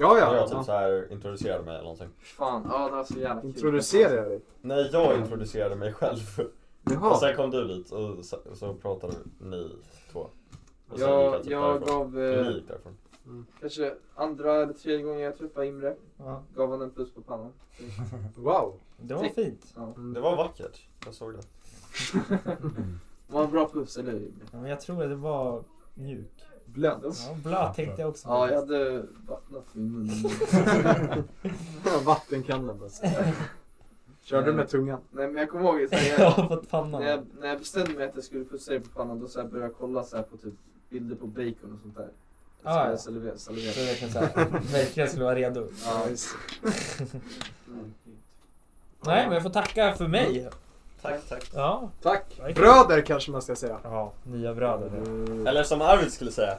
Ja, ja. När Jag typ Ja. så här introducerade mig eller någonting. Fan, ja det var så jävla kul. Introducerade jag dig? Nej, jag introducerade mig själv. Jaha. Och sen kom du dit och så, så pratade ni två. Och sen Jag- gick typ jag därifrån. gav, Eller eh, Ni gick därifrån. Kanske andra eller tredje gången jag träffade Imre. Ja. Gav han en puss på pannan. Wow. Det var fint. Ja. Det var vackert. Jag såg det. Var en bra puss, eller hur Imre? Ja, men jag tror att det var mjuk. Blöt. Ja, blöt tänkte jag också. Ja, jag hade vattnat min mun. Vattenkannan bara. Körde du med tungan? Eh, Nej men jag kommer ihåg att när Jag har fått pannan. när, jag, när jag bestämde mig att jag skulle pussa dig på pannan då så här började jag kolla så här på typ bilder på bacon och sånt där. Ah, Ah, ja. så jag salivera. Så verkligen så här, verkligen skulle vara redo. Ja, just Nej, men jag får tacka för mig. Tack, tack. Ja. Tack. Verkligen. Bröder kanske man ska säga. Ja, nya bröder. Mm. Eller som Arvid skulle säga.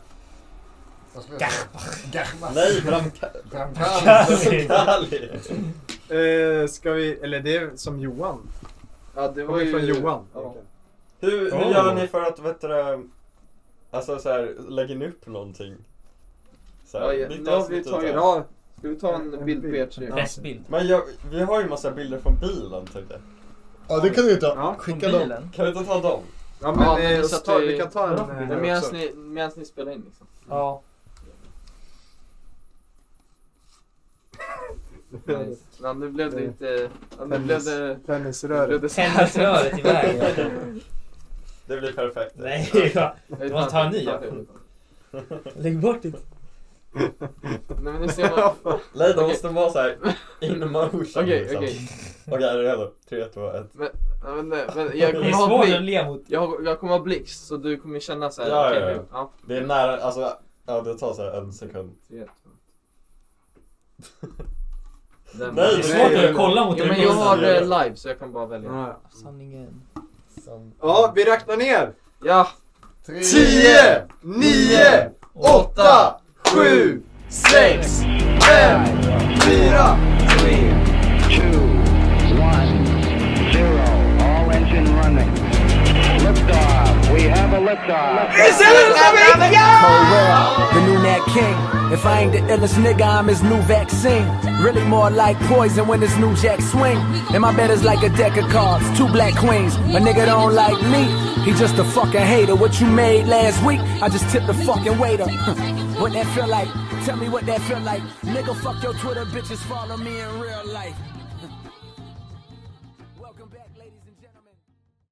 Gahmas. Nej, Bramka- Bramkali. Eh, ska vi, eller det är som Johan. Ja, det Kommer från Johan. Hur, hur Oh. gör ni för att, vet du, det, alltså så här, lägger ni upp någonting? Så här, Ja, ja, mitt nu har vi avsnitt tagit... utav- Ja. Ska vi ta en bild på er tre? Men jag, vi har ju massa bilder från bilen tänkte jag. Ja, det kan du ju ta. Från Skicka dem. bilen? Kan vi inte ta dem? Ja men, eh, vi så satt tar- ju- vi kan ta en, Ja, eh, men här medans också. ni, medans ni spelar in liksom. Ja. Nice. Ja, nu blev det inte... Ja, nu blev det... Tennisröret. nu blev det- Tennisröret i vägen. Det blir perfekt. Nej, va? du måste ta en ny. ja. Lägg bort ditt. Nej men nu ser man... Nej, de Okej. måste vara så här in motion. Okej, liksom. okej. Okej, är du redo? Tre, två, ett. Men, ja, men, nej, men Det är jag kommer svårt ha att blick. le mot. Jag, jag kommer ha blixt så du kommer känna så här. Ja, okej, ja, nu- ja. Det är nära, alltså, ja det tar så här en sekund. Tre, Den- Nej, det är svårt att kolla mot ja, den men jag bilden. har eh, live så jag kan bara välja. Ja. Sanningen. Ja, vi räknar ner. Ja. Tio, nio, åtta, sju, sex, fem, fyra, tre, two, one, zero. All engine running. Liftoff. We have a liftoff. It's Elizabeth, Cold world, Oh, the new Nat King. If I ain't the illest nigga, I'm his new vaccine. Really more like poison when this new jack swing. And my bed is like a deck of cards, two black queens. A nigga don't like me, he just a fucking hater. What you made last week, I just tipped the fucking waiter. what that feel like? Tell me what that feel like. Nigga, fuck your Twitter bitches, follow me in real life.